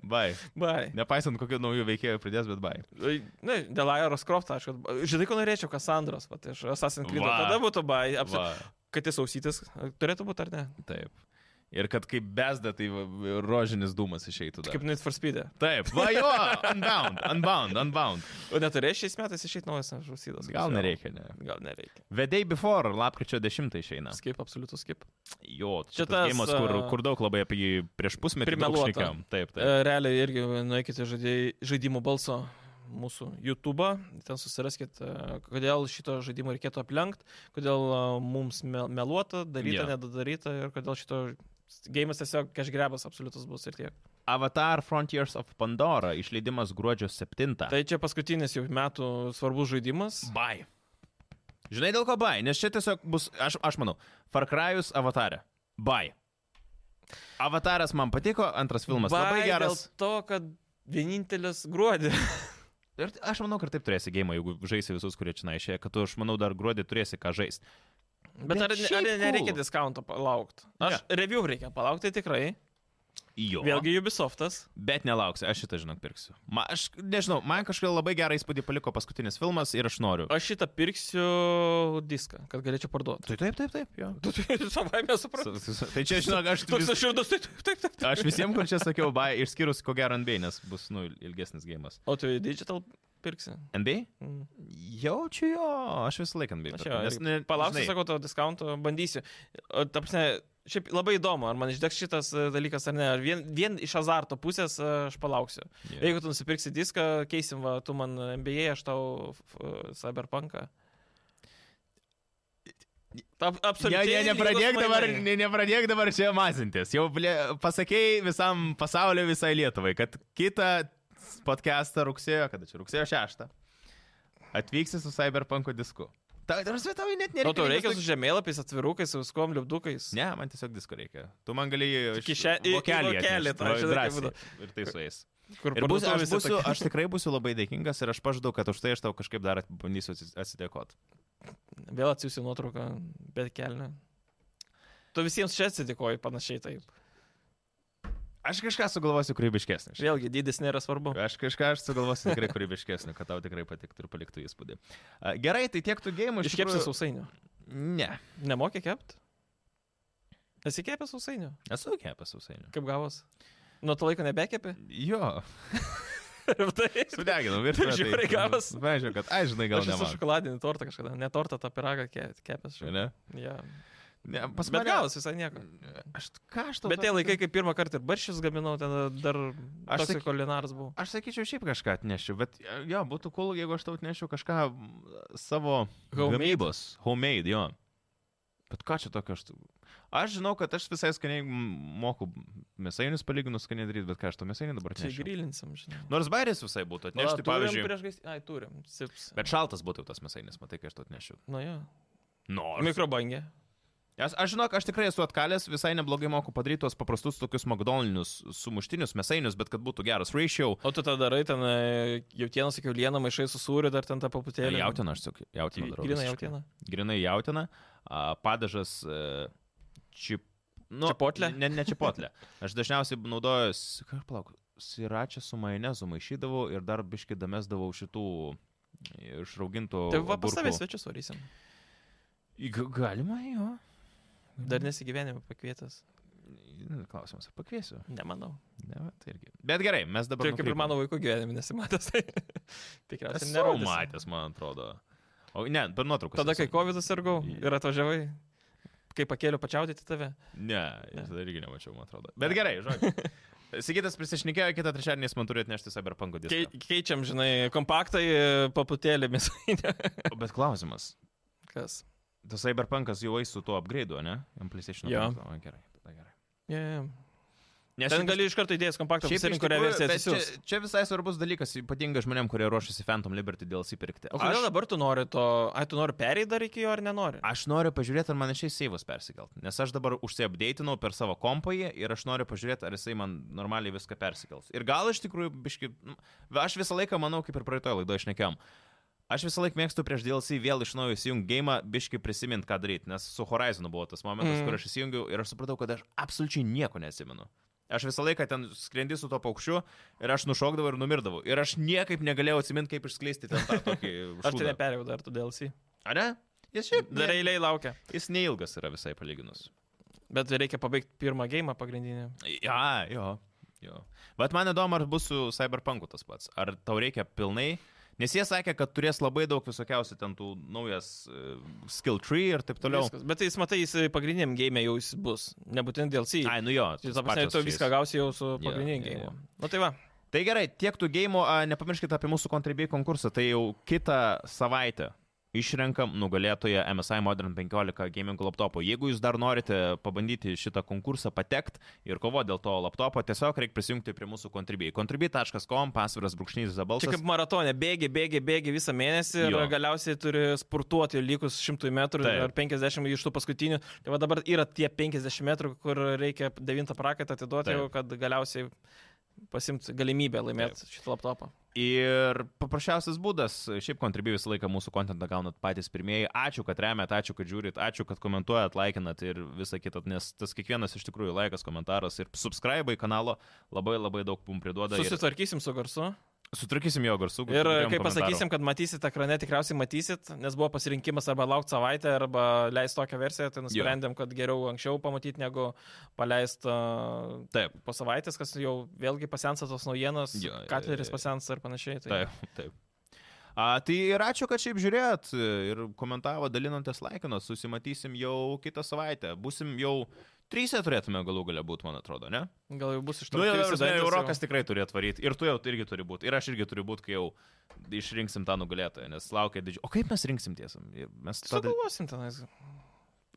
Speaker 1: Bai.
Speaker 2: Bye.
Speaker 1: Nepaisant, kokių naujų veikėjų pridės, bet bai.
Speaker 2: Tai, Na, dėl Airos Croft, aišku, kad- žinai, ko norėčiau, Kassandros, pat iš Assassin's Creed.
Speaker 1: Va.
Speaker 2: Tada būtų bai, apsa...
Speaker 1: Va,
Speaker 2: kad jis ausytis turėtų būti, ar ne?
Speaker 1: taip. Ir kad kaip besda, tai va- rožinis dūmas išeitų. Dar.
Speaker 2: Kaip Need for Speed. E.
Speaker 1: Taip, va jo, unbound, unbound, unbound.
Speaker 2: O neturės šiais metais išeiti naujas žusydas.
Speaker 1: Gal nereikia, ne.
Speaker 2: Gal nereikia.
Speaker 1: The Day Before, lapkričio 10 išeina.
Speaker 2: Skip, absoliutus skip.
Speaker 1: Jo,
Speaker 2: Šitas,
Speaker 1: šitas gėjimas, kur,
Speaker 2: a,
Speaker 1: kur daug labai apie jį prieš pusmetį daug
Speaker 2: primeluota.
Speaker 1: šnekėjom. Taip, taip.
Speaker 2: E, Realiai irgi nueikite žaidėjai- žaidimų balso mūsų YouTube, ten susiraskite, e, kodėl šito žaidimo reikėtų aplenkti, kodėl e, mums mel- meluota,
Speaker 1: Jo.
Speaker 2: daryta, yeah. nedadaryta ir kodėl šito gėjimas tiesiog kažgrebas absoliutus bus ir tiek.
Speaker 1: Avatar Frontiers of Pandora išleidimas gruodžio 7.
Speaker 2: Tai čia paskutinis jau metų svarbus žaidimas.
Speaker 1: Bai. Žinai dėl ko bai, nes čia tiesiog bus, aš, aš manau, Far Cryus avatarė. Bai. Avataras man patiko, antras filmas bai, labai
Speaker 2: Vai
Speaker 1: geras.
Speaker 2: Dėl to, kad vienintelis gruodį.
Speaker 1: Ir aš manau, kad taip turėsi gėjimą, jeigu žaisi visus, kurie čia išėjo, kad tu, aš manau, dar gruodį turėsi ką žaisti.
Speaker 2: (laughs) Bet, Bet ar, ne-
Speaker 1: šiaip
Speaker 2: ar ne- nereikia
Speaker 1: cool.
Speaker 2: diskonto palaukti? Aš yeah. review reikia palaukti tikrai.
Speaker 1: Jo. Vėlgi.
Speaker 2: Vėlgi Ubisoftas.
Speaker 1: Bet nelauksiu, aš šitą, žinok, pirksiu. Ma, aš nežinau, man kažkaip labai gerą įspūdį paliko paskutinis filmas ir aš noriu.
Speaker 2: Aš šitą pirksiu diską, kad galėčiau (laughs) parduoti.
Speaker 1: Tai taip, taip, taip, jo.
Speaker 2: Tu turi savai mes suprantu.
Speaker 1: Tai čia, žinok, aš,
Speaker 2: Toks
Speaker 1: vis,
Speaker 2: aš širdus, taip, taip, taip. taip.
Speaker 1: aš visiems, kur čia sakiau, bai, išskyrus ko gero NBA, nes bus, nu, ilgesnis gėjimas.
Speaker 2: O tu į digital pirksi?
Speaker 1: NBA?
Speaker 2: Mm.
Speaker 1: Jaučiu jo, aš visą laiką NBA.
Speaker 2: Aš
Speaker 1: perku,
Speaker 2: jo,
Speaker 1: nes, ne,
Speaker 2: Palauksiu,
Speaker 1: žinai,
Speaker 2: sakau, to diskonto, bandysiu. O, ta prasme, šiaip labai įdomu, ar man išdegs šitas e, dalykas ar ne. Ar vien, vien iš azarto pusės e, aš palauksiu.
Speaker 1: jo.
Speaker 2: Jeigu tu nusipirksi diską, keisim, va, tu man MBA, aš tau f- e, Cyberpunką. Ab,
Speaker 1: Ne,
Speaker 2: absoliučiai.
Speaker 1: ne, nepradėk
Speaker 2: lygūs
Speaker 1: dabar,
Speaker 2: mainai.
Speaker 1: ne, nepradėk dabar čia mazintis. Jau ble, pasakėjai visam pasauliu, visai Lietuvai, kad kitą podcastą rugsėjo, kada čia rugsėjo 6, atvyksi su Cyberpunk disku. Ta, ta prasme, tau net nereikia.
Speaker 2: Nu, tau reikia su žemėlapiais, atvirukais, su viskom, liubdukais.
Speaker 1: Ne, man tiesiog disko reikia. Tu man galėjai
Speaker 2: Tik į šią- į- į vokelį tą, žinai, kaip
Speaker 1: drąsiai.
Speaker 2: būna.
Speaker 1: Ir tai su jais.
Speaker 2: Kur
Speaker 1: Ir bus, aš,
Speaker 2: parduotuvėse
Speaker 1: būsiu,
Speaker 2: tokie-
Speaker 1: aš tikrai būsiu labai dėkingas ir aš pažadau, kad už tai aš tau kažkaip dar at- bandysiu atsi- atsidėkot.
Speaker 2: Vėl atsiųsiu nuotrauką, bet kelnių. Tu visiems čia atsidėkoji panašiai taip.
Speaker 1: Aš kažką sugalvosiu kūrybiškesnį.
Speaker 2: Vėlgi, dydis nėra svarbu.
Speaker 1: Aš kažką aš sugalvosiu tikrai kūrybiškesnį, kad tau tikrai patiktų ir paliktų įspūdį. A, Gerai, tai tiek tų gėjimų iš
Speaker 2: Iškepsi
Speaker 1: tikrųjų-
Speaker 2: sausainių.
Speaker 1: Ne,
Speaker 2: Nemokė kept? Esi kepęs sausainių?
Speaker 1: esu kepęs sausainių.
Speaker 2: Kaip gavos? Nuo to laiko nebekepi?
Speaker 1: (laughs) Jo,
Speaker 2: Rimtai?
Speaker 1: sudeginau virtuvę.
Speaker 2: Taip žiauriai gavos.
Speaker 1: Važiuoju, kad, ai, žinai, gal
Speaker 2: Aš esu
Speaker 1: ne.
Speaker 2: šokoladinį tortą kažkada. Ne tortą, tą piragą ke- kepęs.
Speaker 1: man. Ne?
Speaker 2: Ja.
Speaker 1: Ne, pas
Speaker 2: Bet
Speaker 1: mane
Speaker 2: gavos visai nieko.
Speaker 1: Aš ką aš tau.
Speaker 2: Bet tie laikai, kai pirmą kartą ir barščius gaminau, ten dar
Speaker 1: Aš
Speaker 2: aš
Speaker 1: saky-
Speaker 2: tik kulinaras buvau.
Speaker 1: Aš sakyčiau, šiaip kažką atnešiu, bet e, jo, būtų cool, jeigu aš tau atnešiu kažką mm, savo
Speaker 2: Homemade.
Speaker 1: gamybos. Homemade, jo. Bet ką čia tokio aš... tu- Aš žinau, kad aš visai skaniai m, moku mėsainius palyginus skaniai daryti, bet ką aš to mėsainį dabar
Speaker 2: Čia
Speaker 1: atnešiu.
Speaker 2: grilinsim, žinai.
Speaker 1: Nors bairis visai būtų, atnešti,
Speaker 2: turim
Speaker 1: Nu, pavyzdžiui.
Speaker 2: Prieš gaisrą. Ai, turim. Sips.
Speaker 1: Bet šaltas būtų jau tas mėsainis, matai, kai aš to atnešiu.
Speaker 2: Nu jo.
Speaker 1: Nors.
Speaker 2: Mikrobangė.
Speaker 1: Aš, aš žinok, aš tikrai esu atkalęs, visai neblogai moku padaryti tuos paprastus tokius McDonald's sumuštinius mėsainius, bet kad būtų geras ratio.
Speaker 2: O tu tą darai ten e, jautieną, sakiau, lieną maišai su sūriu, dar ten tą paputėlį.
Speaker 1: tai Jautiena, aš tiesiog jautiena darau.
Speaker 2: Grina
Speaker 1: visiškai.
Speaker 2: jautieną.
Speaker 1: grinai jautina, padažas a, čip... Nu,
Speaker 2: Čipotle?
Speaker 1: Ne, ne čipotlė. Aš dažniausiai naudoju, s- ką aš palauk, siračią su majonezu maišydavau ir dar biškai damesdavau šitų išraugintų.
Speaker 2: Tai va pas
Speaker 1: agurkų.
Speaker 2: tavę svečius varysim.
Speaker 1: Į ga- Galima jo.
Speaker 2: Dar nesigyvenime pakvietęs.
Speaker 1: Nu, Klausimas, ar pakviesiu?
Speaker 2: Nemanau.
Speaker 1: Ne, va, tai irgi. Bet gerai, mes dabar.
Speaker 2: Tai kaip ir
Speaker 1: nukrypom.
Speaker 2: mano vaikų gyvenime nesimatęs. Tai (laughs) tikriausiai
Speaker 1: Esu
Speaker 2: nerodysi.
Speaker 1: matęs, man atrodo. O ne, per nuotraukas.
Speaker 2: Tada,
Speaker 1: esu.
Speaker 2: kai COVID sirgau ir atvažiavai, kai pakėliau pačiaudyti tave.
Speaker 1: Ne,
Speaker 2: Ne.
Speaker 1: tada irgi nemačiau, man atrodo. Bet gerai,
Speaker 2: (laughs)
Speaker 1: žodžiu. Sigitas prisišnekėjo, kitą trečiadienį jis man turi atnešti Cyberpunk diską.
Speaker 2: Kei, keičiam, žinai, kompaktą į paputėlį mėsainę.
Speaker 1: Bet klausimas.
Speaker 2: Kas?
Speaker 1: Tas Cyberpunkas jau eis su tuo upgrade, ne? Ant PlayStation.
Speaker 2: Jo.
Speaker 1: O, gerai, tada gerai.
Speaker 2: Yeah.
Speaker 1: Nes
Speaker 2: Ten gali iš karto įdėjęs kompaktą,
Speaker 1: Šiaip
Speaker 2: pasirink,
Speaker 1: iš
Speaker 2: kurią
Speaker 1: tikrųjų,
Speaker 2: versiją
Speaker 1: bet
Speaker 2: atsisiųs.
Speaker 1: Čia, čia visai svarbus dalykas, ypatingai žmonėm, kurie ruošiasi Phantom Liberty dėl įsipirkti.
Speaker 2: O kodėl
Speaker 1: Aš,
Speaker 2: dabar tu nori to, ai tu nori perėti dar iki jo ar nenori?
Speaker 1: aš noriu pažiūrėti, ar man išeis seivas persikelt. Nes aš dabar užsiapdeitinau per savo kompąjį ir aš noriu pažiūrėti, ar jisai man normaliai viską persikels. Ir gal iš tikrųjų, biški, nu, aš visą laiką manau, kaip ir praeitoje laidoje išnekėjom. Aš visą laiką mėgstu prieš DLC vėl iš naujo įsijungti game, biški prisimint, ką daryti, nes su Horizonu buvo tas momentas,
Speaker 2: Mm.
Speaker 1: mm. kur aš įsijungiau ir aš supratau, kad aš absoliučiai nieko nesimenu. Aš visą laiką ten skrendi su to paukščiu ir aš nušokdavau ir numirdavau. Ir aš niekaip negalėjau atsiminti, kaip išskleisti ten tą tokį
Speaker 2: (laughs) Aš tai
Speaker 1: šūdą.
Speaker 2: neperėjau dar tu DLC.
Speaker 1: Ar ne? Jis šiaip
Speaker 2: Dar
Speaker 1: ne,
Speaker 2: eiliai laukia.
Speaker 1: jis neilgas yra visai palyginus.
Speaker 2: Bet reikia pabaigti pirmą gėjimą pagrindinį.
Speaker 1: Ja, jo, jo. Bet man įdomu, ar bus su Cyberpunku tas pats. Ar tau reikia pilnai, nes jie sakė, kad turės labai daug visokiausių ten tų naujas uh, skill tree ir taip toliau.
Speaker 2: Viskas. Bet tai jis, matai, jis pagrindiniam gėjimė jau jis bus. Nebūtinai DLC.
Speaker 1: Ai, nu jo.
Speaker 2: Tai
Speaker 1: tos
Speaker 2: ta prasme,
Speaker 1: pačios
Speaker 2: tu
Speaker 1: čia
Speaker 2: viską
Speaker 1: jis.
Speaker 2: gausi jau su
Speaker 1: Jo,
Speaker 2: pagrindiniu
Speaker 1: jo,
Speaker 2: gėjimu.
Speaker 1: jo.
Speaker 2: Na tai va,
Speaker 1: Tai gerai, tiek tų gėjimų, nepamirškite apie mūsų kontribijų konkursą, tai jau kitą savaitę. Išrenkam nugalėtoją MSI Modern 15 gaming laptopo. Jeigu jūs dar norite pabandyti šitą konkursą patekti ir kovo dėl to laptopo, tiesiog reikia prisijungti prie mūsų kontribijai. kontribijai.com, pasviras brūkšnys
Speaker 2: čia
Speaker 1: zabalsas.
Speaker 2: kaip maratonė, bėgi, bėgi, bėgi visą mėnesį ir
Speaker 1: Jo.
Speaker 2: galiausiai turi spurtuoti likus 100 metrų
Speaker 1: Taip.
Speaker 2: ar 50 iš tų paskutinių. Tai va dabar yra tie 50 metrų, kur reikia devintą prakaitą atiduoti,
Speaker 1: Taip.
Speaker 2: jau, kad galiausiai pasimti galimybę laimėti šitą laptopą.
Speaker 1: Ir paprasčiausias būdas, šiaip kontribijai visą laiką mūsų kontentą gaunat patys pirmieji. Ačiū, kad remiat, ačiū, kad žiūrit, ačiū, kad komentuojat, laikinat ir visa kita, nes tas kiekvienas iš tikrųjų laikas, komentaras ir subscribe į kanalo labai labai daug pum priduoda. ir-
Speaker 2: Susitvarkysim su garsu.
Speaker 1: Sutrakysim jo garsų.
Speaker 2: Ir kai pasakysim, kad matysit ekrane, tikriausiai matysit, nes buvo pasirinkimas arba laukti savaitę, arba leisti tokią versiją, tai nusprendėm, kad geriau anksčiau pamatyti, negu paleisti
Speaker 1: Taip.
Speaker 2: po savaitės, kas jau vėlgi pasensa tos naujienos,
Speaker 1: Jo, jo, jo,
Speaker 2: katleris
Speaker 1: jo.
Speaker 2: pasensa ir panašiai. Tai
Speaker 1: Taip, taip. A, tai ir ačiū, kad šiaip žiūrėt ir komentavo, dalinotės laikinot, susimatysim jau kitą savaitę. Būsim jau trysia turėtume galų galę būti, man atrodo, ne?
Speaker 2: gal jau bus iš to.
Speaker 1: Nu, jau, jau, jau Rokas tikrai turi atvaryti. Ir tu jau irgi turi būti. Ir aš irgi turiu būti, kai jau išrinksim tą nugalėtoją, nes laukia didžiulė. O kaip mes rinksim tiesą? Mes tada...
Speaker 2: Sugalvosim tenais.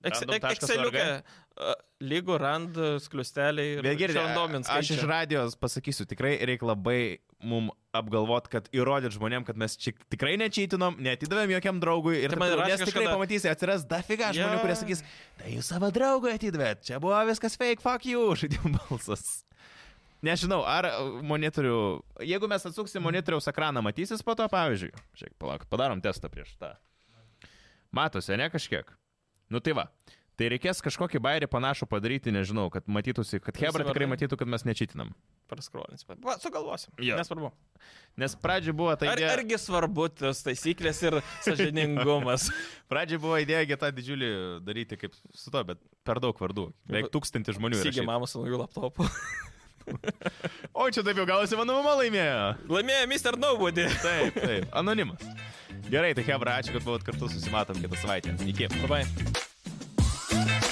Speaker 1: Random taškas
Speaker 2: Exceliukė.
Speaker 1: org.
Speaker 2: Lygų rand, skliusteliai ir
Speaker 1: Bet girdėjau,
Speaker 2: randomins.
Speaker 1: aš iš radijos pasakysiu, tikrai reikia labai mum apgalvot, kad įrodyt žmonėm, kad mes čia tikrai nečytinom, netidavėm jokiam draugui ir
Speaker 2: Tai
Speaker 1: taip
Speaker 2: man
Speaker 1: toliau. nes
Speaker 2: rašė
Speaker 1: tikrai
Speaker 2: kažkada-
Speaker 1: pamatysi, atsiras dar figa žmonių,
Speaker 2: Jo.
Speaker 1: kurie sakys, tai jūs savo draugui atidavėt, čia buvo viskas fake, fuck you, (laughs) žaidimų balsas. Nežinau, ar e, monitorių, jeigu mes atsuksim monitoriaus ekraną, matysis po to, pavyzdžiui, šiek palauk, padarom testą prieš tą. Matosi, ne kažkiek? Nu tai va. Tai reikės kažkokį bairį panašų padaryti, nežinau, kad matytųsi, kad Hebra tikrai
Speaker 2: vardai?
Speaker 1: matytų, kad mes nečytinam.
Speaker 2: Praskrolins. Va, sugalvosim.
Speaker 1: Jo.
Speaker 2: Nesvarbu.
Speaker 1: Nes pradžioje buvo ta
Speaker 2: Ar,
Speaker 1: idėja,
Speaker 2: argi svarbu tas taisyklės ir sažiningumas?
Speaker 1: pradžioje buvo idėja gi tą didžiulį daryti kaip su to, bet per daug vardų. Beveik tūkstantį žmonių.
Speaker 2: Sigi
Speaker 1: įrašyta.
Speaker 2: mama su naujų laptopų.
Speaker 1: O čia taip jau gausi, mano mama laimėjo.
Speaker 2: (laughs) Laimėjo Mr. Nobody.
Speaker 1: Taip, taip, anonimas. Gerai, tai Hebra, ačiū, kad buvot kartu, susimatom kitą savaitę. Iki.
Speaker 2: Labai.